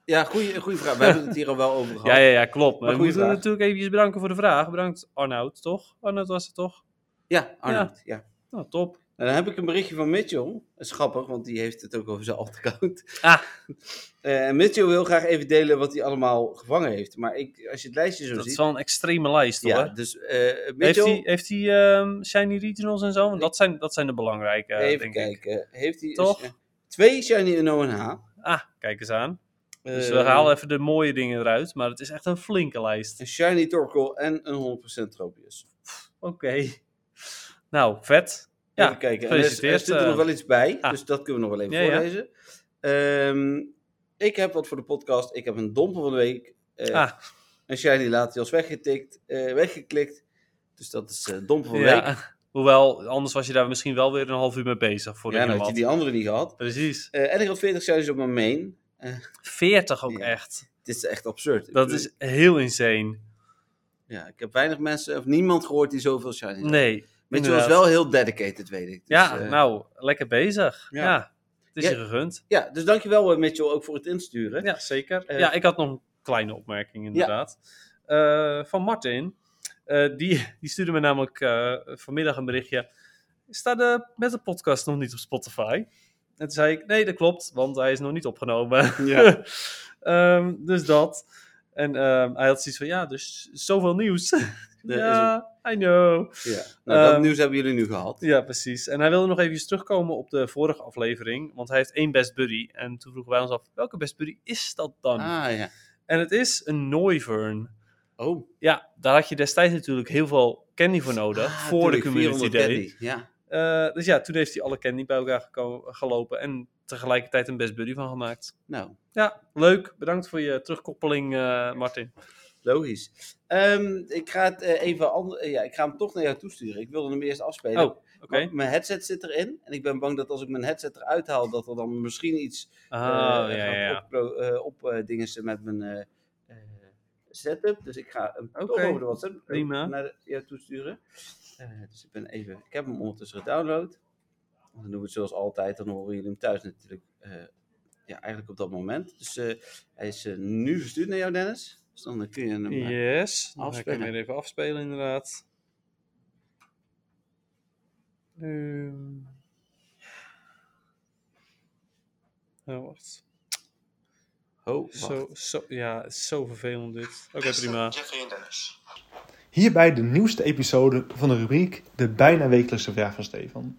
Speaker 1: ja goede vraag. We hebben het hier al wel over gehad.
Speaker 2: Ja, ja, ja, klopt. Maar eh,
Speaker 1: Maar goeie
Speaker 2: we moeten
Speaker 1: vraag.
Speaker 2: natuurlijk eventjes bedanken voor de vraag. Bedankt Arnoud, toch? Arnoud was het toch?
Speaker 1: Ja, Arnoud. Ja.
Speaker 2: Nou, top.
Speaker 1: Nou, dan heb ik een berichtje van Mitchell. Dat is grappig, want die heeft het ook over zijn alt-account.
Speaker 2: Ah.
Speaker 1: Eh, en Mitchell wil graag even delen wat hij allemaal gevangen heeft. Maar ik, als je het lijstje zo
Speaker 2: Dat is
Speaker 1: ziet...
Speaker 2: wel een extreme lijst hoor.
Speaker 1: ja, dus eh,
Speaker 2: heeft
Speaker 1: Mitchell,
Speaker 2: hij, heeft hij ehm, Shiny Regionals en zo? Want dat zijn, dat zijn de belangrijke, eh,
Speaker 1: even
Speaker 2: denk ik.
Speaker 1: kijken. Heeft hij
Speaker 2: Toch?
Speaker 1: eh, twee Shiny en ONH?
Speaker 2: Ah, kijk eens aan. Dus we
Speaker 1: Eh,
Speaker 2: halen even de mooie dingen eruit, maar het is echt een flinke lijst.
Speaker 1: Een Shiny Torkoal en een 100% Tropius.
Speaker 2: Oké. Nou, vet. Ja,
Speaker 1: even kijken. En er- er,
Speaker 2: gefeliciteerd,
Speaker 1: zit er
Speaker 2: eh.
Speaker 1: nog wel iets bij,
Speaker 2: Ah.
Speaker 1: dus dat kunnen we nog wel even
Speaker 2: Ja, ja.
Speaker 1: voorlezen. Ehm, ik heb wat voor de podcast. Ik heb een dompel van de week. eh,
Speaker 2: Ah,
Speaker 1: Een shiny Latios weggetikt, eh, weggeklikt. Dus dat is eh dompel van de week.
Speaker 2: ja. Hoewel, anders was je daar misschien wel weer een half uur mee bezig. Voor
Speaker 1: Ja, dan had je
Speaker 2: iemand.
Speaker 1: die andere niet gehad.
Speaker 2: Precies.
Speaker 1: Eh, en ik had 40 shinies op mijn main.
Speaker 2: 40 ook
Speaker 1: Ja.
Speaker 2: echt.
Speaker 1: Dit is echt absurd. Ik
Speaker 2: Dat
Speaker 1: bedoel,
Speaker 2: is heel insane.
Speaker 1: Ja, ik heb weinig mensen of niemand gehoord die zoveel shinies had.
Speaker 2: Nee.
Speaker 1: Weet je, was
Speaker 2: inderdaad.
Speaker 1: wel heel dedicated, weet ik. Dus,
Speaker 2: ja,
Speaker 1: eh,
Speaker 2: nou, lekker bezig.
Speaker 1: ja.
Speaker 2: Ja. Het is
Speaker 1: Ja.
Speaker 2: je gegund.
Speaker 1: ja, dus dankjewel eh, Mitchell ook voor het insturen.
Speaker 2: Ja, zeker.
Speaker 1: Eh,
Speaker 2: ja, ik had nog een kleine opmerking inderdaad. Eh, van Martin. Eh, die, die stuurde me namelijk eh, vanmiddag een berichtje. Staat de, met de podcast nog niet op Spotify? En toen zei ik, nee, dat klopt, want hij is nog niet opgenomen.
Speaker 1: Ja.
Speaker 2: Ehm, dus dat. En ehm, hij had zoiets van, ja, dus zoveel nieuws.
Speaker 1: Er is
Speaker 2: ja, I know.
Speaker 1: Ja. Nou, dat
Speaker 2: Ehm,
Speaker 1: nieuws hebben jullie nu gehad.
Speaker 2: Ja, precies. En hij wilde nog even terugkomen op de vorige aflevering, want hij heeft één best buddy. En toen vroegen wij ons af, welke best buddy is dat dan?
Speaker 1: Ah ja.
Speaker 2: En het is een Noivern.
Speaker 1: Oh,
Speaker 2: Ja, daar had je destijds natuurlijk heel veel candy voor nodig,
Speaker 1: Ah,
Speaker 2: voor de
Speaker 1: tuurlijk,
Speaker 2: community
Speaker 1: 400
Speaker 2: day.
Speaker 1: caddy. Ja.
Speaker 2: Eh, dus ja, toen heeft hij alle candy bij elkaar geko- gelopen en tegelijkertijd een best buddy van gemaakt.
Speaker 1: Nou,
Speaker 2: Ja, leuk. Bedankt voor je terugkoppeling, eh, Martin.
Speaker 1: logisch. Ehm, ik ga het eh, even ander- eh, ja, ik ga hem toch naar jou toesturen. Ik wilde hem eerst afspelen.
Speaker 2: Oh, oké.
Speaker 1: Want Mijn headset zit erin. En ik ben bang dat als ik mijn headset eruit haal, dat er dan misschien iets eh,
Speaker 2: Ah, ja,
Speaker 1: gaat
Speaker 2: ja, ja.
Speaker 1: oppro- eh, op, eh, dingen met mijn eh, eh, setup. Dus ik ga hem toch
Speaker 2: Oké,
Speaker 1: over de WhatsApp eh,
Speaker 2: prima.
Speaker 1: naar de- jou toesturen. Eh, dus ik ben even, ik heb hem ondertussen gedownload. Dan doen we het zoals altijd. Dan horen jullie hem thuis natuurlijk. eh, ja, eigenlijk op dat moment. Dus eh, hij is eh, nu verstuurd naar jou, Dennis. Dus dan eh, kun je hem. eh,
Speaker 2: Yes. Dan ga ik hem
Speaker 1: afspelen.
Speaker 2: weer even afspelen, inderdaad. Ehm. Oh, wacht.
Speaker 1: Oh, wacht.
Speaker 2: Zo, zo, ja, het is zo vervelend dit. Oké, prima.
Speaker 4: Jeffrey en Dennis.
Speaker 5: Hierbij de nieuwste episode van de rubriek De bijna wekelijkse vraag van Stefan.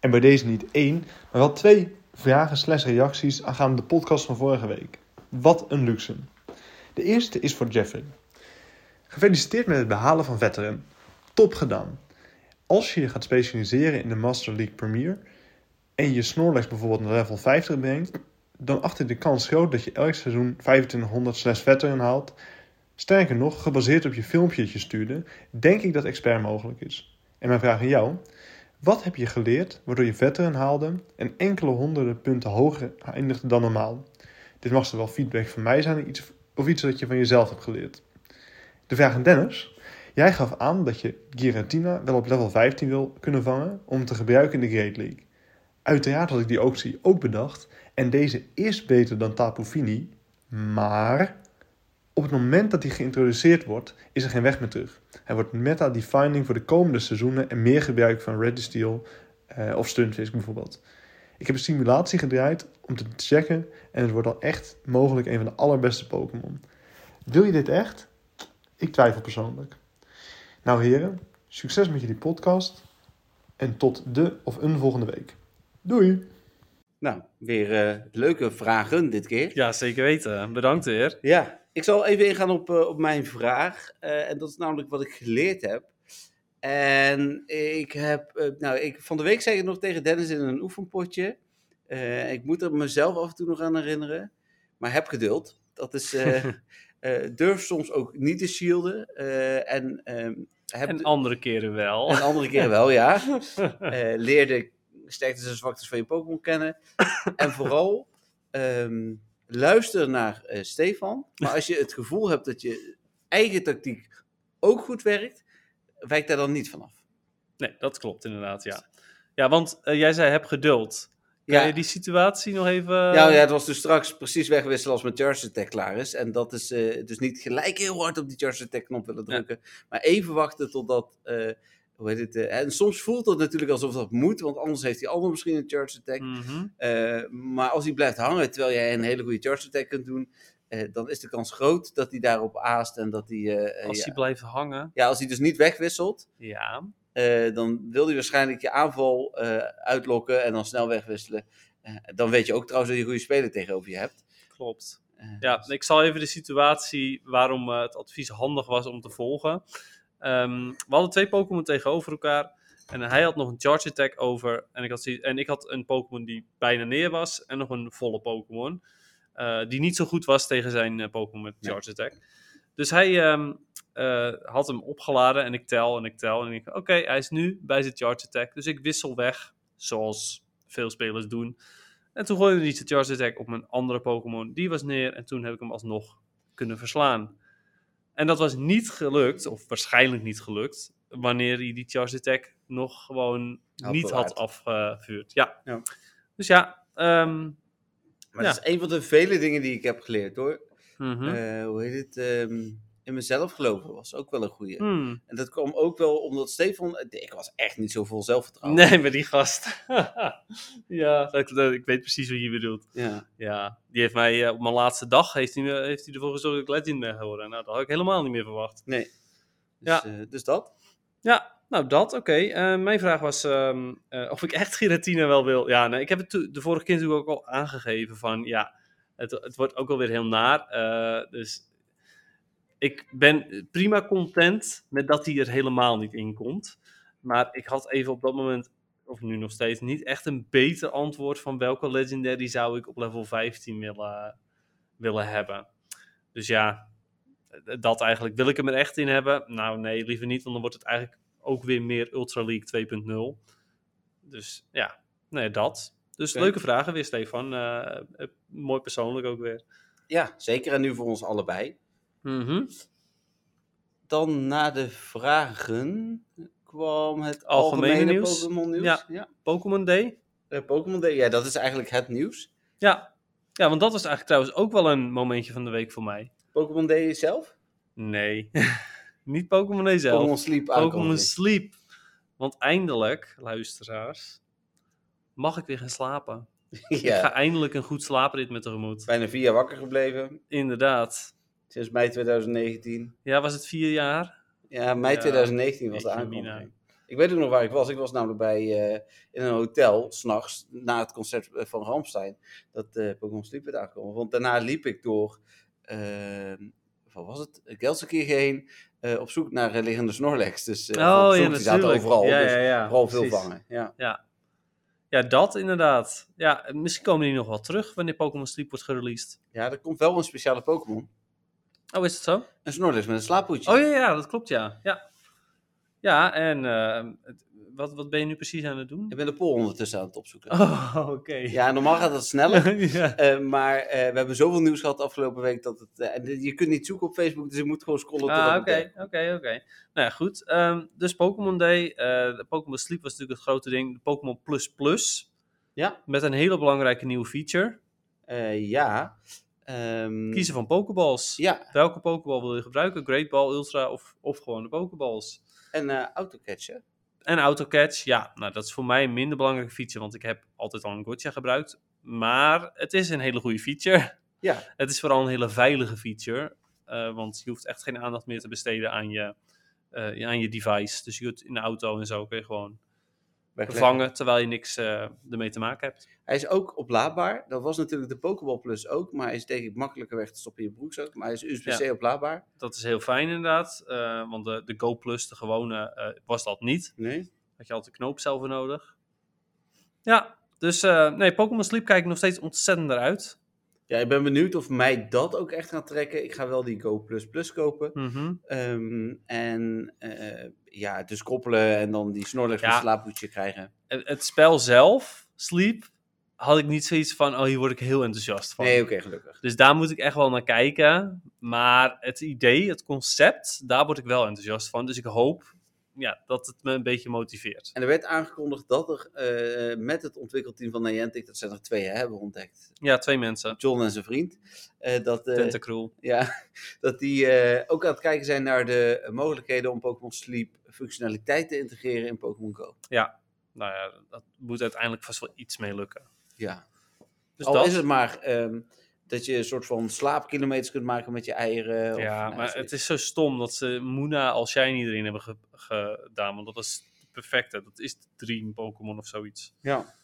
Speaker 5: En bij deze niet één, maar wel twee vragen slash reacties aangaande de podcast van vorige week. Wat een luxe. De eerste is voor Jeffrey. Gefeliciteerd met het behalen van veteran. Top gedaan. Als je je gaat specialiseren in de Master League Premier en je Snorlax bijvoorbeeld naar level 50 brengt, dan acht ik de kans groot dat je elk seizoen 2500 slash veteran haalt Sterker nog, gebaseerd op je filmpje dat je stuurde, denk ik dat expert mogelijk is. En mijn vraag aan jou: wat heb je geleerd waardoor je veteran haalde en enkele honderden punten hoger eindigde dan normaal? Dit mag zowel feedback van mij zijn iets- of iets dat je van jezelf hebt geleerd. De vraag aan Dennis: jij gaf aan dat je Giratina wel op level 15 wil kunnen vangen om te gebruiken in de Great League. Uiteraard had ik die optie ook bedacht en deze is beter dan Tapu Fini, maar. Op het moment dat hij geïntroduceerd wordt, is er geen weg meer terug. Hij wordt meta-defining voor de komende seizoenen en meer gebruik van Registeel eh of Stunfisk bijvoorbeeld. Ik heb een simulatie gedraaid om te checken en het wordt al echt mogelijk een van de allerbeste Pokémon. Wil je dit echt? Ik twijfel persoonlijk. Nou heren, succes met jullie podcast en tot de of een volgende week. Doei!
Speaker 1: Nou, weer eh, leuke vragen dit keer.
Speaker 2: Ja, zeker weten. Bedankt weer.
Speaker 1: Ja, ik zal even ingaan op, eh, op mijn vraag. Eh, en dat is namelijk wat ik geleerd heb. En ik heb, eh, nou, ik, van de week zei ik het nog tegen Dennis in een oefenpotje. Eh, ik moet er mezelf af en toe nog aan herinneren. Maar heb geduld. Dat is, eh, eh, durf soms ook niet te shielden. eh, en ehm, heb
Speaker 2: En
Speaker 1: de-
Speaker 2: andere keren wel.
Speaker 1: en andere keer wel, ja. Eh, leer de sterktes en zwaktes van je Pokémon kennen. en vooral ehm, luister naar eh, Stefan. Maar als je het gevoel hebt dat je eigen tactiek ook goed werkt, wijk daar dan niet vanaf.
Speaker 2: Nee, dat klopt inderdaad, ja. Ja, want eh, jij zei heb geduld. Kan
Speaker 1: Ja,
Speaker 2: je die eh, situatie nog even...
Speaker 1: ja, ja, het was dus straks precies wegwisselen als mijn charge attack klaar is. En dat is eh, dus niet gelijk heel hard op die charge attack knop willen
Speaker 2: Ja.
Speaker 1: drukken. Maar even wachten totdat eh, hoe heet het, eh, en soms voelt dat natuurlijk alsof dat moet, want anders heeft die ander misschien een charge attack.
Speaker 2: Mhm.
Speaker 1: Eh, maar als hij blijft hangen terwijl jij een hele goede charge attack kunt doen, eh, dan is de kans groot dat hij daarop aast en dat hij. eh, eh,
Speaker 2: Als
Speaker 1: ja.
Speaker 2: hij blijft hangen,
Speaker 1: ja, als hij dus niet wegwisselt,
Speaker 2: ja.
Speaker 1: eh, dan wil hij waarschijnlijk je aanval eh, uitlokken en dan snel wegwisselen. Eh, dan weet je ook trouwens dat je een goede speler tegenover je hebt.
Speaker 2: Klopt.
Speaker 1: Eh,
Speaker 2: Ja, ik zal even de situatie waarom eh, het advies handig was om te volgen. Ehm, we hadden twee Pokémon tegenover elkaar. En hij had nog een Charge Attack over. En ik had, zoiets- en ik had een Pokémon die bijna neer was. En nog een volle Pokémon. eh, die niet zo goed was tegen zijn eh, Pokémon met
Speaker 1: Nee.
Speaker 2: Charge Attack. Dus hij ehm, eh, had hem opgeladen. En ik tel en ik tel. En ik denk, oké, hij is nu bij zijn Charge Attack. Dus ik wissel weg. Zoals veel spelers doen. En toen gooide hij de Charge Attack op mijn andere Pokémon. Die was neer en toen heb ik hem alsnog kunnen verslaan. En dat was niet gelukt, of waarschijnlijk niet gelukt, wanneer hij die Charge Attack nog gewoon
Speaker 1: Had
Speaker 2: niet
Speaker 1: bewaard.
Speaker 2: had afgevuurd. Ja.
Speaker 1: Ja.
Speaker 2: Dus ja, ehm,
Speaker 1: Maar
Speaker 2: Ja.
Speaker 1: dat is een van de vele dingen die ik heb geleerd hoor.
Speaker 2: mhm.
Speaker 1: Eh, hoe heet het? ehm, in mezelf geloven was ook wel een goede.
Speaker 2: Hmm.
Speaker 1: En dat kwam ook wel omdat Stefan. Ik was echt niet zo vol zelfvertrouwen.
Speaker 2: Nee, maar die gast. ja, dat, dat- ik weet precies wat je bedoelt.
Speaker 1: Ja.
Speaker 2: Ja, die heeft mij eh, op mijn laatste dag heeft hij, me- heeft hij ervoor gezorgd dat ik Legend ben geworden. Nou, dat had ik helemaal niet meer verwacht.
Speaker 1: Dus,
Speaker 2: Ja.
Speaker 1: eh, dus dat.
Speaker 2: Ja, nou dat, oké. Eh, mijn vraag was ehm, eh, of ik echt Giratina wel wil. Ja, nee, ik heb het to- de vorige keer natuurlijk ook al aangegeven van, ja, het, het wordt ook alweer heel naar. eh, dus ik ben prima content met dat hij er helemaal niet in komt. Maar ik had even op dat moment, of nu nog steeds, niet echt een beter antwoord van welke Legendary zou ik op level 15 willen, willen hebben. Dus ja, eh, dat eigenlijk. Wil ik hem er echt in hebben? Nou nee, liever niet, want dan wordt het eigenlijk ook weer meer Ultra League 2.0. Dus ja, nee, dat. Dus
Speaker 1: Oké.
Speaker 2: leuke vragen weer, Stefan. Eh, eh, mooi persoonlijk ook weer.
Speaker 1: Ja, zeker. En nu voor ons allebei. Mhm. Dan na de vragen kwam het
Speaker 2: Algemene
Speaker 1: algemene,
Speaker 2: nieuws.
Speaker 1: Pokémon nieuws.
Speaker 2: Ja.
Speaker 1: Ja.
Speaker 2: Pokémon Day.
Speaker 1: Eh, Pokémon Day, ja, dat is eigenlijk het nieuws.
Speaker 2: Ja. ja, want dat was eigenlijk trouwens ook wel een momentje van de week voor mij.
Speaker 1: Pokémon Day zelf?
Speaker 2: Nee, niet Pokémon Day zelf.
Speaker 1: Pokémon Sleep
Speaker 2: Pokémon
Speaker 1: aankondiging.
Speaker 2: Sleep. Want eindelijk, luisteraars, mag ik weer gaan slapen. Ik ga
Speaker 1: ja,
Speaker 2: eindelijk een goed slaapritme tegemoet.
Speaker 1: bijna vier jaar wakker gebleven.
Speaker 2: Inderdaad.
Speaker 1: Sinds mei 2019.
Speaker 2: Ja, was het vier jaar?
Speaker 1: Ja, mei
Speaker 2: Ja,
Speaker 1: 2019 was de
Speaker 2: jeetje,
Speaker 1: aankondiging.
Speaker 2: mina.
Speaker 1: Ik weet ook nog waar ik was. Ik was namelijk bij, eh, in een hotel, s'nachts, na het concert eh, van Ramstein, dat eh, Pokémon Sleep werd aangekomen. Want daarna liep ik door, eh, wat was het, Gelsenkirchen heen, eh, op zoek naar eh, liggende Snorlax. Dus eh, op
Speaker 2: oh
Speaker 1: zoek,
Speaker 2: ja,
Speaker 1: die zaten
Speaker 2: natuurlijk.
Speaker 1: overal,
Speaker 2: ja,
Speaker 1: dus
Speaker 2: ja, ja,
Speaker 1: vooral veel
Speaker 2: precies.
Speaker 1: vangen. Ja.
Speaker 2: Ja, dat inderdaad. Ja, misschien komen die nog wel terug wanneer Pokémon Sleep wordt gereleased.
Speaker 1: ja, er komt wel een speciale Pokémon.
Speaker 2: Oh, is dat zo?
Speaker 1: Een Snorlax met een slaaphoedje.
Speaker 2: Oh ja, ja, dat klopt, ja. Ja, ja en eh, het- wat, wat ben je nu precies aan het doen?
Speaker 1: Ik ben de pool ondertussen aan het opzoeken.
Speaker 2: Oh, oké.
Speaker 1: Ja, normaal gaat dat sneller.
Speaker 2: Ja.
Speaker 1: eh, maar eh, we hebben zoveel nieuws gehad de afgelopen week dat het. eh, en je kunt niet zoeken op Facebook, dus je moet gewoon scrollen. tot
Speaker 2: Ah,
Speaker 1: het
Speaker 2: oké, oké, oké. Nou ja, goed. Ehm, dus Pokémon Day, eh, de Pokémon Sleep was natuurlijk het grote ding. De Pokémon Plus Plus.
Speaker 1: Ja.
Speaker 2: Met een hele belangrijke nieuwe feature.
Speaker 1: Eh, ja. Ehm,
Speaker 2: Kiezen van Pokéballs.
Speaker 1: Ja,
Speaker 2: Welke Pokéball wil je gebruiken? Great Ball, Ultra of, of gewoon de Pokéballs?
Speaker 1: en eh autocatchen.
Speaker 2: En autocatch, ja, nou, dat is voor mij een minder belangrijke feature, want ik heb altijd al een Gotcha gebruikt. Maar het is een hele goede feature.
Speaker 1: Ja.
Speaker 2: Het is vooral een hele veilige feature, eh, want je hoeft echt geen aandacht meer te besteden aan je, eh, aan je device. Dus je kunt in de auto en zo kun je gewoon
Speaker 1: wegleggen.
Speaker 2: vervangen, terwijl je niks eh, ermee te maken hebt.
Speaker 1: Hij is ook oplaadbaar. Dat was natuurlijk de Pokéball Plus ook, maar hij is denk ik makkelijker weg te stoppen in je broekzak. Maar hij is USB-C oplaadbaar.
Speaker 2: Dat is heel fijn inderdaad, eh, want de, de Go Plus, de gewone, eh, was dat niet.
Speaker 1: Nee.
Speaker 2: Had je altijd een knoop zelf voor nodig. Ja, dus eh, nee, Pokémon Sleep kijk ik nog steeds ontzettend naar uit.
Speaker 1: Ja, ik ben benieuwd of mij dat ook echt gaat trekken. Ik ga wel die Go Plus Plus kopen.
Speaker 2: Mhm.
Speaker 1: Ehm, en eh, ja, dus koppelen en dan die Snorlax
Speaker 2: Ja.
Speaker 1: met slaaphoedje krijgen.
Speaker 2: het het spel zelf, Sleep, had ik niet zoiets van, oh, hier word ik heel enthousiast van.
Speaker 1: Nee, oké, gelukkig.
Speaker 2: Dus daar moet ik echt wel naar kijken. Maar het idee, het concept, daar word ik wel enthousiast van. Dus ik hoop ja, dat het me een beetje motiveert.
Speaker 1: En er werd aangekondigd dat er eh, met het ontwikkelteam van Niantic, dat zijn er twee hè, hebben ontdekt,
Speaker 2: Ja, twee mensen.
Speaker 1: John en zijn vriend, eh, dat, eh,
Speaker 2: Tentacruel.
Speaker 1: ja, dat die eh, ook aan het kijken zijn naar de mogelijkheden om Pokémon Sleep functionaliteit te integreren in Pokémon Go.
Speaker 2: Ja, nou ja, dat moet uiteindelijk vast wel iets mee lukken.
Speaker 1: Ja.
Speaker 2: Dus
Speaker 1: Al
Speaker 2: dat,
Speaker 1: is het maar ehm, dat je een soort van slaapkilometers kunt maken met je eieren.
Speaker 2: ja,
Speaker 1: of, nou,
Speaker 2: maar het is zo stom dat ze Moona als jij niet erin hebben ge- gedaan, want dat is de perfecte. Dat is de dream Pokémon of zoiets.
Speaker 1: Ja.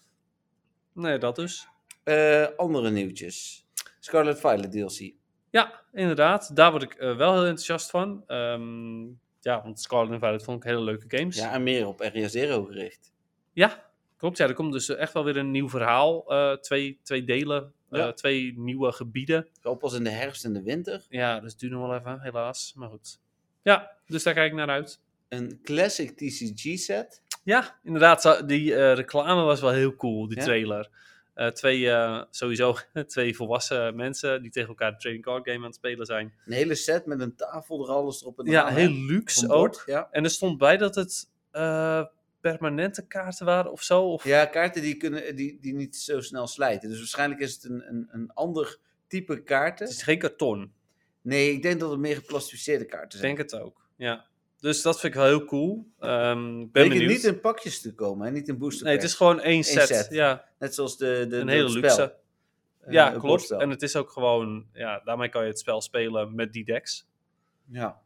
Speaker 2: Nee, dat dus.
Speaker 1: Eh, andere nieuwtjes. Scarlet Violet DLC.
Speaker 2: Ja, inderdaad. Daar word ik eh, wel heel enthousiast van. Ehm, ja, want Scarlet and Violet vond ik hele leuke games.
Speaker 1: Ja, en meer op RIA Zero gericht.
Speaker 2: Ja, klopt. Ja, er komt dus echt wel weer een nieuw verhaal. eh, twee, twee delen, eh,
Speaker 1: Ja.
Speaker 2: twee nieuwe gebieden.
Speaker 1: Wel pas in de herfst en de winter.
Speaker 2: Ja, dus het duurt nog wel even, helaas. Maar goed. Ja, dus daar kijk ik naar uit.
Speaker 1: Een classic TCG set.
Speaker 2: Ja, inderdaad. zo- Die eh, reclame was wel heel cool, die
Speaker 1: Ja?
Speaker 2: trailer. Eh, twee, eh, sowieso twee volwassen mensen die tegen elkaar de trading card game aan het spelen zijn.
Speaker 1: Een hele set met een tafel er alles erop en
Speaker 2: ja,
Speaker 1: eraan, hè?
Speaker 2: heel
Speaker 1: Op
Speaker 2: luxe
Speaker 1: een
Speaker 2: ook.
Speaker 1: bord, Ja.
Speaker 2: En er stond bij dat het eh, permanente kaarten waren of zo. Of...
Speaker 1: ja, kaarten die, kunnen, die, die niet zo snel slijten. Dus waarschijnlijk is het een, een, een ander type
Speaker 2: Het
Speaker 1: kaarten.
Speaker 2: is geen karton.
Speaker 1: Nee, ik denk dat het meer geplastificeerde kaarten
Speaker 2: Ik
Speaker 1: zijn.
Speaker 2: denk het ook. Ja. Dus dat vind ik wel heel cool. Ehm, ik ben
Speaker 1: Zeker
Speaker 2: benieuwd.
Speaker 1: niet in pakjes te komen, hè? niet in booster
Speaker 2: Nee, het
Speaker 1: packs.
Speaker 2: is gewoon één set.
Speaker 1: set.
Speaker 2: Ja,
Speaker 1: Net zoals de, de,
Speaker 2: een
Speaker 1: de-
Speaker 2: hele
Speaker 1: het
Speaker 2: luxe.
Speaker 1: spel. Eh,
Speaker 2: ja,
Speaker 1: het
Speaker 2: klopt.
Speaker 1: bordspel.
Speaker 2: En het is ook gewoon, ja, daarmee kan je het spel spelen met die decks.
Speaker 1: Ja.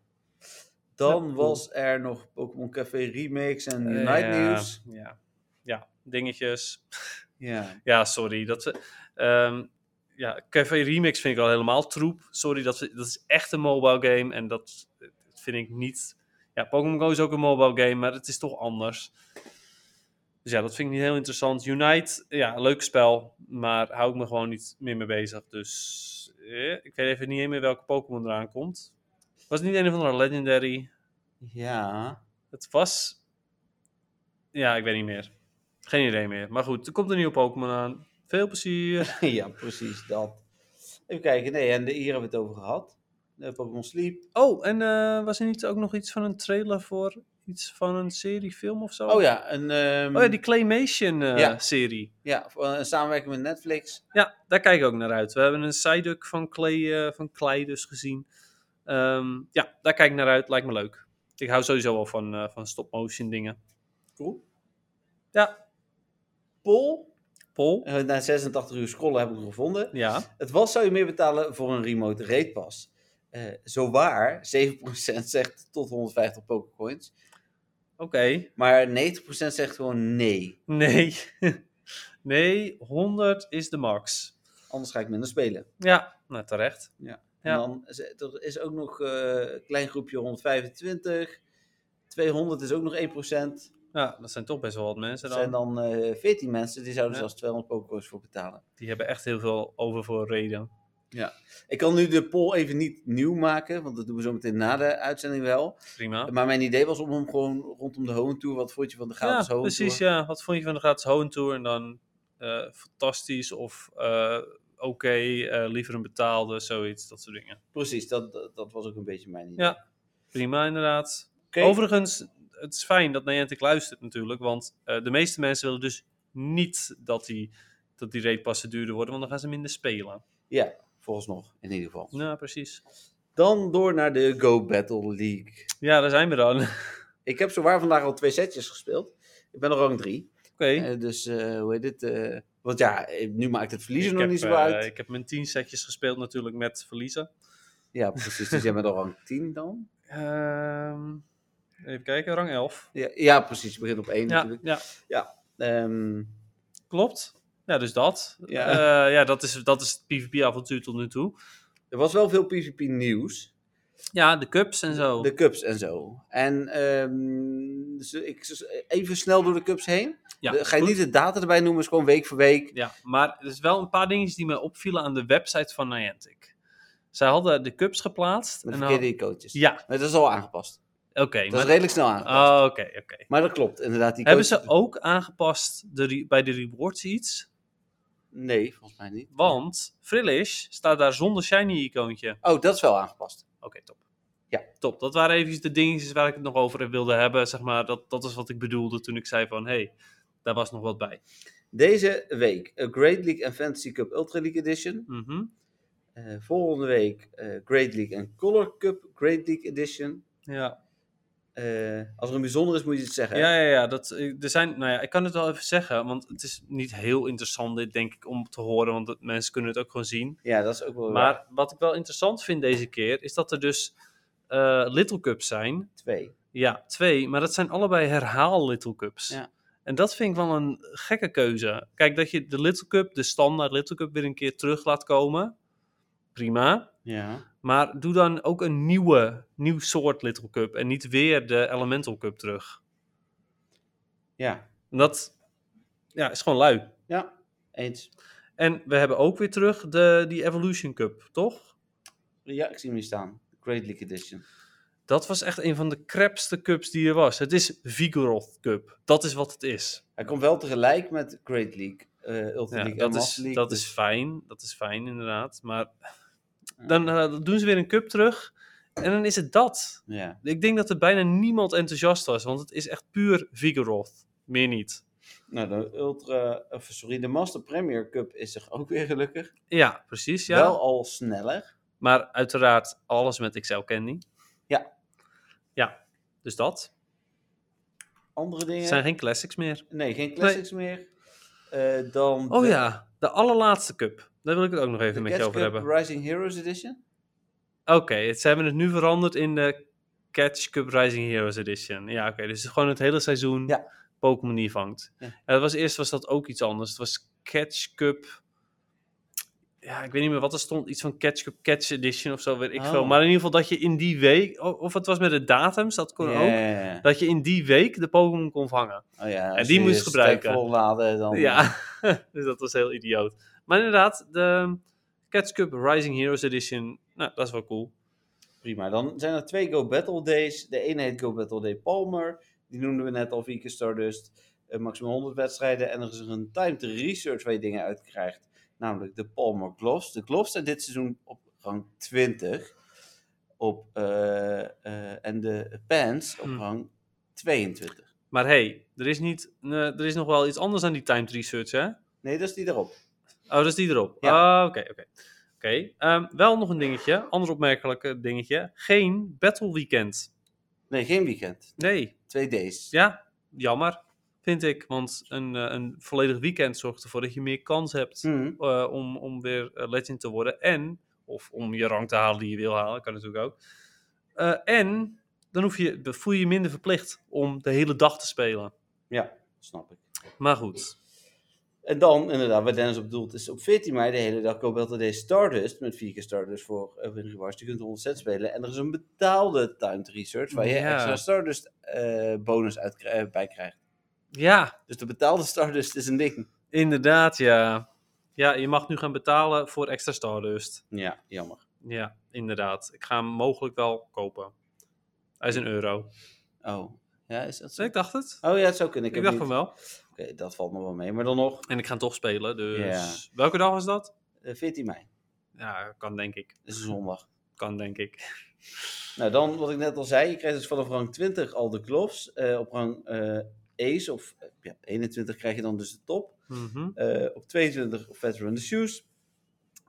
Speaker 1: Dan
Speaker 2: Ja, cool.
Speaker 1: was er nog Pokémon Café Remix en
Speaker 2: Eh,
Speaker 1: Unite
Speaker 2: ja,
Speaker 1: News.
Speaker 2: Ja. ja, dingetjes.
Speaker 1: Ja.
Speaker 2: Ja, sorry. Dat, we- ehm ja, Café Remix vind ik al helemaal troep. Sorry, dat, we- dat is echt een mobile game. En dat vind ik niet... Ja, Pokémon Go is ook een mobile game, maar het is toch anders. Dus ja, dat vind ik niet heel interessant. Unite, ja, leuk spel. Maar hou ik me gewoon niet meer mee bezig. Dus eh, ik weet even niet meer welke Pokémon eraan komt. Was het niet een of andere Legendary?
Speaker 1: ja.
Speaker 2: Het was... Ja, ik weet niet meer. Geen idee meer. Maar goed, er komt een nieuwe Pokémon aan. Veel plezier.
Speaker 1: Ja, precies dat. Even kijken, nee, en de, hier hebben we het over gehad. Eh, Pokémon Sleep.
Speaker 2: Oh, en eh, was er niet ook nog iets van een trailer voor iets van een serie, film of zo?
Speaker 1: Oh ja, een, ehm,
Speaker 2: Oh ja, die Claymation-serie.
Speaker 1: Ja.
Speaker 2: Ja. serie.
Speaker 1: ja, voor- eh, een samenwerking met Netflix.
Speaker 2: ja, daar kijk ik ook naar uit. We hebben een Psyduck van Clay, eh, van Clay dus gezien. Ehm, ja, daar kijk ik naar uit. Lijkt me leuk. Ik hou sowieso al van, eh, van stop-motion dingen.
Speaker 1: Cool.
Speaker 2: Ja,
Speaker 1: Pol,
Speaker 2: Paul?
Speaker 1: eh, na 86 uur scrollen heb ik hem gevonden.
Speaker 2: Ja.
Speaker 1: Het was zou je meer betalen voor een remote rate pas. Eh zo waar, 7% zegt tot 150 Pokécoins.
Speaker 2: Oké.
Speaker 1: Maar 90% zegt gewoon nee.
Speaker 2: Nee. nee, 100 is de max.
Speaker 1: Anders ga ik minder spelen.
Speaker 2: Ja, nou terecht.
Speaker 1: En
Speaker 2: Ja.
Speaker 1: dan is, er is ook nog eh, een klein groepje 125. 200 is ook nog 1%.
Speaker 2: Ja, dat zijn toch best wel wat mensen
Speaker 1: Dat
Speaker 2: dan.
Speaker 1: zijn dan eh 14 mensen. Die zouden
Speaker 2: Ja.
Speaker 1: zelfs 200 pokécoins voor betalen.
Speaker 2: Die hebben echt heel veel over voor reden.
Speaker 1: Ik kan nu de poll even niet nieuw maken. Want dat doen we zo meteen na de uitzending wel.
Speaker 2: Prima.
Speaker 1: Maar mijn idee was om hem gewoon rondom de Home Tour. Wat vond je van de gratis
Speaker 2: ja,
Speaker 1: Home
Speaker 2: precies.
Speaker 1: Tour?
Speaker 2: Ja. Wat vond je van de gratis Hoenn Tour? En dan eh, fantastisch of eh, oké, eh, liever een betaalde, zoiets, dat soort dingen.
Speaker 1: Precies, dat, dat, dat was ook een beetje mijn idee.
Speaker 2: Ja. Prima, inderdaad.
Speaker 1: Oké.
Speaker 2: Overigens, het is fijn dat Niantic luistert natuurlijk, want eh, de meeste mensen willen dus niet dat die, dat die ratepassen duurder worden, want dan gaan ze minder spelen.
Speaker 1: ja, vooralsnog in ieder geval.
Speaker 2: Nou, precies.
Speaker 1: Dan door naar de Go Battle League.
Speaker 2: Ja, daar zijn we dan. Oké.
Speaker 1: Ik heb zowaar vandaag al twee setjes gespeeld. Ik ben er rang drie. Eh, dus eh, hoe heet dit? eh, want ja, eh, nu maakt het verliezen
Speaker 2: Ik
Speaker 1: nog
Speaker 2: heb,
Speaker 1: niet zo
Speaker 2: eh,
Speaker 1: uit.
Speaker 2: ik heb mijn tien setjes gespeeld natuurlijk met verliezen.
Speaker 1: Ja, precies. Dus jij bent al rang 10 dan?
Speaker 2: Ehm, even kijken, rang 11.
Speaker 1: Ja, ja precies. Je begint op 1
Speaker 2: Ja,
Speaker 1: natuurlijk.
Speaker 2: ja,
Speaker 1: Ehm,
Speaker 2: klopt. Ja, dus dat.
Speaker 1: Ja.
Speaker 2: Ja, ja dat, is, dat is het PvP-avontuur tot nu toe.
Speaker 1: er was wel veel PvP-nieuws.
Speaker 2: Ja, de cups en zo.
Speaker 1: De cups en zo. En ehm, dus ik, dus even snel door de cups heen.
Speaker 2: ja,
Speaker 1: De- ga je
Speaker 2: goed.
Speaker 1: niet de data erbij noemen, is gewoon week voor week.
Speaker 2: Ja, maar er is wel een paar dingetjes die mij opvielen aan de website van Niantic. Zij hadden de cups geplaatst.
Speaker 1: Met
Speaker 2: en
Speaker 1: verkeerde
Speaker 2: dan-
Speaker 1: coaches.
Speaker 2: Ja,
Speaker 1: Maar dat is al aangepast.
Speaker 2: oké.
Speaker 1: Dat is
Speaker 2: maar-
Speaker 1: redelijk snel aangepast.
Speaker 2: Oh, Oké, oké.
Speaker 1: Maar dat klopt, inderdaad. Die
Speaker 2: Hebben
Speaker 1: coaches-
Speaker 2: ze ook aangepast de re- bij de rewards iets?
Speaker 1: Nee, volgens mij niet.
Speaker 2: Want Frillish staat daar zonder shiny-icoontje.
Speaker 1: Oh, dat is wel aangepast.
Speaker 2: Oké, top.
Speaker 1: Ja.
Speaker 2: Top. Dat waren even de dingetjes waar ik het nog over wilde hebben. Zeg maar, dat, dat is wat ik bedoelde toen ik zei van... hé, hey, daar was nog wat bij.
Speaker 1: Deze week eh, Great League en Fantasy Cup Ultra League Edition.
Speaker 2: Mhm.
Speaker 1: Eh, volgende week eh, Great League en Color Cup Great League Edition.
Speaker 2: Ja.
Speaker 1: eh, als er een bijzonder is, moet je het zeggen.
Speaker 2: Ja, ja, ja. Dat, eh, er zijn, nou ja, ik kan het wel even zeggen, want het is niet heel interessant dit, denk ik, om te horen, want het- mensen kunnen het ook gewoon zien.
Speaker 1: Oh, Ja, dat is ook wel waar.
Speaker 2: Maar wat ik wel interessant vind deze keer, is dat er dus eh, Little Cups zijn.
Speaker 1: Twee.
Speaker 2: Ja, twee, maar dat zijn allebei herhaal Little Cups.
Speaker 1: Ja.
Speaker 2: En dat vind ik wel een gekke keuze. Kijk, dat je de Little Cup, de standaard Little Cup, weer een keer terug laat komen, prima.
Speaker 1: Ja.
Speaker 2: Maar doe dan ook een nieuwe, nieuw soort Little Cup en niet weer de Elemental Cup terug.
Speaker 1: Ja.
Speaker 2: En dat ja, is gewoon lui.
Speaker 1: Ja. Eens.
Speaker 2: En we hebben ook weer terug de, die Evolution Cup, toch?
Speaker 1: Ja, ik zie hem hier staan. Great League Edition.
Speaker 2: Dat was echt een van de crapste cups die er was. Het is Vigoroth Cup. Dat is wat het is.
Speaker 1: Hij komt wel tegelijk met Great League, eh Ultimate
Speaker 2: Ja,
Speaker 1: League en
Speaker 2: dat is,
Speaker 1: Master League. dus-
Speaker 2: dat is fijn. Dat is fijn, inderdaad. Maar dan eh, doen ze weer een cup terug. En dan is het dat.
Speaker 1: Ja.
Speaker 2: Ik denk dat er bijna niemand enthousiast was. Want het is echt puur Vigoroth. Meer niet.
Speaker 1: Nou, de Ultra, eh, of sorry, de Master Premier Cup is er ook weer gelukkig.
Speaker 2: Ja, precies. Ja.
Speaker 1: Wel al sneller.
Speaker 2: Maar uiteraard alles met Excel Candy.
Speaker 1: Ja.
Speaker 2: Ja, dus dat.
Speaker 1: Andere dingen?
Speaker 2: Er zijn geen classics meer.
Speaker 1: Nee, geen classics meer. Eh, dan
Speaker 2: Oh
Speaker 1: de-
Speaker 2: ja, de allerlaatste cup. Daar wil ik het ook nog
Speaker 1: de
Speaker 2: even met
Speaker 1: Cats
Speaker 2: je over
Speaker 1: Cup
Speaker 2: hebben.
Speaker 1: Rising Heroes Edition.
Speaker 2: Oké, het- ze hebben het nu veranderd in de Catch Cup Rising Heroes Edition. Ja, oké, dus het is gewoon het hele seizoen
Speaker 1: Ja.
Speaker 2: Pokémon die je vangt.
Speaker 1: Ja.
Speaker 2: Ja. dat was, eerst was dat ook iets anders. Het was Catch Cup... Ja, ik weet niet meer wat er stond. Iets van Catch Cup Catch Edition of zo, weet ik
Speaker 1: Oh.
Speaker 2: veel. Maar in ieder geval dat je in die week... o- Of het was met de datums, dat kon ook.
Speaker 1: Ja.
Speaker 2: Dat je in die week de Pokémon kon vangen.
Speaker 1: Oh ja, als
Speaker 2: En die
Speaker 1: je
Speaker 2: moest
Speaker 1: je stack
Speaker 2: gebruiken.
Speaker 1: volladen, dan...
Speaker 2: Ja, dus dat was heel idioot. Maar inderdaad, de Cats Cup Rising Heroes Edition, nou, dat is wel cool.
Speaker 1: Prima. Dan zijn er twee Go Battle Days. De ene heet Go Battle Day Palmer. Die noemden we net al vier keer Stardust. Eh, maximaal 100 wedstrijden. En er is een timed research waar je dingen uit krijgt. Namelijk de Palmer Gloves. De Gloves zijn dit seizoen op rang 20. Op, eh, eh, en de Pants op
Speaker 2: Hm.
Speaker 1: rang 22.
Speaker 2: Maar hey, er is, niet, eh, er is nog wel iets anders aan die timed research, hè?
Speaker 1: Nee, dat is die daarop.
Speaker 2: Oh, dat is die erop.
Speaker 1: Ja.
Speaker 2: Ah, Oké, oké. Oké, ehm, wel nog een dingetje, ander opmerkelijk dingetje. Geen Battle Weekend.
Speaker 1: Nee, geen weekend.
Speaker 2: Nee,
Speaker 1: Twee days.
Speaker 2: ja, jammer, vind ik. Want een, eh, een volledig weekend zorgt ervoor dat je meer kans hebt
Speaker 1: Hm.
Speaker 2: eh, om, om weer eh, legend te worden. En, of om je rang te halen die je wil halen, kan natuurlijk ook. Eh, en, dan hoef je, dan voel je je minder verplicht om de hele dag te spelen.
Speaker 1: Ja, snap ik.
Speaker 2: Maar goed,
Speaker 1: En dan, inderdaad, waar Dennis op doelt, is op 14 mei de hele dag Cobalt Day Stardust. Met vier keer Stardust voor eh, Win Rewards. Je kunt 100 cent spelen. En er is een betaalde timed research waar je
Speaker 2: Ja.
Speaker 1: extra Stardust eh, bonus uit, kri- eh, bij krijgt.
Speaker 2: ja,
Speaker 1: Dus de betaalde Stardust is een ding.
Speaker 2: inderdaad, ja. Ja, je mag nu gaan betalen voor extra Stardust.
Speaker 1: Ja, jammer.
Speaker 2: Ja, inderdaad. Ik ga hem mogelijk wel kopen. Hij is een euro. Dus
Speaker 1: Oh, ja, is dat zo?
Speaker 2: Ik dacht het.
Speaker 1: Oh ja, het zou kunnen.
Speaker 2: Ik,
Speaker 1: Ik, heb
Speaker 2: dacht
Speaker 1: niet-
Speaker 2: van wel.
Speaker 1: Oké, dat valt nog wel mee. Maar dan nog,
Speaker 2: En ik ga hem toch spelen, dus... Welke dag was dat?
Speaker 1: eh, 14 mei.
Speaker 2: Ja, kan denk ik.
Speaker 1: Dat is een zondag.
Speaker 2: Kan denk ik.
Speaker 1: Nou, dan wat ik net al zei. Je krijgt dus vanaf rang 20 al de gloves. Eh, op rang eh Ace of eh, ja, 21 krijg je dan dus de top.
Speaker 2: Mhm.
Speaker 1: Eh, op 22 Veteran de Shoes.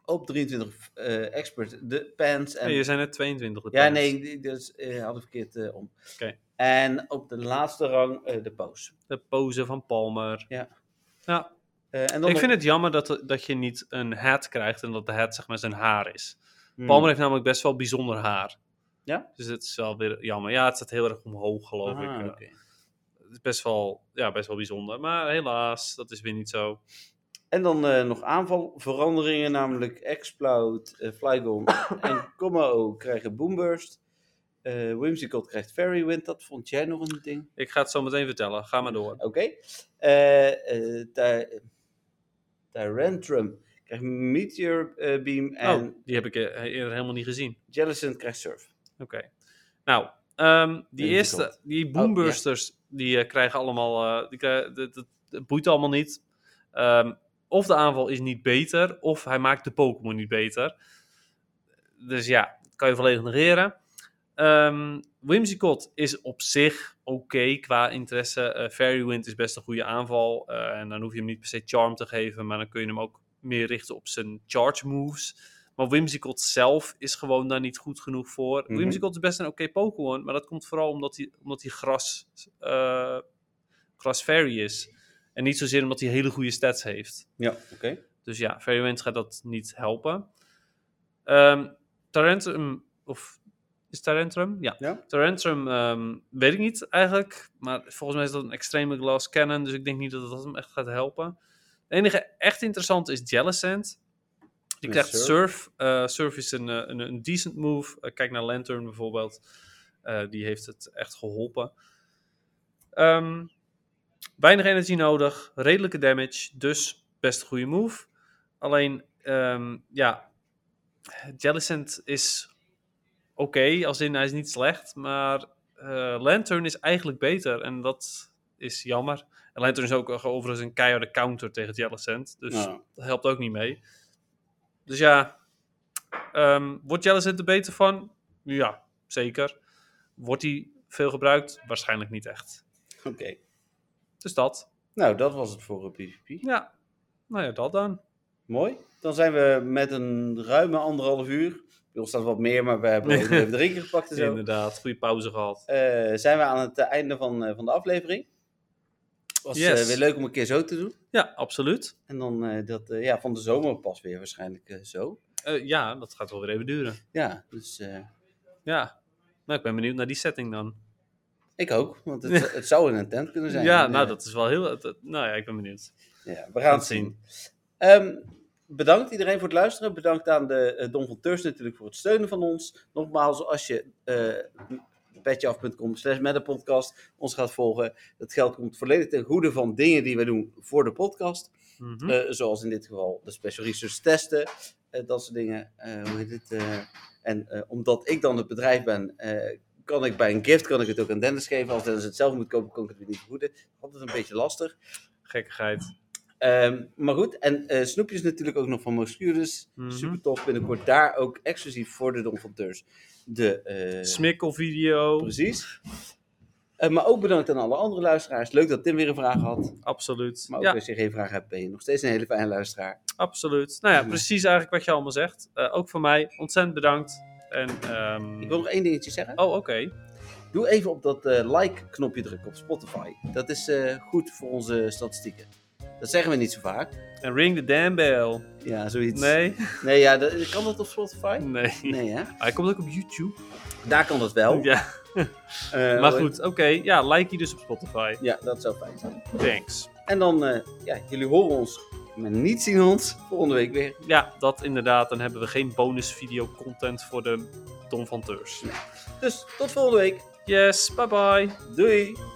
Speaker 1: Op 23 eh, Expert de Pants. En...
Speaker 2: Nee, je zijn net 22. de
Speaker 1: ja,
Speaker 2: prijs.
Speaker 1: nee, die- dus eh had ik verkeerd eh, om.
Speaker 2: Oké.
Speaker 1: En op de laatste rang eh, de Pose.
Speaker 2: De pose van Palmer.
Speaker 1: Ja.
Speaker 2: Ja,
Speaker 1: Eh, en dan
Speaker 2: ik
Speaker 1: nog-
Speaker 2: vind het jammer dat, dat je niet een hat krijgt en dat de hat zeg maar zijn haar is.
Speaker 1: Hmm.
Speaker 2: Palmer heeft namelijk best wel bijzonder haar.
Speaker 1: Ja?
Speaker 2: Dus het is wel weer jammer. Ja, het staat heel erg omhoog geloof
Speaker 1: Ah,
Speaker 2: ik. Eh,
Speaker 1: oké.
Speaker 2: Het is best wel, ja, best wel bijzonder. Maar helaas, dat is weer niet zo.
Speaker 1: En dan eh, nog aanvalveranderingen, namelijk Exploud, eh, Flygon en Como krijgen Boomburst. Eh Whimsicott krijgt Fairywind, dat vond jij nog een ding.
Speaker 2: Ik ga het zo meteen vertellen. Ga maar door.
Speaker 1: Oké. Eh, eh, Ty- Tyrantrum krijgt Meteor eh, Beam en
Speaker 2: Oh, die heb ik eh, eerder helemaal niet gezien.
Speaker 1: Jellison krijgt Surf.
Speaker 2: Oké. Nou, ehm,
Speaker 1: Even
Speaker 2: die
Speaker 1: Oh,
Speaker 2: eerste,
Speaker 1: kort.
Speaker 2: die boombursters, die eh, krijgen allemaal, eh, die krijgen, dat, dat- dat boeit allemaal niet. Ehm, of de aanval is niet beter, of hij maakt de Pokémon niet beter. Dus ja, dat kan je volledig negeren. Ehm Whimsicott is op zich oké qua interesse. Eh, Fairywind is best een goede aanval. Eh, en dan hoef je hem niet per se charm te geven, maar dan kun je hem ook meer richten op zijn charge moves. Maar Whimsicott zelf is gewoon daar niet goed genoeg voor.
Speaker 1: Mhm.
Speaker 2: Whimsicott is best een oké Pokémon, maar dat komt vooral omdat hij, omdat hij gras, eh gras Fairy is. En niet zozeer omdat hij hele goede stats heeft.
Speaker 1: Ja, oké.
Speaker 2: Dus ja, Fairy Winds gaat dat niet helpen. Ehm Tarentum, of is Tarentrum? Ja.
Speaker 1: Ja.
Speaker 2: Tarentrum ehm, weet ik niet eigenlijk. Maar volgens mij is dat een extreme glass cannon. Dus ik denk niet dat dat hem echt gaat helpen. Het enige echt interessante is Jellicent. Die
Speaker 1: En
Speaker 2: krijgt
Speaker 1: Surf.
Speaker 2: Surf. Eh, surf is een, eh, een, een decent move. Eh, kijk naar Lantern bijvoorbeeld. Eh, die heeft het echt geholpen. Ehm, weinig energie nodig. Redelijke damage. Dus best een goede move. Alleen, ehm, ja... Jellicent is oké, als in hij is niet slecht, maar eh, Lantern is eigenlijk beter en dat is jammer. En Lantern is ook overigens een keiharde counter tegen Jellicent, dus
Speaker 1: Ja.
Speaker 2: dat helpt ook niet mee. Dus ja, ehm, wordt Jellicent er beter van? Ja, zeker. Wordt hij veel gebruikt? Waarschijnlijk niet echt.
Speaker 1: Oké.
Speaker 2: Dus dat.
Speaker 1: Nou, dat was het voor een PvP.
Speaker 2: Ja, nou ja, dat dan.
Speaker 1: Mooi. Dan zijn we met een ruime anderhalf uur. Bij ons staat wat meer, maar we hebben ook nog even drinken gepakt en zo.
Speaker 2: Inderdaad, goede pauze gehad.
Speaker 1: Eh, zijn we aan het eh, einde van, eh, van de aflevering. Was
Speaker 2: Yes.
Speaker 1: eh, weer leuk om een keer zo te doen.
Speaker 2: Ja, absoluut.
Speaker 1: En dan eh, dat, eh, ja, van de zomer pas weer waarschijnlijk eh, zo.
Speaker 2: Eh, ja, dat gaat wel weer even duren.
Speaker 1: Ja, dus eh,
Speaker 2: Ja, nou ik ben benieuwd naar die setting dan.
Speaker 1: ik ook. Want het, het zou in een tent kunnen zijn.
Speaker 2: Ja,
Speaker 1: En,
Speaker 2: nou
Speaker 1: eh,
Speaker 2: dat is wel heel... dat- dat- nou ja, ik ben benieuwd.
Speaker 1: Ja, we gaan het zien. Ehm, bedankt iedereen voor het luisteren. Bedankt aan de eh, Don van Teurs natuurlijk voor het steunen van ons. Nogmaals, als je eh petjeaf.com slash met de podcast ons gaat volgen. Dat geld komt volledig ten goede van dingen die we doen voor de podcast.
Speaker 2: Mhm.
Speaker 1: Eh, zoals in dit geval de special research testen, eh, dat soort dingen. Eh, hoe heet het? eh, en eh, omdat ik dan het bedrijf ben, eh, kan ik bij een gift kan ik het ook aan Dennis geven. Als Dennis het zelf moet kopen, kan ik het weer niet vergoeden. Altijd een beetje lastig.
Speaker 2: Gekkigheid.
Speaker 1: Ehm, maar goed, en eh, snoepjes natuurlijk ook nog van Moscurus.
Speaker 2: Mhm.
Speaker 1: Super tof. Binnenkort daar ook exclusief voor de Don van Teurs. De eh,
Speaker 2: Smikkelvideo.
Speaker 1: Precies. Eh, maar ook bedankt aan alle andere luisteraars. Leuk dat Tim weer een vraag had.
Speaker 2: Absoluut.
Speaker 1: Maar ook
Speaker 2: ja,
Speaker 1: als je geen vraag hebt, ben je nog steeds een hele fijne luisteraar.
Speaker 2: absoluut. Nou ja,
Speaker 1: Ja.
Speaker 2: precies eigenlijk wat je allemaal zegt. Eh, ook voor mij ontzettend bedankt. En, ehm,
Speaker 1: Ik wil nog één dingetje zeggen.
Speaker 2: Oh, oké.
Speaker 1: Doe even op dat eh, like-knopje drukken op Spotify. Dat is eh, goed voor onze statistieken. Dat zeggen we niet zo vaak.
Speaker 2: En ring the damn bell.
Speaker 1: Ja, zoiets.
Speaker 2: Nee?
Speaker 1: Nee, ja, dat, kan dat op Spotify?
Speaker 2: Nee.
Speaker 1: Nee, hè?
Speaker 2: Hij komt ook op YouTube.
Speaker 1: Daar kan dat wel.
Speaker 2: Ja,
Speaker 1: Eh,
Speaker 2: maar goed. Oké, ja, like je dus op Spotify.
Speaker 1: Ja, dat zou fijn zijn.
Speaker 2: Thanks.
Speaker 1: En dan, eh, ja, jullie horen ons, maar niet zien ons volgende week weer.
Speaker 2: Ja, dat inderdaad. Dan hebben we geen bonus video content voor de Don van Teurs.
Speaker 1: Dus tot volgende week.
Speaker 2: Yes, bye bye.
Speaker 1: Doei!